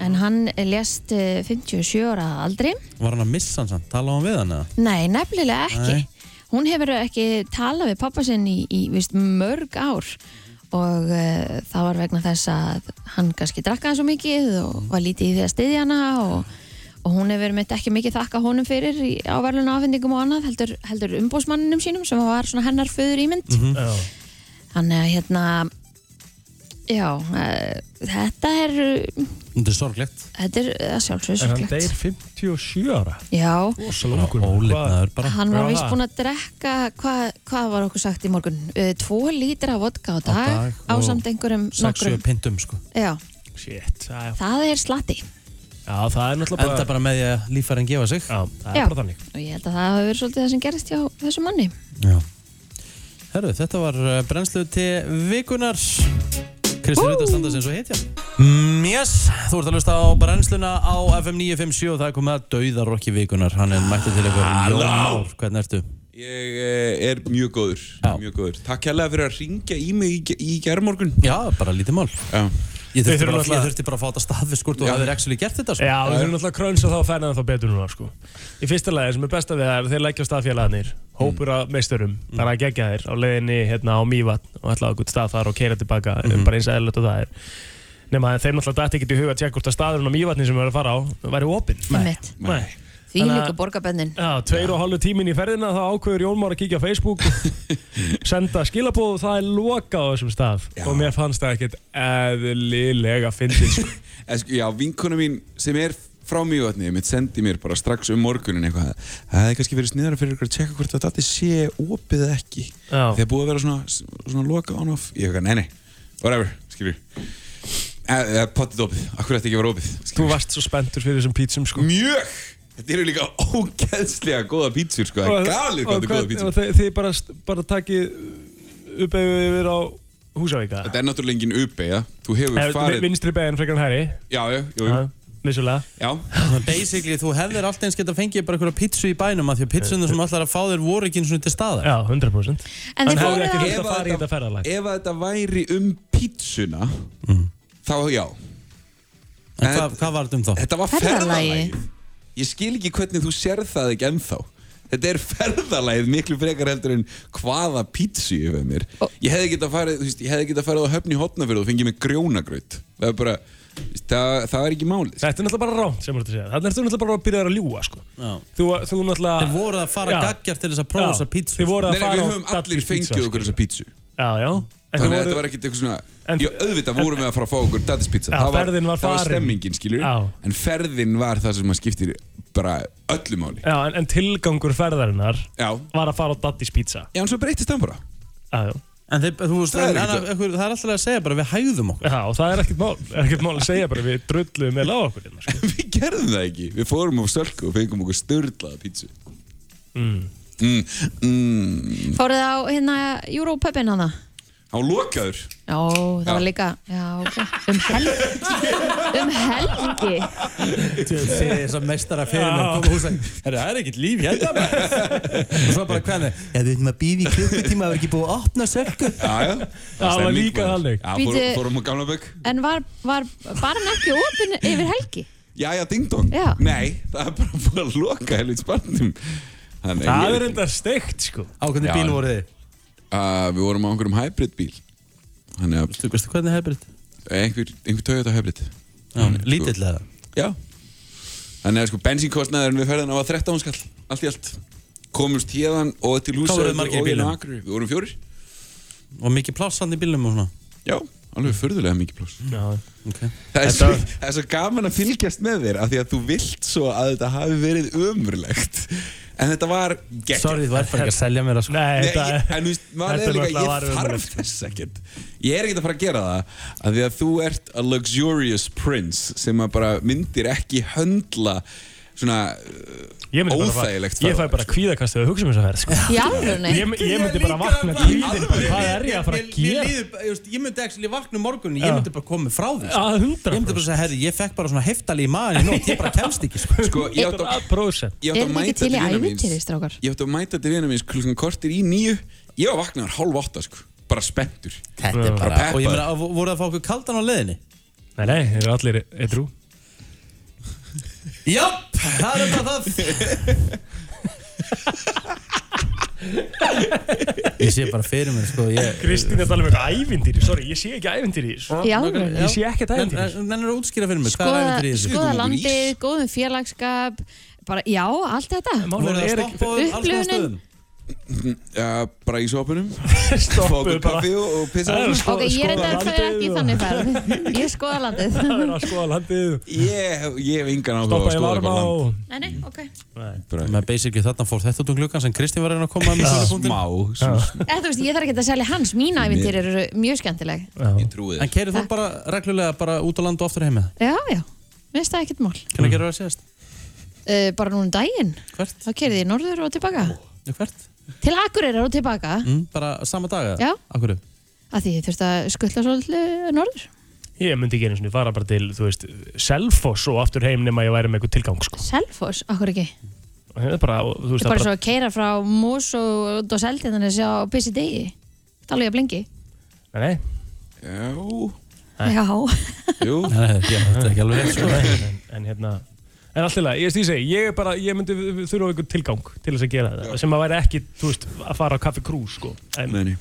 [SPEAKER 5] en hann lést eh, 57 ára að aldri
[SPEAKER 4] Var hann að missa hann samt? Talaði hann við hann eða?
[SPEAKER 5] Nei, nefnilega ekki
[SPEAKER 4] Nei.
[SPEAKER 5] Hún hefur ekki talað við pappa sinn í, í víst, mörg ár og uh, það var vegna þess að hann kannski drakkaði svo mikið og var lítið í því að styðja hana og, og hún hefur mitt ekki mikið þakka honum fyrir í áverlun afhendingum og annað heldur, heldur umbósmanninum sínum sem var svona hennar föður ímynd
[SPEAKER 6] Já.
[SPEAKER 5] Þannig að hérna já, uh, þetta er
[SPEAKER 4] Þetta er sorglegt
[SPEAKER 5] þetta er að sjálfsögur
[SPEAKER 6] En hann
[SPEAKER 5] sorglegt.
[SPEAKER 6] deyr 57 ára
[SPEAKER 5] Já,
[SPEAKER 6] Rosalega
[SPEAKER 4] Bara
[SPEAKER 6] ungur
[SPEAKER 4] óleitnaður bara
[SPEAKER 5] Hann
[SPEAKER 6] Já,
[SPEAKER 5] var vist
[SPEAKER 6] það.
[SPEAKER 5] búinn að drekka, hvað hva var okkur sagt í morgun? Uh, tvo lítra af vodka á dag,
[SPEAKER 4] dag
[SPEAKER 5] á
[SPEAKER 4] og
[SPEAKER 5] samt einhverjum
[SPEAKER 4] 6-7
[SPEAKER 5] um nokkrum.
[SPEAKER 4] pintum sko
[SPEAKER 5] Já,
[SPEAKER 6] Shit, það er,
[SPEAKER 5] það er slatti
[SPEAKER 6] já, það er náttúrulega bara,
[SPEAKER 4] Enda bara með því að líffærin gefa sig
[SPEAKER 6] Já, það
[SPEAKER 5] Já.
[SPEAKER 6] er bara þannig
[SPEAKER 5] og ég held að það hafi verið svolítið það sem gerist hjá þessum manni.
[SPEAKER 4] Já Herru, þetta var uh, brennslu til vikunar Kristi Rauta standa sem svo heitja mm, Yes, þú ert að lusta á brennsluna á FM 957 og það er komið að dauðarokki vikunar Hann er mættið til eitthvað Jón Már, hvernig ertu?
[SPEAKER 9] Ég eh, er mjög góður,
[SPEAKER 4] Já.
[SPEAKER 9] mjög góður. Takk hérlega fyrir að ringja í mig í, ge- í gerðmorgun.
[SPEAKER 4] Já, bara lítið mál
[SPEAKER 9] Já.
[SPEAKER 4] Ég
[SPEAKER 6] Við
[SPEAKER 4] þurfti,
[SPEAKER 6] þurfum
[SPEAKER 4] bara,
[SPEAKER 6] náttúrulega-
[SPEAKER 4] ég þurfti bara að fá þetta staðfist hvort þú
[SPEAKER 9] Já.
[SPEAKER 4] hafðir actually gert þetta sko.
[SPEAKER 6] Já, við þurfum náttúrulega að krönsa þá færnaðan þá betur núna sko. Í fyrsta lagi, sem er besta við það er að þeir leggja á staðfélagarnir
[SPEAKER 9] Mm.
[SPEAKER 6] Hópur af meisturum, bara að gegja þeir á leiðinni hérna á Mývatn og ætla á einhvern stað þar og keira tilbaka
[SPEAKER 9] Mhm.
[SPEAKER 6] bara eins aðeinlegt og það er Nefna þeim náttúrulega dætti ekkert í huga að tjekka hvort að staðurinn á Mývatni sem við erum að fara á væri opinn
[SPEAKER 5] Einmitt.
[SPEAKER 6] Nei.
[SPEAKER 5] Því
[SPEAKER 6] Þannig að-
[SPEAKER 5] líka borgarbennin.
[SPEAKER 6] Já, tveir og halvu tímin í ferðina þá ákveður Jón Már að kíkja á Facebook senda skilabóð og það er loka á þessum stað og mér fannst það ekkert eðlilega fyndið sko.
[SPEAKER 9] En, sko, já, vinkona mín sem er frá mjögotni, mitt sendi mér bara strax um morgunin eitthvað. Það hefði kannski verið sniðara fyrir ykkur að tjekka hvort að dati sé opið eða ekki.
[SPEAKER 6] Já.
[SPEAKER 9] Þegar búið að vera svona, svona loka on off. Ég eitthvað, nei, nei, whatever, skilur. Eða potið opið, akkur ætti ekki að vera opið.
[SPEAKER 6] Þú
[SPEAKER 9] skilurðu.
[SPEAKER 6] varst svo spenntur fyrir þessum pítsum sko.
[SPEAKER 9] Mjög! Þetta eru líka ógeðslega góða pítsur, sko. Það
[SPEAKER 6] Og-
[SPEAKER 9] er galið
[SPEAKER 6] og
[SPEAKER 9] hvað þetta er góða
[SPEAKER 6] hvern-
[SPEAKER 9] pítsur.
[SPEAKER 6] Og þið, þið bara, bara takið upp eða yfir á Húsavíka
[SPEAKER 9] Þetta er náttúrulega engin uppeigja, þú hefur
[SPEAKER 6] Eh,
[SPEAKER 9] farið...
[SPEAKER 6] Vinstri beginn frekar en hæri
[SPEAKER 9] Já, já, jú, jú,
[SPEAKER 6] Já, Vissulega
[SPEAKER 9] já.
[SPEAKER 4] Þannig að Basically, þú hefðir alltaf eins geta fengið bara einhverja pítsu í bænum að því að pítsunar sem allar að fá þér voru ekki eins og til staðar
[SPEAKER 6] Eh, Já, 100%
[SPEAKER 5] En
[SPEAKER 6] Hann
[SPEAKER 5] þið fóruð
[SPEAKER 6] hefði
[SPEAKER 5] á...
[SPEAKER 6] ekki vilt að fara í þetta ferðalag Mm.
[SPEAKER 9] ef að þetta væri um pítsuna, þá já.
[SPEAKER 4] En hvað, hvað var þetta um þá?
[SPEAKER 9] Þetta var
[SPEAKER 5] Ferðalagið.
[SPEAKER 9] ferðalagið. Ég skil ekki hvernig þú sér það ekki ennþá. Þetta er ferðalagið miklu frekar heldur en hvaða pítsu ég veið mér. Ég hefði getað farið, þú veist, ég hefði getað farið á höfni hotnafjörðu og fengið mig grjónagraut. Það er bara, þú veist, það, það er ekki málið.
[SPEAKER 6] Þetta er náttúrulega bara rámt sem þú ert að segja Þannig ertu náttúrulega bara að byrja að ljúa sko.
[SPEAKER 4] Já.
[SPEAKER 6] þú, þú náttúrulega
[SPEAKER 4] Þeir voru að fara
[SPEAKER 6] Já.
[SPEAKER 4] gaggjart til þess að prófa sko.
[SPEAKER 6] Já,
[SPEAKER 4] þessar pítsu
[SPEAKER 6] Þið
[SPEAKER 9] Nei,
[SPEAKER 6] voru að
[SPEAKER 9] nei, við
[SPEAKER 6] fara á
[SPEAKER 9] höfum allir
[SPEAKER 6] Daddy's
[SPEAKER 9] fengið
[SPEAKER 6] Pizza,
[SPEAKER 9] okkur
[SPEAKER 6] sko.
[SPEAKER 9] þessa pítsu.
[SPEAKER 6] Já, já En
[SPEAKER 9] Þannig að
[SPEAKER 6] þið
[SPEAKER 9] þetta
[SPEAKER 6] voru
[SPEAKER 9] var ekkert eitthvað svona
[SPEAKER 6] En-
[SPEAKER 9] Jú, auðvitað vorum við að fara að fá okkur Daddy's Pizza
[SPEAKER 6] Já,
[SPEAKER 9] Það
[SPEAKER 6] ferðin var
[SPEAKER 9] Það var
[SPEAKER 6] farin.
[SPEAKER 9] stemmingin, skilur
[SPEAKER 6] Já.
[SPEAKER 9] En ferðin var það sem maður skiptir bara öllu máli
[SPEAKER 6] Já, en, en tilgangur ferðarinnar
[SPEAKER 9] Já,
[SPEAKER 6] var að fara á Daddy's Pizza
[SPEAKER 9] já en svo breytist það bara
[SPEAKER 6] Já, já
[SPEAKER 4] En þeir, þú veist,
[SPEAKER 9] Það er
[SPEAKER 4] en,
[SPEAKER 9] ekki-
[SPEAKER 4] en, ekkur, það er alltaf að segja bara við hægðum okkur
[SPEAKER 6] Já, og það er ekkert mál, ekkert mál að segja bara við drulluðum með lág okkur hérna, sko.
[SPEAKER 9] Við gerðum það ekki Við fórum á sölku og fengum okkur störlaða pítsu mm. Mm,
[SPEAKER 5] Fóruð á hérna Europubin hana?
[SPEAKER 9] Á lokaður
[SPEAKER 5] Já, það
[SPEAKER 9] Já.
[SPEAKER 5] var líka... Já, ok. Um helgi. um helgi.
[SPEAKER 4] Segja þess að meistara fyrir mér koma hús að Það er ekkert líf hérna maður." Og svo bara hvernig Já, við erum að býði í klukkutíma Það er ekki búið að opna sörku
[SPEAKER 9] Já, já
[SPEAKER 6] Það var
[SPEAKER 9] stemning,
[SPEAKER 6] líka
[SPEAKER 9] maður.
[SPEAKER 6] þannig.
[SPEAKER 9] Já, fórum,
[SPEAKER 5] Bíddu.
[SPEAKER 9] fórum á gamla bök
[SPEAKER 5] En var, var barinn ekki opinn yfir helgi?
[SPEAKER 9] Já, já, ding dong
[SPEAKER 5] Já.
[SPEAKER 9] Nei, það er bara búið að loka helvits barnum Þannig,
[SPEAKER 6] Það
[SPEAKER 9] ég-
[SPEAKER 6] er enda steikt, sko.
[SPEAKER 4] Á hvernig
[SPEAKER 9] Já.
[SPEAKER 4] bíl voru þið?
[SPEAKER 9] Uh, Við vorum á einhverjum hybrid bíl Þannig að Eh,
[SPEAKER 4] Þú veist hvernig hefur
[SPEAKER 9] einhver, einhver Toyota hybrid sko-
[SPEAKER 4] þetta? Lítillega
[SPEAKER 9] Já Þannig að sko bensínkostnaðurinn við ferðina var 13 skall Allt í allt Komumst hérna og til húsa
[SPEAKER 4] voruð þið margir í bílnum?
[SPEAKER 9] Við vorum fjórir
[SPEAKER 4] Og mikið plássand í bílnum og svona Mm.
[SPEAKER 9] Já, alveg furðulega mikið pláss
[SPEAKER 6] Já,
[SPEAKER 4] Ok
[SPEAKER 9] það er, svo,
[SPEAKER 6] Þetta-
[SPEAKER 9] það er svo gaman að fylgjast með þér Af því að þú vilt svo að þetta hafi verið ömurlegt En þetta var gegn
[SPEAKER 4] Sorry, þú ert bara ekki að selja mér það sko
[SPEAKER 6] Nei,
[SPEAKER 9] Nei,
[SPEAKER 6] þetta
[SPEAKER 9] ég, en þú veist, maður
[SPEAKER 6] þetta
[SPEAKER 9] er líka,
[SPEAKER 6] náttúrulega var
[SPEAKER 9] ég þarf
[SPEAKER 6] ömurlegt.
[SPEAKER 9] þess ekkert Ég er ekkert að fara að gera það að Því að þú ert a luxurious prince Sem að bara myndir ekki höndla Svona uh,
[SPEAKER 6] Ég myndi bara fara,
[SPEAKER 9] Óþægilegt sko.
[SPEAKER 6] ég fæ
[SPEAKER 9] ferðalag,
[SPEAKER 6] bara kvíðakast þegar við hugsa um þess að ferð, sko.
[SPEAKER 5] Í alvörunni?
[SPEAKER 6] Ég, ég myndi bara vakna kvíðin, bara, hvað er ég að fara að gera?
[SPEAKER 4] Ég myndi ekki vakna um morgun
[SPEAKER 6] Já.
[SPEAKER 4] Ég myndi bara koma frá því sko.
[SPEAKER 6] Að
[SPEAKER 4] Ég myndi bara
[SPEAKER 6] 100%.
[SPEAKER 4] segja, herri, ég fekk bara svona heftali í maðurinn og ég bara kemst ekki sko.
[SPEAKER 9] Sko, ég átt að
[SPEAKER 6] 100%.
[SPEAKER 9] Ég átti
[SPEAKER 5] Er
[SPEAKER 9] að
[SPEAKER 5] það ekki til í
[SPEAKER 9] mæta til vina míns
[SPEAKER 5] ævintýri, strákar?
[SPEAKER 9] Ég átti að mæta til vina míns klukkan kortir í nýju Ég var vaknaður hálf átta sko Bara spenntur
[SPEAKER 4] Þetta er
[SPEAKER 9] Bara
[SPEAKER 4] Og ég
[SPEAKER 9] peppaður.
[SPEAKER 4] meina, voru það að fá okkur kaldan á leiðinni?
[SPEAKER 6] Nei, nei, þeir eru allir edru.
[SPEAKER 4] Japp, það er þetta það Ég sé bara fyrir mér sko ég,
[SPEAKER 6] Kristín er að tala um eitthvað ævindýri, sorry, ég sé ekki ævindýri
[SPEAKER 5] Í alvöru?
[SPEAKER 6] Ég sé ekkert ævindýri
[SPEAKER 4] Nennar að útskýra fyrir mér, hvað er
[SPEAKER 5] Skoða,
[SPEAKER 4] ævintýri í þessu?
[SPEAKER 5] Sko- skoða
[SPEAKER 9] Komum okkur í
[SPEAKER 5] landið,
[SPEAKER 9] ís.
[SPEAKER 5] góðum félagskap bara, já, allt þetta
[SPEAKER 4] Voru það
[SPEAKER 6] Málið er
[SPEAKER 4] að
[SPEAKER 6] ekki
[SPEAKER 4] stoppa á alls konar
[SPEAKER 5] Upplifunin.
[SPEAKER 4] stöðum?
[SPEAKER 9] Já, bara í sjópunum, fá
[SPEAKER 6] stoppuð
[SPEAKER 9] okkur
[SPEAKER 6] bara
[SPEAKER 9] kaffi og, og pissa
[SPEAKER 6] Það er
[SPEAKER 9] okkur.
[SPEAKER 6] sko-
[SPEAKER 5] ok, ég
[SPEAKER 6] skoða
[SPEAKER 5] reyndar að fer
[SPEAKER 6] landið
[SPEAKER 5] ekki í
[SPEAKER 6] og-
[SPEAKER 5] þannig ferð ég skoða landið
[SPEAKER 6] Það er að skoða landið,
[SPEAKER 9] Ég hef- ég hef engan áhuga á að
[SPEAKER 6] stoppa í
[SPEAKER 9] skoða
[SPEAKER 6] varma
[SPEAKER 9] eitthvað land.
[SPEAKER 6] og
[SPEAKER 5] nei, nei, ok
[SPEAKER 4] Með basically þarna fór þetta út um gluggan sem Kristín var að reyna að koma með sjónupunktin
[SPEAKER 9] Má, svona,
[SPEAKER 5] eða þú veist, ég þarf ekki að selja hans mín æfintir eru mjög skemmtileg
[SPEAKER 9] ég trúi
[SPEAKER 4] En
[SPEAKER 9] þér.
[SPEAKER 4] keirið þú bara reglulega bara út á land og aftur heima
[SPEAKER 5] já, já, minnst það ekkert mál
[SPEAKER 4] Hvernig gerur það að séast?
[SPEAKER 5] uh, bara núna um daginn,
[SPEAKER 4] Hvert?
[SPEAKER 5] þá kerði ég norður og tilbaka
[SPEAKER 4] Já, Hvert?
[SPEAKER 5] til Akureyrar og tilbaka
[SPEAKER 4] Mm, bara sama dag?
[SPEAKER 5] Já.
[SPEAKER 4] Akkur upp?
[SPEAKER 5] að því ég þurfti að skuttla svolítið norður
[SPEAKER 6] Ég myndi ekki einu svona fara bara til, þú veist, Selfoss og aftur heim nema ég væri með eitthvað tilgang, sko.
[SPEAKER 5] Selfoss, akkur ekki það
[SPEAKER 6] Það er bara, þú veist,
[SPEAKER 5] er bara svo að keira frá Mós og út á seldið þannig að sjá pissi degi það er alveg að blengi
[SPEAKER 6] Nei, nei,
[SPEAKER 9] Já,
[SPEAKER 5] já
[SPEAKER 9] jú,
[SPEAKER 4] Nei, nei, já, þetta er ekki alveg rétt sko
[SPEAKER 6] en, en, en hérna, en allt í lagi, ég veist, ég segi, ég er bara, ég myndi þurfa eitthvað tilgang til þess að gera þetta, sem að væri ekki, þú veist, að fara á kaffi krú, sko. En,
[SPEAKER 9] meðni.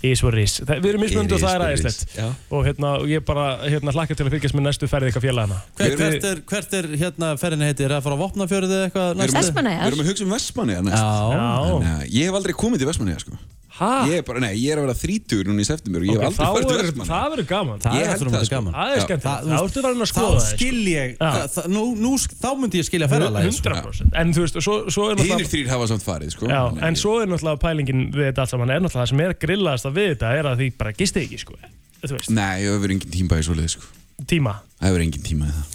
[SPEAKER 6] Ís og ris. Það, við erum mismunandi og
[SPEAKER 9] It is
[SPEAKER 6] það er
[SPEAKER 9] what it
[SPEAKER 6] aðeinslegt.
[SPEAKER 9] is. Já.
[SPEAKER 6] Og hérna, og ég bara, hérna, hlakka til að fylgjast með næstu ferði ykkar félagana.
[SPEAKER 4] Hvert, hvert, er, hvert er hérna ferðinni heitir? Er það að fara á Vopnafjörðu eða eitthvað
[SPEAKER 9] Við erum-
[SPEAKER 4] næstu?
[SPEAKER 5] Vestmannaeyjar?
[SPEAKER 9] Við erum að hugsa um Vestmannaeyjar næst.
[SPEAKER 4] Já,
[SPEAKER 6] Já.
[SPEAKER 9] Nei, ég hef aldrei komið til Vestmannaeyja sko.
[SPEAKER 6] Hæ?
[SPEAKER 9] Ég er bara, nei, ég er að vera 30 núna í september og ég hef
[SPEAKER 6] Ok, þá
[SPEAKER 9] aldrei farið til
[SPEAKER 6] er,
[SPEAKER 9] Vestmannaeyja.
[SPEAKER 6] það verður gaman.
[SPEAKER 4] það
[SPEAKER 9] Ég
[SPEAKER 4] er
[SPEAKER 9] held
[SPEAKER 4] það
[SPEAKER 9] það,
[SPEAKER 4] mjög
[SPEAKER 9] sko.
[SPEAKER 4] gaman
[SPEAKER 6] Það er skemmt.
[SPEAKER 4] það-
[SPEAKER 6] Það ertu verðin
[SPEAKER 4] Þá
[SPEAKER 6] að skoða það, sko.
[SPEAKER 4] skil ég,
[SPEAKER 6] Já.
[SPEAKER 4] það- það- nú, nú, sk- þá myndi ég skilja ferðalagi sko.
[SPEAKER 6] 100%. En þú veist, og svo, svo er náttúrulega...
[SPEAKER 9] Hinir þrýr hafa samt farið sko.
[SPEAKER 6] Já,
[SPEAKER 9] Þannig
[SPEAKER 6] en
[SPEAKER 9] að
[SPEAKER 6] svo er náttúrulega pælingin við þetta allt saman er náttúrulega það sem er grillaðast að við þetta er að því bara gisti ekki sko þú
[SPEAKER 9] ég-
[SPEAKER 6] veist,
[SPEAKER 9] Nei, það hefur engin tíma í svoleið sko.
[SPEAKER 6] tíma
[SPEAKER 9] Það hefur engin tíma í það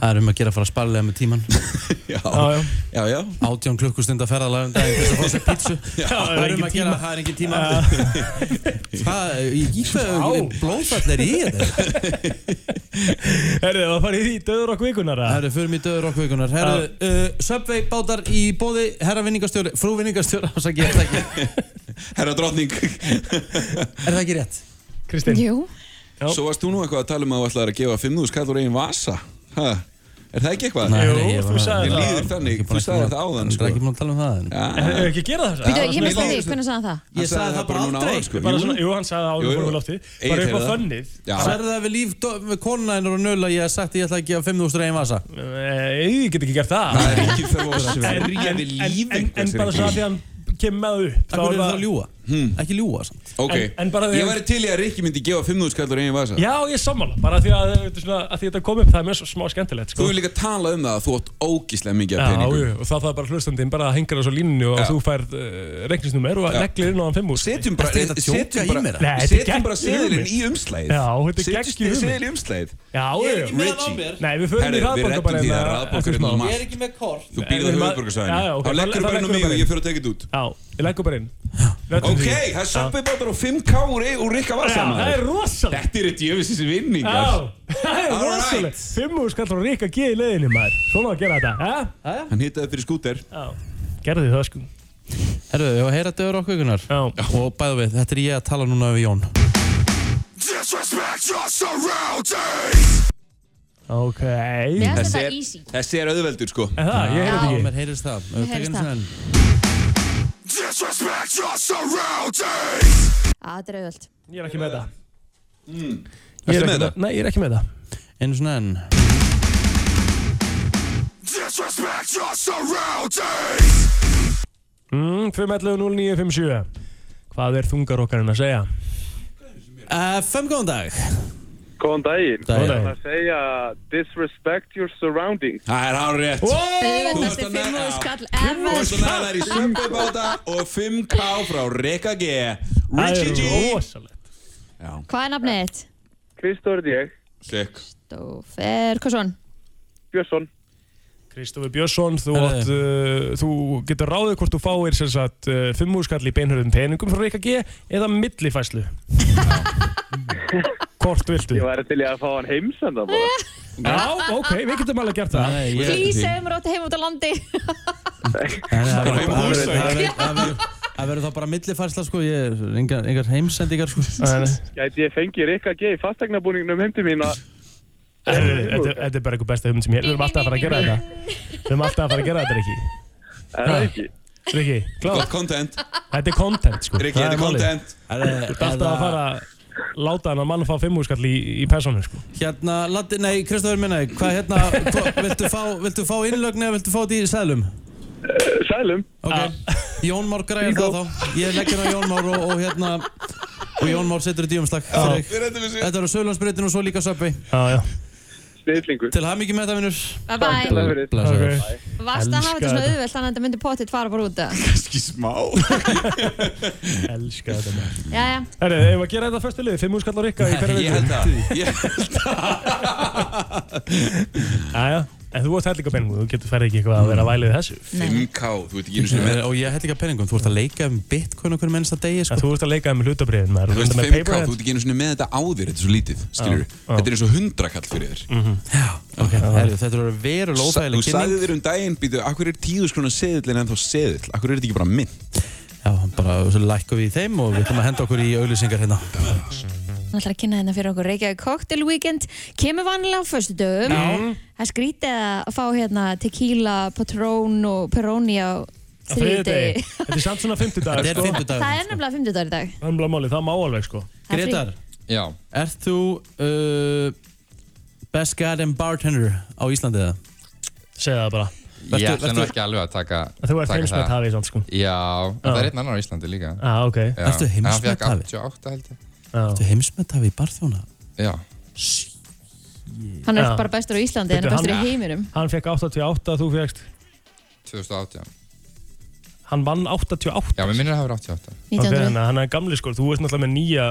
[SPEAKER 4] Það er um að gera að fara að sparlega með tíman
[SPEAKER 9] Já,
[SPEAKER 6] Já, já.
[SPEAKER 9] já, já.
[SPEAKER 4] Átján klukkustunda ferðalagi um daginn til þess að fá sér pítsu Það er um
[SPEAKER 6] engin
[SPEAKER 4] að gera, það er engin tíma Hvað, í í hvað,
[SPEAKER 6] Vá.
[SPEAKER 4] blóðfall er í þetta?
[SPEAKER 6] Herðu, það farið í döður okkur vikunar að
[SPEAKER 4] Herru, förum í döður okkur vikunar Herru, uh, Subway bátar í bóði Herra vinningastjóri, frú vinningastjóri ásaki, er, það ekki-
[SPEAKER 9] Herra drottning
[SPEAKER 4] er það ekki rétt?
[SPEAKER 6] Kristinn,
[SPEAKER 5] Jú,
[SPEAKER 9] Svo varst þú nú eitthvað að tala um að þú ætlaðir að gefa 5.000 skall úr einn vasa ha? Er það ekki eitthvað?
[SPEAKER 4] Nei,
[SPEAKER 6] Jú,
[SPEAKER 4] nei, ég
[SPEAKER 6] þú
[SPEAKER 4] var-
[SPEAKER 6] sagðir
[SPEAKER 9] Mér
[SPEAKER 6] það.
[SPEAKER 9] líður þannig, þú sagði þetta áðan
[SPEAKER 4] Ég er
[SPEAKER 9] sko.
[SPEAKER 4] ekki búin að tala um það en-
[SPEAKER 9] Já,
[SPEAKER 6] hefur ekki gera það
[SPEAKER 5] býtu,
[SPEAKER 6] sagði
[SPEAKER 5] ég misti því,
[SPEAKER 9] leiðist-
[SPEAKER 5] hvernig sagði hann það?
[SPEAKER 4] Ég sagði það bara
[SPEAKER 9] núna
[SPEAKER 4] aldrei.
[SPEAKER 9] áðan, sko.
[SPEAKER 6] hann? bara
[SPEAKER 9] Jú.
[SPEAKER 6] svona, jú, hann sagði það
[SPEAKER 9] Jú,
[SPEAKER 6] áður
[SPEAKER 9] jú.
[SPEAKER 6] fórum við lofti
[SPEAKER 9] Egill
[SPEAKER 6] bara upp á
[SPEAKER 9] heyrði það.
[SPEAKER 6] fönnið
[SPEAKER 9] Já.
[SPEAKER 4] Særðu það við líf dó- með konuna hennar og nöla ég hef sagt að ég ætla að gefa 5.000 reyn vasa
[SPEAKER 6] Eh, ég get ekki gert það
[SPEAKER 9] Það er ekki þau að
[SPEAKER 6] en, en,
[SPEAKER 9] sverja
[SPEAKER 6] en,
[SPEAKER 9] við
[SPEAKER 6] en,
[SPEAKER 9] líf
[SPEAKER 6] en, en
[SPEAKER 9] einhvers
[SPEAKER 6] bara
[SPEAKER 9] er
[SPEAKER 6] svo að
[SPEAKER 9] ekki.
[SPEAKER 6] því hann kemur með upp
[SPEAKER 4] Það voru það að ljúa Ekki ljúa samt
[SPEAKER 9] Hmm. Ok,
[SPEAKER 6] en- en bara því-
[SPEAKER 9] ég væri til í að Rikki myndi gefa 5.000 skall úr einn vasa
[SPEAKER 6] Já, ég er sammála, bara því að, veitu, svona, að því þetta kom upp, það er mjög svo smá skemmtilegt
[SPEAKER 9] Þú
[SPEAKER 6] sko.
[SPEAKER 9] hefur líka talað um það að þú átt ógíslega mikið
[SPEAKER 6] Já,
[SPEAKER 9] af peningum
[SPEAKER 6] jú, og það þarf bara hlustandinn bara að hengra þessu á línunni og
[SPEAKER 9] Já.
[SPEAKER 6] þú færð uh, reikningsnúmer og neglir inn á hann 5
[SPEAKER 9] Setjum
[SPEAKER 4] Ertu
[SPEAKER 9] bara,
[SPEAKER 4] ekkert að djóka
[SPEAKER 9] setjum
[SPEAKER 4] í mér,
[SPEAKER 9] bara,
[SPEAKER 4] eða?
[SPEAKER 6] Nei, þetta er
[SPEAKER 9] setjum
[SPEAKER 6] gegn
[SPEAKER 9] bara seðilinn
[SPEAKER 6] hugmynd.
[SPEAKER 9] í umslæðið
[SPEAKER 6] Já, þetta er gegn
[SPEAKER 9] Setjum
[SPEAKER 6] hugmynd.
[SPEAKER 9] seðil í umslæðið
[SPEAKER 6] Já, jú,
[SPEAKER 4] með
[SPEAKER 9] Richie.
[SPEAKER 4] á mér.
[SPEAKER 6] Nei, við förum
[SPEAKER 9] Herri,
[SPEAKER 6] í
[SPEAKER 9] við
[SPEAKER 6] hraðbanka
[SPEAKER 9] reddum
[SPEAKER 6] bara
[SPEAKER 9] því
[SPEAKER 6] hérna
[SPEAKER 9] að raðbanka er
[SPEAKER 6] eftir
[SPEAKER 9] hérna
[SPEAKER 6] smá.
[SPEAKER 9] margt.
[SPEAKER 4] Ég er ekki með kort
[SPEAKER 9] Þú
[SPEAKER 6] Nei,
[SPEAKER 9] býrðu á
[SPEAKER 6] við ma- Já,
[SPEAKER 9] höfuborgarsvæðinu
[SPEAKER 6] já,
[SPEAKER 9] Þá
[SPEAKER 6] ok, þá-
[SPEAKER 9] leggur
[SPEAKER 6] þá
[SPEAKER 9] þú bara inn á
[SPEAKER 6] leggur
[SPEAKER 9] mig
[SPEAKER 6] bara
[SPEAKER 9] og
[SPEAKER 6] inn.
[SPEAKER 9] ég fyrir að tekja þetta út
[SPEAKER 6] Já, ég leggur bara inn Lötum
[SPEAKER 9] Ok,
[SPEAKER 6] því.
[SPEAKER 9] það er söpbið bara frá 5K úr ei- úr Rikka
[SPEAKER 6] Já,
[SPEAKER 9] Vasa
[SPEAKER 6] það er
[SPEAKER 9] maður
[SPEAKER 6] rosalegt
[SPEAKER 9] Þetta eru djöfisins
[SPEAKER 6] Já,
[SPEAKER 9] vinningar
[SPEAKER 6] það
[SPEAKER 9] All
[SPEAKER 6] er
[SPEAKER 9] right.
[SPEAKER 6] rosalegt Fimm úr skall frá Rík að geða í leiðinni maður Svona á að gera þetta, hæ?
[SPEAKER 9] Hann hittaði fyrir skúter
[SPEAKER 6] Já, gerði það sko
[SPEAKER 4] Herru, ég var að heyra döður okkur ykkurnar
[SPEAKER 6] Já.
[SPEAKER 4] Og bæðu við, þetta er ég að tala núna við Jón
[SPEAKER 6] Ok
[SPEAKER 5] Mér
[SPEAKER 6] Er
[SPEAKER 5] finnst
[SPEAKER 9] Þessi
[SPEAKER 5] þetta
[SPEAKER 9] er-
[SPEAKER 5] easy
[SPEAKER 9] Þessi er auðveldur sko
[SPEAKER 6] Það, ég heyrði
[SPEAKER 4] Og
[SPEAKER 6] ekki
[SPEAKER 4] mér heyrist það
[SPEAKER 5] Mér heyrist
[SPEAKER 4] Tökum
[SPEAKER 5] það.
[SPEAKER 4] sinni.
[SPEAKER 5] Að þetta er auðvöld
[SPEAKER 6] Ég er ekki með það
[SPEAKER 9] Ertu
[SPEAKER 6] Ég er
[SPEAKER 9] með
[SPEAKER 6] ekki
[SPEAKER 9] þetta?
[SPEAKER 6] Nei, ég er ekki með það
[SPEAKER 4] Einu svona enn
[SPEAKER 6] Mm, 511-0957 Hvað er þungarokkarinn að segja?
[SPEAKER 4] Eh, Fimm góðan dag
[SPEAKER 10] Góðan daginn.
[SPEAKER 4] Góðan
[SPEAKER 10] Það er að segja disrespect your surroundings.
[SPEAKER 9] Það er hár rétt
[SPEAKER 5] Auðvöld,
[SPEAKER 9] Þú
[SPEAKER 5] þetta
[SPEAKER 9] ert
[SPEAKER 5] er
[SPEAKER 9] að
[SPEAKER 5] fimm
[SPEAKER 9] nefna-
[SPEAKER 5] og skall
[SPEAKER 9] Og
[SPEAKER 5] ever
[SPEAKER 9] svona það er í söpbið báta og 5K frá Rikka G Richie
[SPEAKER 6] Það er
[SPEAKER 9] G
[SPEAKER 6] rosalegt
[SPEAKER 5] Hvað er nafnið þitt?
[SPEAKER 10] Kristóður ég,
[SPEAKER 9] Sick
[SPEAKER 5] Stófer Kursson
[SPEAKER 10] Björnsson.
[SPEAKER 6] Kristofi Björnsson, þú,
[SPEAKER 4] Herðu.
[SPEAKER 6] átt, uh, þú getur ráðið hvort þú fáir sem sagt uh, fimmúrskall í beinhörðum peningum frá Ríkja G eða millifæslu. hvort viltu?
[SPEAKER 10] Ég væri til í að fá hann heimsenda bara.
[SPEAKER 6] Já, ok, við getum alveg gert það.
[SPEAKER 4] Nei, ég-
[SPEAKER 5] Please, hefur mér átt heim út á landi
[SPEAKER 4] Nei, nei, Það verður-
[SPEAKER 9] heima
[SPEAKER 4] það verður-
[SPEAKER 9] húsavík.
[SPEAKER 4] það verður- það verður- það verður þá bara millifærsla sko Ég er engar, engar heimsendingar sko
[SPEAKER 6] En,
[SPEAKER 10] Gæti ég fengið Rikka G. í fastegnabúningnum heim til mín að
[SPEAKER 6] Heyrðu, Þetta þetta er bara eitthvað besta hugmynd sem ég Við erum alltaf að fara að gera þetta Við erum alltaf að fara að gera þetta, Rikki
[SPEAKER 10] Er það ekki?
[SPEAKER 6] Rikki,
[SPEAKER 9] Gott
[SPEAKER 6] kláð
[SPEAKER 9] content
[SPEAKER 6] Þetta er content, sko
[SPEAKER 9] Rikki,
[SPEAKER 6] Það
[SPEAKER 9] þetta er
[SPEAKER 6] er málið.
[SPEAKER 9] content
[SPEAKER 6] Þú ert alltaf að fara að láta hann að mann fá fimmúskall í, í persónu sko.
[SPEAKER 4] Hérna, Latti, nei, Kristofur minna, hvað hérna, hva, viltu, fá, viltu fá innlögn eða viltu fá þetta í seðlum?
[SPEAKER 10] Sælum
[SPEAKER 4] Ok,
[SPEAKER 6] Ah.
[SPEAKER 4] Jón Már græðir það þá, ég leggir á Jón Már og, og hérna, og Jón Már setur þetta í umslag fyrir þig.
[SPEAKER 9] Við reyndum þessu
[SPEAKER 4] Þetta eru Söðlandsbreytin og svo líka Söpvei.
[SPEAKER 6] Já, já
[SPEAKER 10] Snillingur
[SPEAKER 4] Til hamingi með þetta, vinnur.
[SPEAKER 5] Bye bye.
[SPEAKER 10] Það fyrir
[SPEAKER 6] okay.
[SPEAKER 5] Varst að hafa
[SPEAKER 6] Elska
[SPEAKER 5] þetta svona
[SPEAKER 6] þetta.
[SPEAKER 5] auðvelt þannig að þetta myndi pottitt fara bara út að
[SPEAKER 9] Kanski smá
[SPEAKER 6] Elskar þetta maður
[SPEAKER 5] Jæja,
[SPEAKER 6] Herru, hefur að gera þetta fyrstu liði, fimmúskall og rikka í hverju
[SPEAKER 9] Ég held að Ég
[SPEAKER 6] Jæja, en þú ert hellinga penningu, þú getur ferð ekki eitthvað að vera að væla við þessu
[SPEAKER 5] nei
[SPEAKER 9] 5K, þú veit ekki einu sinni með
[SPEAKER 4] Og ég held ekki að penningum, þú ert að leika um bitcoin okkur mennsta degi,
[SPEAKER 6] En
[SPEAKER 4] sko.
[SPEAKER 6] þú ert að leika um hlutabriðin maður,
[SPEAKER 9] Þú
[SPEAKER 6] þú
[SPEAKER 9] veist
[SPEAKER 6] ert með
[SPEAKER 9] 5K, þú
[SPEAKER 6] paperhead
[SPEAKER 9] ert ekki einu sinni með þetta áður, þetta er svo lítið, skilur
[SPEAKER 6] Já. Mm.
[SPEAKER 9] Þetta er eins og 100 kall fyrir þér
[SPEAKER 6] Mhm.
[SPEAKER 4] Ok, herru, þetta eru verulega
[SPEAKER 9] Sa- Þú
[SPEAKER 4] óþægileg
[SPEAKER 9] sagði
[SPEAKER 4] kynning.
[SPEAKER 9] þér um daginn, býtu, akkur er tíðu skrona seðillin en þá seðill, akkur er þetta ekki bara mynd
[SPEAKER 4] Já, bara svo lækkum við í þeim og við ætlum að henda okkur í auðlýsingar hérna.
[SPEAKER 5] Hún ætlar að kynna hérna fyrir okkur Reykjavík Cocktail Weekend Kemur vanlega á föstu dögum
[SPEAKER 6] Mm.
[SPEAKER 5] Það er skrítið að fá hérna tequila, patrón og peroni á
[SPEAKER 6] á þriðjudegi.
[SPEAKER 5] þriðjudegi.
[SPEAKER 6] Þetta er samt svona
[SPEAKER 4] Þetta
[SPEAKER 6] 50
[SPEAKER 4] er
[SPEAKER 5] Það
[SPEAKER 6] dagar, sko
[SPEAKER 5] er
[SPEAKER 4] 50
[SPEAKER 5] nefnilega 50 dagar í dag
[SPEAKER 6] Það er bara málið, það má alveg, sko
[SPEAKER 5] Það er frí.
[SPEAKER 4] Gretar,
[SPEAKER 9] Já
[SPEAKER 4] ert þú uh, best goddamn bartender á Íslandi eða?
[SPEAKER 6] Segð það bara,
[SPEAKER 4] Vertu-
[SPEAKER 11] Ég ætla nú
[SPEAKER 4] vertu-
[SPEAKER 11] ekki alveg að taka
[SPEAKER 6] En þú ert
[SPEAKER 11] taka það.
[SPEAKER 6] heimsmynd hafið samt, sko
[SPEAKER 11] Já, en það er einn annar á Íslandi líka
[SPEAKER 6] ah, ok
[SPEAKER 11] Já.
[SPEAKER 4] Ertu
[SPEAKER 11] En hann fékk
[SPEAKER 4] heimsmetafi?
[SPEAKER 11] 88 held ég
[SPEAKER 4] Þú heimsmet hafi í barþjóna?
[SPEAKER 11] Já,
[SPEAKER 5] Hann er
[SPEAKER 6] Já.
[SPEAKER 5] bara bestur á Íslandi en
[SPEAKER 6] Bíddu,
[SPEAKER 5] bestur í
[SPEAKER 6] hann-
[SPEAKER 5] heiminum
[SPEAKER 6] Hann fekk 88, þú fegst
[SPEAKER 11] 2018
[SPEAKER 6] Hann vann 88
[SPEAKER 11] Já, mér minnir að það var 88
[SPEAKER 6] Ok,
[SPEAKER 5] 1900
[SPEAKER 6] þannig að hann er gamli, sko, þú ert náttúrulega með nýja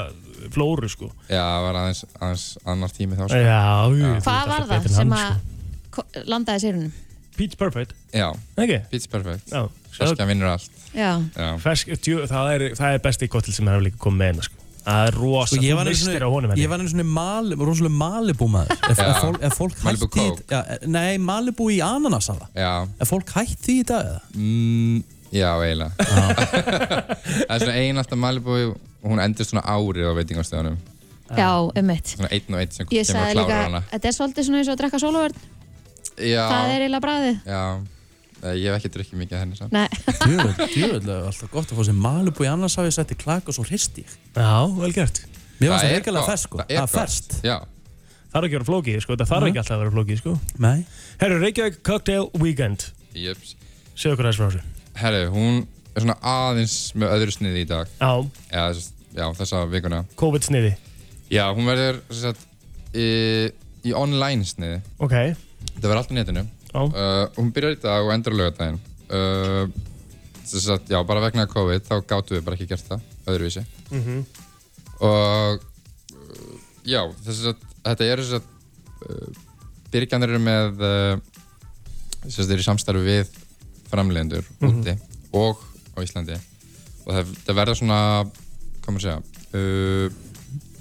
[SPEAKER 6] flóru, sko
[SPEAKER 11] Já, það var aðeins, aðeins annar tími þá
[SPEAKER 6] Já,
[SPEAKER 11] sko.
[SPEAKER 6] jú, þú ert
[SPEAKER 5] Hvað var
[SPEAKER 6] alltaf
[SPEAKER 5] það
[SPEAKER 6] betri en
[SPEAKER 5] sem
[SPEAKER 6] hann,
[SPEAKER 5] að ko- landaði sérunum?
[SPEAKER 6] sko. Peach Perfect,
[SPEAKER 11] Já,
[SPEAKER 6] ekki?
[SPEAKER 11] Beats Perfect
[SPEAKER 6] Já, sjá-
[SPEAKER 11] Ferskja vinnur allt
[SPEAKER 5] Já,
[SPEAKER 11] Já,
[SPEAKER 6] Fersk, djú, það, er, það er besti kottil sem hann hefur líka komið með hérna sko. Það er rosa,
[SPEAKER 4] Sko, ég
[SPEAKER 6] þú
[SPEAKER 4] var einu
[SPEAKER 6] mistir á honum
[SPEAKER 4] sinni-
[SPEAKER 6] henni
[SPEAKER 4] ég var einu svona mal, rosalega Malibu maður ef,
[SPEAKER 11] Já.
[SPEAKER 4] ef, fólk, ef fólk
[SPEAKER 11] Malibu
[SPEAKER 4] hætti
[SPEAKER 11] Coke.
[SPEAKER 4] já, e- nei, Malibu í ananasala
[SPEAKER 11] já,
[SPEAKER 4] ef fólk hætti því í dag eða?
[SPEAKER 6] sko.
[SPEAKER 11] mm, já eiginlega Það er svona ein alltaf Malibu og hún endur svona árið á veitingastöðunum
[SPEAKER 5] já, um mitt
[SPEAKER 11] Svona einn og einn sem kemur að
[SPEAKER 5] Ég
[SPEAKER 11] klára
[SPEAKER 5] sagði líka,
[SPEAKER 11] hana
[SPEAKER 5] þetta er svolítið svona eins og að drekka sólovörn
[SPEAKER 11] Já,
[SPEAKER 5] Það er eiginlega bræðið
[SPEAKER 11] já Eh, Ég hef ekki drukkið mikið af henni samt
[SPEAKER 5] Nei,
[SPEAKER 4] djöfull, djöfull, það er alltaf gott að fá sér Malibu í ananasala ég setti klak og svo hristi ég
[SPEAKER 6] Já, vel gert
[SPEAKER 4] mér var
[SPEAKER 11] Það
[SPEAKER 4] það
[SPEAKER 11] er
[SPEAKER 4] regalega
[SPEAKER 11] gott,
[SPEAKER 4] fersk sko.
[SPEAKER 11] það er
[SPEAKER 4] það er
[SPEAKER 11] gott.
[SPEAKER 4] ferst
[SPEAKER 11] Já,
[SPEAKER 6] Það er ekki að vera flókið, sko, það þarf ekki alltaf að vera flókið sko.
[SPEAKER 4] nei,
[SPEAKER 6] Herru, Reykjavík Cocktail Weekend
[SPEAKER 11] jöps
[SPEAKER 6] Segðu okkur aðeins frá þessu
[SPEAKER 11] Herru, hún er svona aðeins með öðru sniði í dag
[SPEAKER 6] Já,
[SPEAKER 11] Já, þess- já þessa vikuna
[SPEAKER 6] COVID sniði
[SPEAKER 11] Já, hún verður sem sagt, í, í online sniði
[SPEAKER 6] Ok,
[SPEAKER 11] Þetta verður allt á netinu
[SPEAKER 6] Já.
[SPEAKER 11] uh, Hún byrjar í dag og endur á laugardaginn uh, sem sagt, Já, bara vegna COVID þá gáttu við bara ekki gert það öðruvísi Mhm. Og uh, já, þess að þetta eru þess að uh, byrgjandir eru með uh, sem sagt, eru í samstarfi við framleiðendur úti og á Íslandi og það, það verða svona hvað maður segja uh,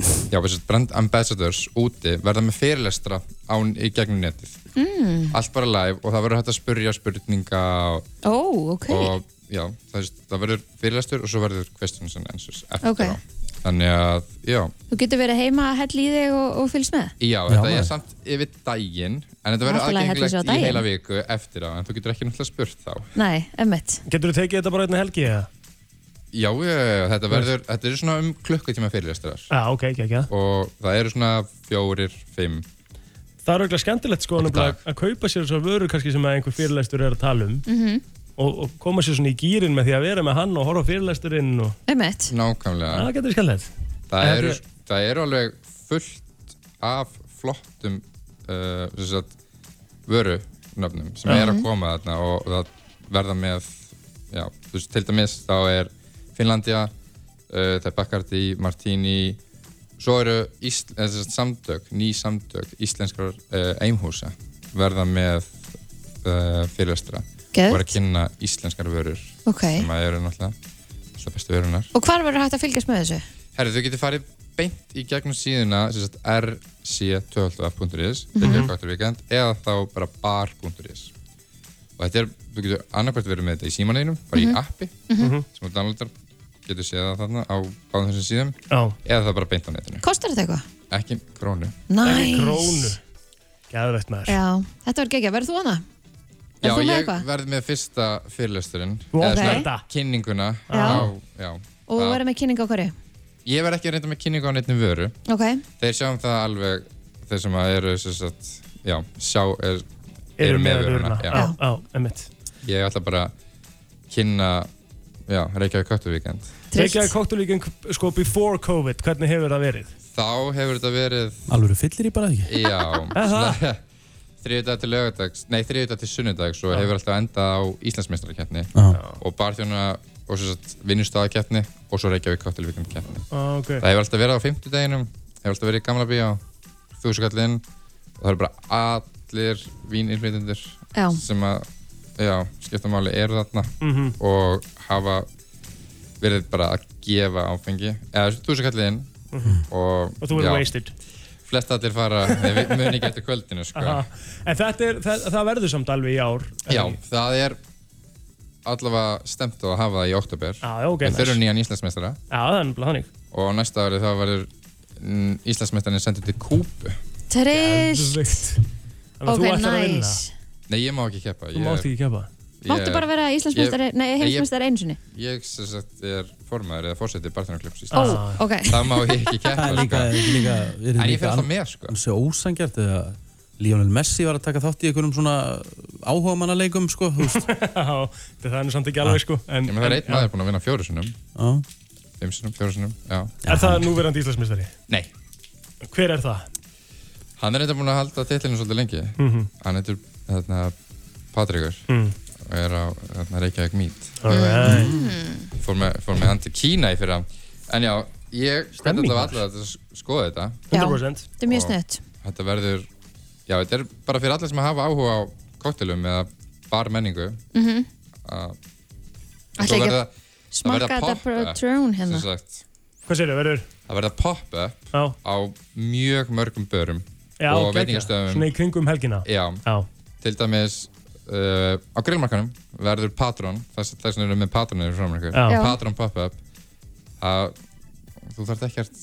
[SPEAKER 11] já, þess að brand ambassadors úti verða með fyrirlestra án í gegnum netið mm. allt bara live og það verður hægt að spurja spurninga og,
[SPEAKER 5] ó, ok
[SPEAKER 11] og já, það, er- það verður fyrirlestur og svo verður questions and answers eftir
[SPEAKER 5] Ok.
[SPEAKER 11] á þannig að, já,
[SPEAKER 5] Þú getur verið heima að hella í þig og, og fylgst með
[SPEAKER 11] já, þetta
[SPEAKER 4] maður.
[SPEAKER 11] er samt yfir daginn en þetta verður
[SPEAKER 5] Allt í lagi, heldur þessu á
[SPEAKER 11] aðgengilegt í
[SPEAKER 5] daginn.
[SPEAKER 11] heila viku eftir á en þú getur ekki náttúrulega spurt þá
[SPEAKER 5] Nei, emmitt
[SPEAKER 6] getur þú tekið þetta bara einnig helgi eða?
[SPEAKER 11] Já, já, já, þetta verður, þetta er svona um klukkutíma fyrirlestrar
[SPEAKER 6] Já, ok, ekki, ekki
[SPEAKER 11] og það eru svona fjórir, fimm
[SPEAKER 6] Það er auðvitað skemmtilegt sko nefnilega, að kaupa sér svo vöru kannski sem að einhver fyrirlæstur er að tala um
[SPEAKER 5] Mm. Mhm.
[SPEAKER 6] og, og koma sér svona í gýrin með því að vera með hann og horfa fyrirlæsturinn og
[SPEAKER 5] Emmitt
[SPEAKER 11] nákvæmlega,
[SPEAKER 6] það getur verið skemmtilegt
[SPEAKER 11] það,
[SPEAKER 6] þetta
[SPEAKER 11] eru,
[SPEAKER 6] er-
[SPEAKER 11] það eru alveg fullt af flottum uh, sem sagt, vörunöfnum sem er að koma þarna og, og það verða með já, þú veist, til dæmis þá er Finnlandia, uh, það er Bacardi Martini svo eru Ísl, eh, sem sagt, samtök, ný samtök íslenskar uh, einhúsa verða með uh, fyrirlestra og er að
[SPEAKER 5] Gött,
[SPEAKER 11] kynna íslenskar vörur
[SPEAKER 5] ok
[SPEAKER 11] sem að eru náttúrulega alltaf bestu vörunar
[SPEAKER 5] Og hvar verður hægt að fylgjast með þessu?
[SPEAKER 11] Herri, þau getur farið beint í gegnum síðuna sem sagt rc12.is mm. eða þá bara bar.is og þetta er, þú getur annarkvært verið með þetta í símanleginum, bara í appi
[SPEAKER 5] Mhm.
[SPEAKER 11] sem þú downloadar, getur séð það þarna á báðum þessum síðum
[SPEAKER 6] Já,
[SPEAKER 11] eða það bara beint á netinu,
[SPEAKER 5] Kostar þetta eitthvað?
[SPEAKER 11] ekki krónu
[SPEAKER 5] Næs
[SPEAKER 6] krónu Geðvegt maður.
[SPEAKER 5] Já, þetta var geggja, verður þú hana?
[SPEAKER 11] Já,
[SPEAKER 5] Verður þú með
[SPEAKER 11] ég
[SPEAKER 5] eitthvað?
[SPEAKER 11] verð með fyrsta fyrirlesturinn
[SPEAKER 5] Wow.
[SPEAKER 11] Eða svona
[SPEAKER 5] Þetta?
[SPEAKER 11] Kynninguna
[SPEAKER 5] Já.
[SPEAKER 11] já,
[SPEAKER 5] Og þú
[SPEAKER 11] það-
[SPEAKER 5] verður með kynningu á hverju?
[SPEAKER 11] Ég verð ekki reynda með kynningu á neittnum vöru
[SPEAKER 5] Ok,
[SPEAKER 11] Þeir sjáum það alveg Þeir sem að eru sem sagt, Já, sjá er,
[SPEAKER 6] Eru með vöruna.
[SPEAKER 11] já.
[SPEAKER 6] Já, já, einmitt.
[SPEAKER 11] Ég ætla bara að kynna Já, Reykjavík Köttuvíkend
[SPEAKER 6] Reykjavík Kóktulíkin, sko, before COVID, hvernig hefur það verið?
[SPEAKER 11] Þá hefur þetta verið
[SPEAKER 4] Alveg fyllir í bara ekki
[SPEAKER 11] Já Þriðdag til lögadags, nei þriðdag til sunnudags og hefur alltaf endað á Íslandsmeistarkeppni og barþjóna og svo satt vinnustæðakeppni og svo Reykjavík Kottilvíkum keppni.
[SPEAKER 6] Ah, ok.
[SPEAKER 11] Það hefur alltaf verið á um fimmtudeginum, hefur alltaf verið í Gamla Bíó, Þúsukallinn og það eru bara allir víninnflytundur
[SPEAKER 5] Já.
[SPEAKER 11] sem að, já, skiptamáli eru þarna
[SPEAKER 6] Mhm.
[SPEAKER 11] og hafa verið bara að gefa áfengi, eða Þúsukallinn og...
[SPEAKER 6] Mhm. Og þú verður
[SPEAKER 11] já,
[SPEAKER 6] wasted.
[SPEAKER 11] Flest allir fara, nei, við munum ekki eftir kvöldinu, sko.
[SPEAKER 6] Aha. En þetta er, það, það verður samt alveg í ár. er
[SPEAKER 11] Já,
[SPEAKER 6] ekki?
[SPEAKER 11] það er allavega stemt á að hafa það í oktober.
[SPEAKER 6] Já, já, ok,
[SPEAKER 11] Við þurfum
[SPEAKER 6] nice.
[SPEAKER 11] nýjan Íslandsmeistara
[SPEAKER 6] Já, það er nefnilega þannig.
[SPEAKER 11] og á næsta ári þá verður mm, Íslandsmeistarinn sendið til Kúbu.
[SPEAKER 5] trillt
[SPEAKER 11] að
[SPEAKER 5] Ok,
[SPEAKER 11] þú ætlar að vinna.
[SPEAKER 5] nice
[SPEAKER 11] Nei, ég má ekki keppa.
[SPEAKER 6] Þú mátt ekki keppa.
[SPEAKER 5] Máttu bara vera Íslandsmeistari,
[SPEAKER 11] Ég-
[SPEAKER 5] nei,
[SPEAKER 11] ég-
[SPEAKER 5] heimsmeistari einu sinni
[SPEAKER 11] Ég sem sagt er formaður eða fórsetið Barthenarklubs
[SPEAKER 5] Ó, ok.
[SPEAKER 11] Það má ég ekki keppa.
[SPEAKER 4] Það er líka,
[SPEAKER 11] sko.
[SPEAKER 4] líka er
[SPEAKER 11] En ég
[SPEAKER 4] líka
[SPEAKER 11] fer alltaf
[SPEAKER 4] an- um
[SPEAKER 11] með, sko.
[SPEAKER 4] Hann sé ósangjart eða Lionel Messi var að taka þátt í einhverjum svona áhuga mannaleikum sko, þú veist.
[SPEAKER 6] Já, það er nú samt ekki alveg, sko. En,
[SPEAKER 11] Ég með það er
[SPEAKER 6] en-
[SPEAKER 11] einn maður búinn að vinna fjóru sinnum.
[SPEAKER 4] Já.
[SPEAKER 11] Fimm sinnum, fjóru sinnum, já.
[SPEAKER 6] Er það núverandi Íslandsmeistari?
[SPEAKER 11] Nei.
[SPEAKER 6] Hver er það?
[SPEAKER 11] Hann er eitthvað búinn að halda titlinu svolítið lengi.
[SPEAKER 6] Mhm.
[SPEAKER 11] Hann heitir þarna, Patrikur
[SPEAKER 6] Mm.
[SPEAKER 11] og er á þarna, Reykjavík Meet.
[SPEAKER 6] Alright.
[SPEAKER 5] Mm. Mhm.
[SPEAKER 11] Fór með, fór með hann til Kína í fyrra. En já, ég hvern
[SPEAKER 6] Stemning
[SPEAKER 11] þetta var
[SPEAKER 6] maður.
[SPEAKER 11] allir að skoða þetta.
[SPEAKER 5] Já, þetta er mjög snött
[SPEAKER 11] Og Þetta verður, já, þetta er bara fyrir alla sem hafa áhuga á koktelum eða barmenningu.
[SPEAKER 5] mm
[SPEAKER 11] að- Svo
[SPEAKER 5] Ætla ekki
[SPEAKER 11] verða-
[SPEAKER 5] að
[SPEAKER 11] það
[SPEAKER 5] Smakka
[SPEAKER 11] verða
[SPEAKER 5] þetta
[SPEAKER 11] pop-up,
[SPEAKER 5] Patron
[SPEAKER 11] sem
[SPEAKER 5] hérna
[SPEAKER 11] sagt.
[SPEAKER 6] Hvað segir þau, verður?
[SPEAKER 11] Það verða pop-up
[SPEAKER 6] Já.
[SPEAKER 11] á mjög mörgum börum
[SPEAKER 6] Já,
[SPEAKER 11] og
[SPEAKER 6] geggjað.
[SPEAKER 11] veitingastöðum.
[SPEAKER 6] Svona í kringum helgina.
[SPEAKER 11] Já.
[SPEAKER 6] Já.
[SPEAKER 11] Til dæmis uh, á grillmarkanum verður Patron, þess þess vegna erum við með Patronir frá mér
[SPEAKER 6] Já. Já.
[SPEAKER 11] Patron pop-up. Það- Þú þarf ekkert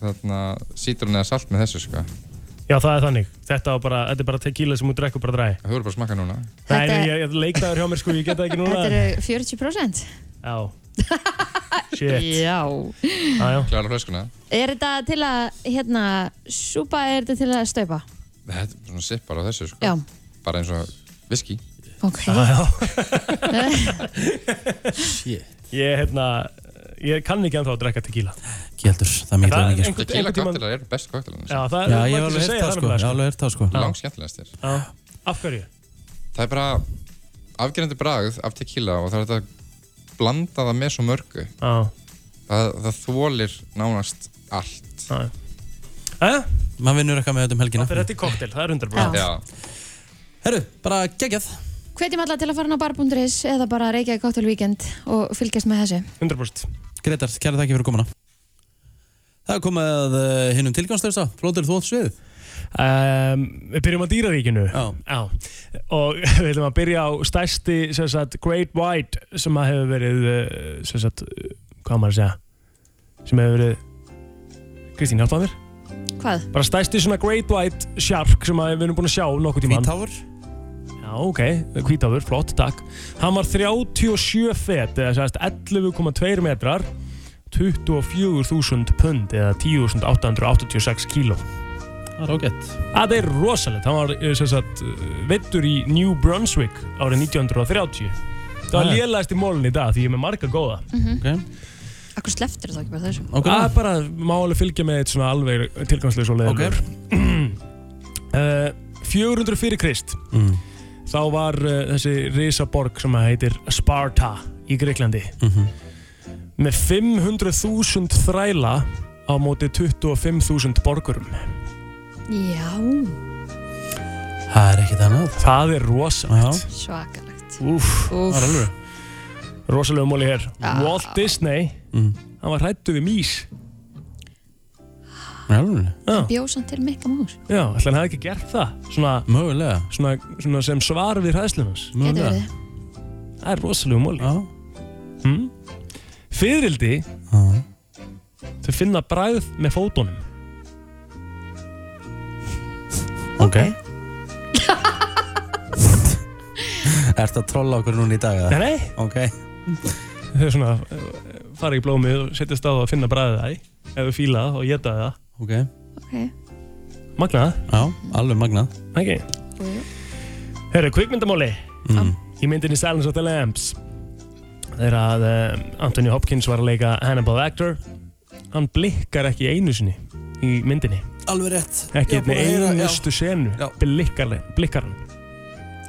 [SPEAKER 11] þarna sítrun eða salt með þessu sko.
[SPEAKER 6] Já, það er þannig. Þetta, var bara, þetta er bara tequila sem þú drekkur bara dræ.
[SPEAKER 11] Þú eru bara að smakka núna.
[SPEAKER 6] Nei, nei, ég, ég leiktaður hjá mér sko, ég geta ekki núna.
[SPEAKER 5] Þetta eru 40%
[SPEAKER 6] Já. Shit.
[SPEAKER 5] Já.
[SPEAKER 6] Já, já.
[SPEAKER 11] Klára flöskuna.
[SPEAKER 5] Er þetta til að, hérna, súpa er þetta til að staupa?
[SPEAKER 11] Þetta er svona sippar á þessu sko.
[SPEAKER 5] Já,
[SPEAKER 11] Bara eins og viski.
[SPEAKER 5] ok
[SPEAKER 6] Ég, hérna, ég kann ekki ennþá að drekka tequila.
[SPEAKER 4] Ekki heldur, það
[SPEAKER 6] En
[SPEAKER 4] mýtur
[SPEAKER 6] það
[SPEAKER 4] hann
[SPEAKER 6] er
[SPEAKER 4] ekki
[SPEAKER 6] einhver-
[SPEAKER 4] sko.
[SPEAKER 11] Tequila
[SPEAKER 6] einhvern tímann-
[SPEAKER 11] koktelar eru bestu kokteilarnir.
[SPEAKER 6] Já, það
[SPEAKER 4] Já,
[SPEAKER 6] er
[SPEAKER 4] ég
[SPEAKER 6] margir
[SPEAKER 4] hef alveg
[SPEAKER 6] sem segja
[SPEAKER 4] heyrt það
[SPEAKER 6] það
[SPEAKER 4] sko, ég hef
[SPEAKER 6] nefnilega,
[SPEAKER 4] alveg heyrt það sko
[SPEAKER 11] Langt skemmtilegast
[SPEAKER 6] Já. Af hverju?
[SPEAKER 11] Það er bara afgerandi bragð af tequila og það er þetta að blanda það með svo mörgu.
[SPEAKER 6] Já.
[SPEAKER 11] Það, það þólir nánast allt.
[SPEAKER 6] Já. Jæja,
[SPEAKER 4] Man vinnur eitthvað með þetta um helgina
[SPEAKER 6] Það er þetta í koktel, það er
[SPEAKER 5] Já.
[SPEAKER 6] 100%.
[SPEAKER 11] Já.
[SPEAKER 4] Herru, bara geggjað
[SPEAKER 5] Hvetjum alla til að fara inn á bar.is eða bara reykja í kóttel víkend og fylgjast með þessu
[SPEAKER 6] 100%.
[SPEAKER 4] Gretar, kæra þakki fyrir komuna Það er komið að uh, hinnum tilgangslösa Flóður þú átt sviðið
[SPEAKER 6] Um, við byrjum á dýraríkinu
[SPEAKER 4] Já.
[SPEAKER 6] og við ætlum að byrja á stærsti sem sagt, Great White sem að hefur verið eh, sem sagt, eh, hvað á maður að segja sem hefur verið Kristín hjálpaði mér
[SPEAKER 5] Hvað?
[SPEAKER 6] bara stærsti svona Great White shark sem að við erum búin að sjá nokkuð tíma
[SPEAKER 4] Hvítáfur
[SPEAKER 6] Já, ok, hvítáfur, flott, takk Hann var 37 fet eða sem sagt 11,2 metrar 24.000 pund eða 10.886 kíló
[SPEAKER 4] Það er ágætt
[SPEAKER 6] Það er rosalegt, hann var eh, sem sagt vittur í New Brunswick árið 1930. Það var
[SPEAKER 4] Ah.
[SPEAKER 6] lélægst í mólun í dag því ég er með marga góða.
[SPEAKER 5] Akkur sleftur þá ekki bara þessu?
[SPEAKER 4] Ok,
[SPEAKER 6] Það er bara, má alveg fylgja með eitt svona alveg tilgangslega svo
[SPEAKER 4] Ok.
[SPEAKER 6] leiðinlegur. Okay. 400 fyrir Krist,
[SPEAKER 4] Mm.
[SPEAKER 6] þá var uh, þessi risaborg sem að heitir Sparta í Greiklandi
[SPEAKER 4] Mhm.
[SPEAKER 6] með 500.000 þræla á móti 25.000 borgurum.
[SPEAKER 5] Já,
[SPEAKER 4] Það er ekkert annað
[SPEAKER 6] Það er rosalegt.
[SPEAKER 5] svakalegt
[SPEAKER 6] Úff.
[SPEAKER 5] Úf,
[SPEAKER 4] Það er alveg
[SPEAKER 6] Rosalega móli hér.
[SPEAKER 5] Já.
[SPEAKER 6] Walt Disney,
[SPEAKER 4] Mm.
[SPEAKER 6] hann var hrættu við mís.
[SPEAKER 4] Það er alveg
[SPEAKER 6] Já,
[SPEAKER 5] bjósan til Mikka Mús
[SPEAKER 6] já ætli hann hefði ekki gert það. Svona,
[SPEAKER 4] Mögulega
[SPEAKER 6] svona, svona sem svar við hræðslunans.
[SPEAKER 5] Getur
[SPEAKER 4] Mögulega
[SPEAKER 5] verið
[SPEAKER 6] Það er rosalega móli.
[SPEAKER 4] Já
[SPEAKER 6] Mm. Fyrildi,
[SPEAKER 4] Já.
[SPEAKER 6] þau finna bræð með fótunum.
[SPEAKER 4] Ok Ertu að trolla okkur núna í dag? eða?
[SPEAKER 6] Nei, nei.
[SPEAKER 4] Ok.
[SPEAKER 6] Þau svona eh, fara í blómið og setjast á það að finna bræðið það í. Ef við fíla það og geta það.
[SPEAKER 4] Ok.
[SPEAKER 5] Ok.
[SPEAKER 6] Magnað.
[SPEAKER 4] Já, alveg magnað.
[SPEAKER 6] Ekki?
[SPEAKER 5] Jú, jú.
[SPEAKER 6] Mm. Herru, kvikmyndamáli.
[SPEAKER 4] Mm.
[SPEAKER 6] Í myndinni Silence of the Lambs. Þegar að uh, Anthony Hopkins var að leika Hannibal Lecter. Hann blikkar ekki einu sinni í myndinni.
[SPEAKER 4] Alveg rétt.
[SPEAKER 6] Ekki
[SPEAKER 4] Ég var búinn að heyra-
[SPEAKER 6] einu
[SPEAKER 4] já.
[SPEAKER 6] næstu senu.
[SPEAKER 4] Já.
[SPEAKER 6] Blikkar, blikkar hann.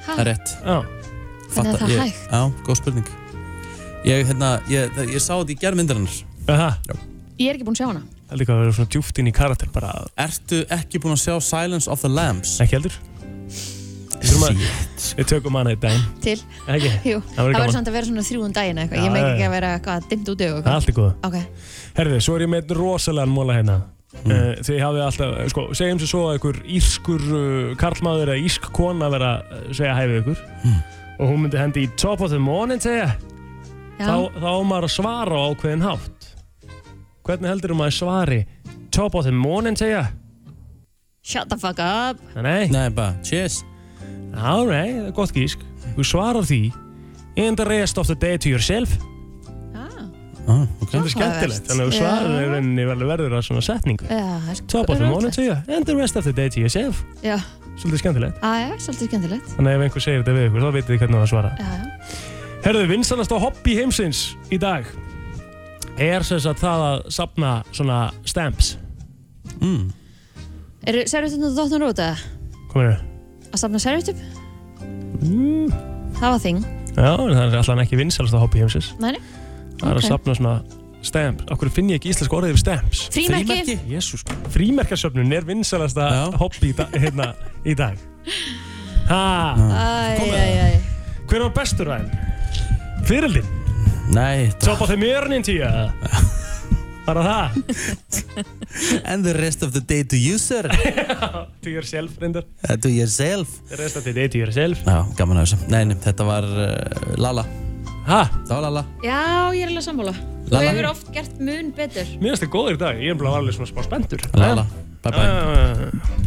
[SPEAKER 4] Það er rétt.
[SPEAKER 6] Já.
[SPEAKER 5] Hvernig er
[SPEAKER 4] Fatta-
[SPEAKER 5] það
[SPEAKER 4] ég-
[SPEAKER 5] hægt?
[SPEAKER 4] Já, góð spurning. Ég, hérna, ég, ég, ég sá þetta í germyndarinnar.
[SPEAKER 6] Aha.
[SPEAKER 5] Ég er ekki búin að sjá hana.
[SPEAKER 6] Það er líka að vera svona djúft inn í karakter bara.
[SPEAKER 4] Ertu ekki búinn að sjá Silence of the Lambs?
[SPEAKER 6] Ekki heldur? Við þurfum að- Við tökum hana í daginn.
[SPEAKER 5] Til.
[SPEAKER 6] Ekki?
[SPEAKER 5] Jú.
[SPEAKER 6] Það
[SPEAKER 5] Það
[SPEAKER 6] verður
[SPEAKER 5] verður
[SPEAKER 6] gaman.
[SPEAKER 5] samt að vera svona þrjúðum daginn eða eitthvað.
[SPEAKER 6] Já,
[SPEAKER 5] Ég meik
[SPEAKER 6] já,
[SPEAKER 5] ekki
[SPEAKER 6] já.
[SPEAKER 5] að vera eitthvað dimmt út og
[SPEAKER 6] Það er
[SPEAKER 5] eitthvað.
[SPEAKER 6] allt í góðu.
[SPEAKER 5] Ok.
[SPEAKER 6] Herðu, svo er ég með einn rosalegan móla hérna.
[SPEAKER 4] Hmm.
[SPEAKER 6] Mm. þið hafið alltaf, eh, sko, segjum sér svo að einhver írskur uh, karlmaður eða írsk kona vera að segja hæfið ykkur
[SPEAKER 4] Hmm.
[SPEAKER 6] og hún myndi hendi í top of the morning segja,
[SPEAKER 5] Já.
[SPEAKER 6] þá, þá á maður að svara á ákveðin hátt. Hvernig heldur maður svari top of the morning segja?
[SPEAKER 5] Shut the fuck up.
[SPEAKER 6] Nei,
[SPEAKER 4] Nei, bara, cheers.
[SPEAKER 6] já, nei, það er gott gísk. Þú svarar því, in the rest of the day to yourself.
[SPEAKER 5] Ah,
[SPEAKER 4] Ah, ok.
[SPEAKER 6] Þetta er skemmtilegt, þannig að þú
[SPEAKER 5] Já.
[SPEAKER 6] svarar í rauninni verður- verður að svona setningu.
[SPEAKER 5] já, það er sko-
[SPEAKER 6] Top of the morning
[SPEAKER 5] rólegt.
[SPEAKER 6] segja, in the rest of the day to yourself.
[SPEAKER 5] Já,
[SPEAKER 6] Svolítið skemmtilegt.
[SPEAKER 5] Á, já, svolítið skemmtilegt.
[SPEAKER 6] Þannig að ef einhver segir þetta við ykkur, þá vitið þið hvernig það svara.
[SPEAKER 5] Já, já.
[SPEAKER 6] Herðu, vinsalasta hobby heimsins í dag er sem sagt það að sapna svona stamps.
[SPEAKER 4] Mm.
[SPEAKER 5] Eru serviettinn og dóttin út eða?
[SPEAKER 6] Hvað meður?
[SPEAKER 5] Að safna serviettum?
[SPEAKER 6] Mm.
[SPEAKER 5] Það var þing.
[SPEAKER 6] Já, en það er alltaf ekki vinsalasta hobby heimsins.
[SPEAKER 5] Næri.
[SPEAKER 6] Það er
[SPEAKER 5] Ok.
[SPEAKER 6] að sapna svona stamps. Okkur finn ég ekki íslensk orðið yfir stamps.
[SPEAKER 5] Frímerki.
[SPEAKER 4] Frímerki?
[SPEAKER 6] Jésús, frímerkarsöfnun er vinsalasta
[SPEAKER 4] Já.
[SPEAKER 6] hobby í, da hérna, í dag. Ha,
[SPEAKER 5] Æj, æj, æj.
[SPEAKER 6] hver var bestur ræðin? Fyrirlin,
[SPEAKER 4] Nei,
[SPEAKER 6] top of the morning to you. Bara það,
[SPEAKER 4] and the rest of the day to you, sir.
[SPEAKER 6] to yourself reyndar.
[SPEAKER 4] Uh, to yourself.
[SPEAKER 6] The rest of the day to yourself.
[SPEAKER 4] Já, gaman að þessu. Nei, nei, þetta var uh, Lala.
[SPEAKER 6] Ha,
[SPEAKER 4] Það var Lala.
[SPEAKER 5] Já, ég er alveg sammála. Þú
[SPEAKER 4] Lala.
[SPEAKER 5] hefur oft gert mun betur.
[SPEAKER 6] Mér finnst það góður í dag, ég er bara alveg svona spá spendur
[SPEAKER 4] Lala. Bye bye.
[SPEAKER 6] Uh,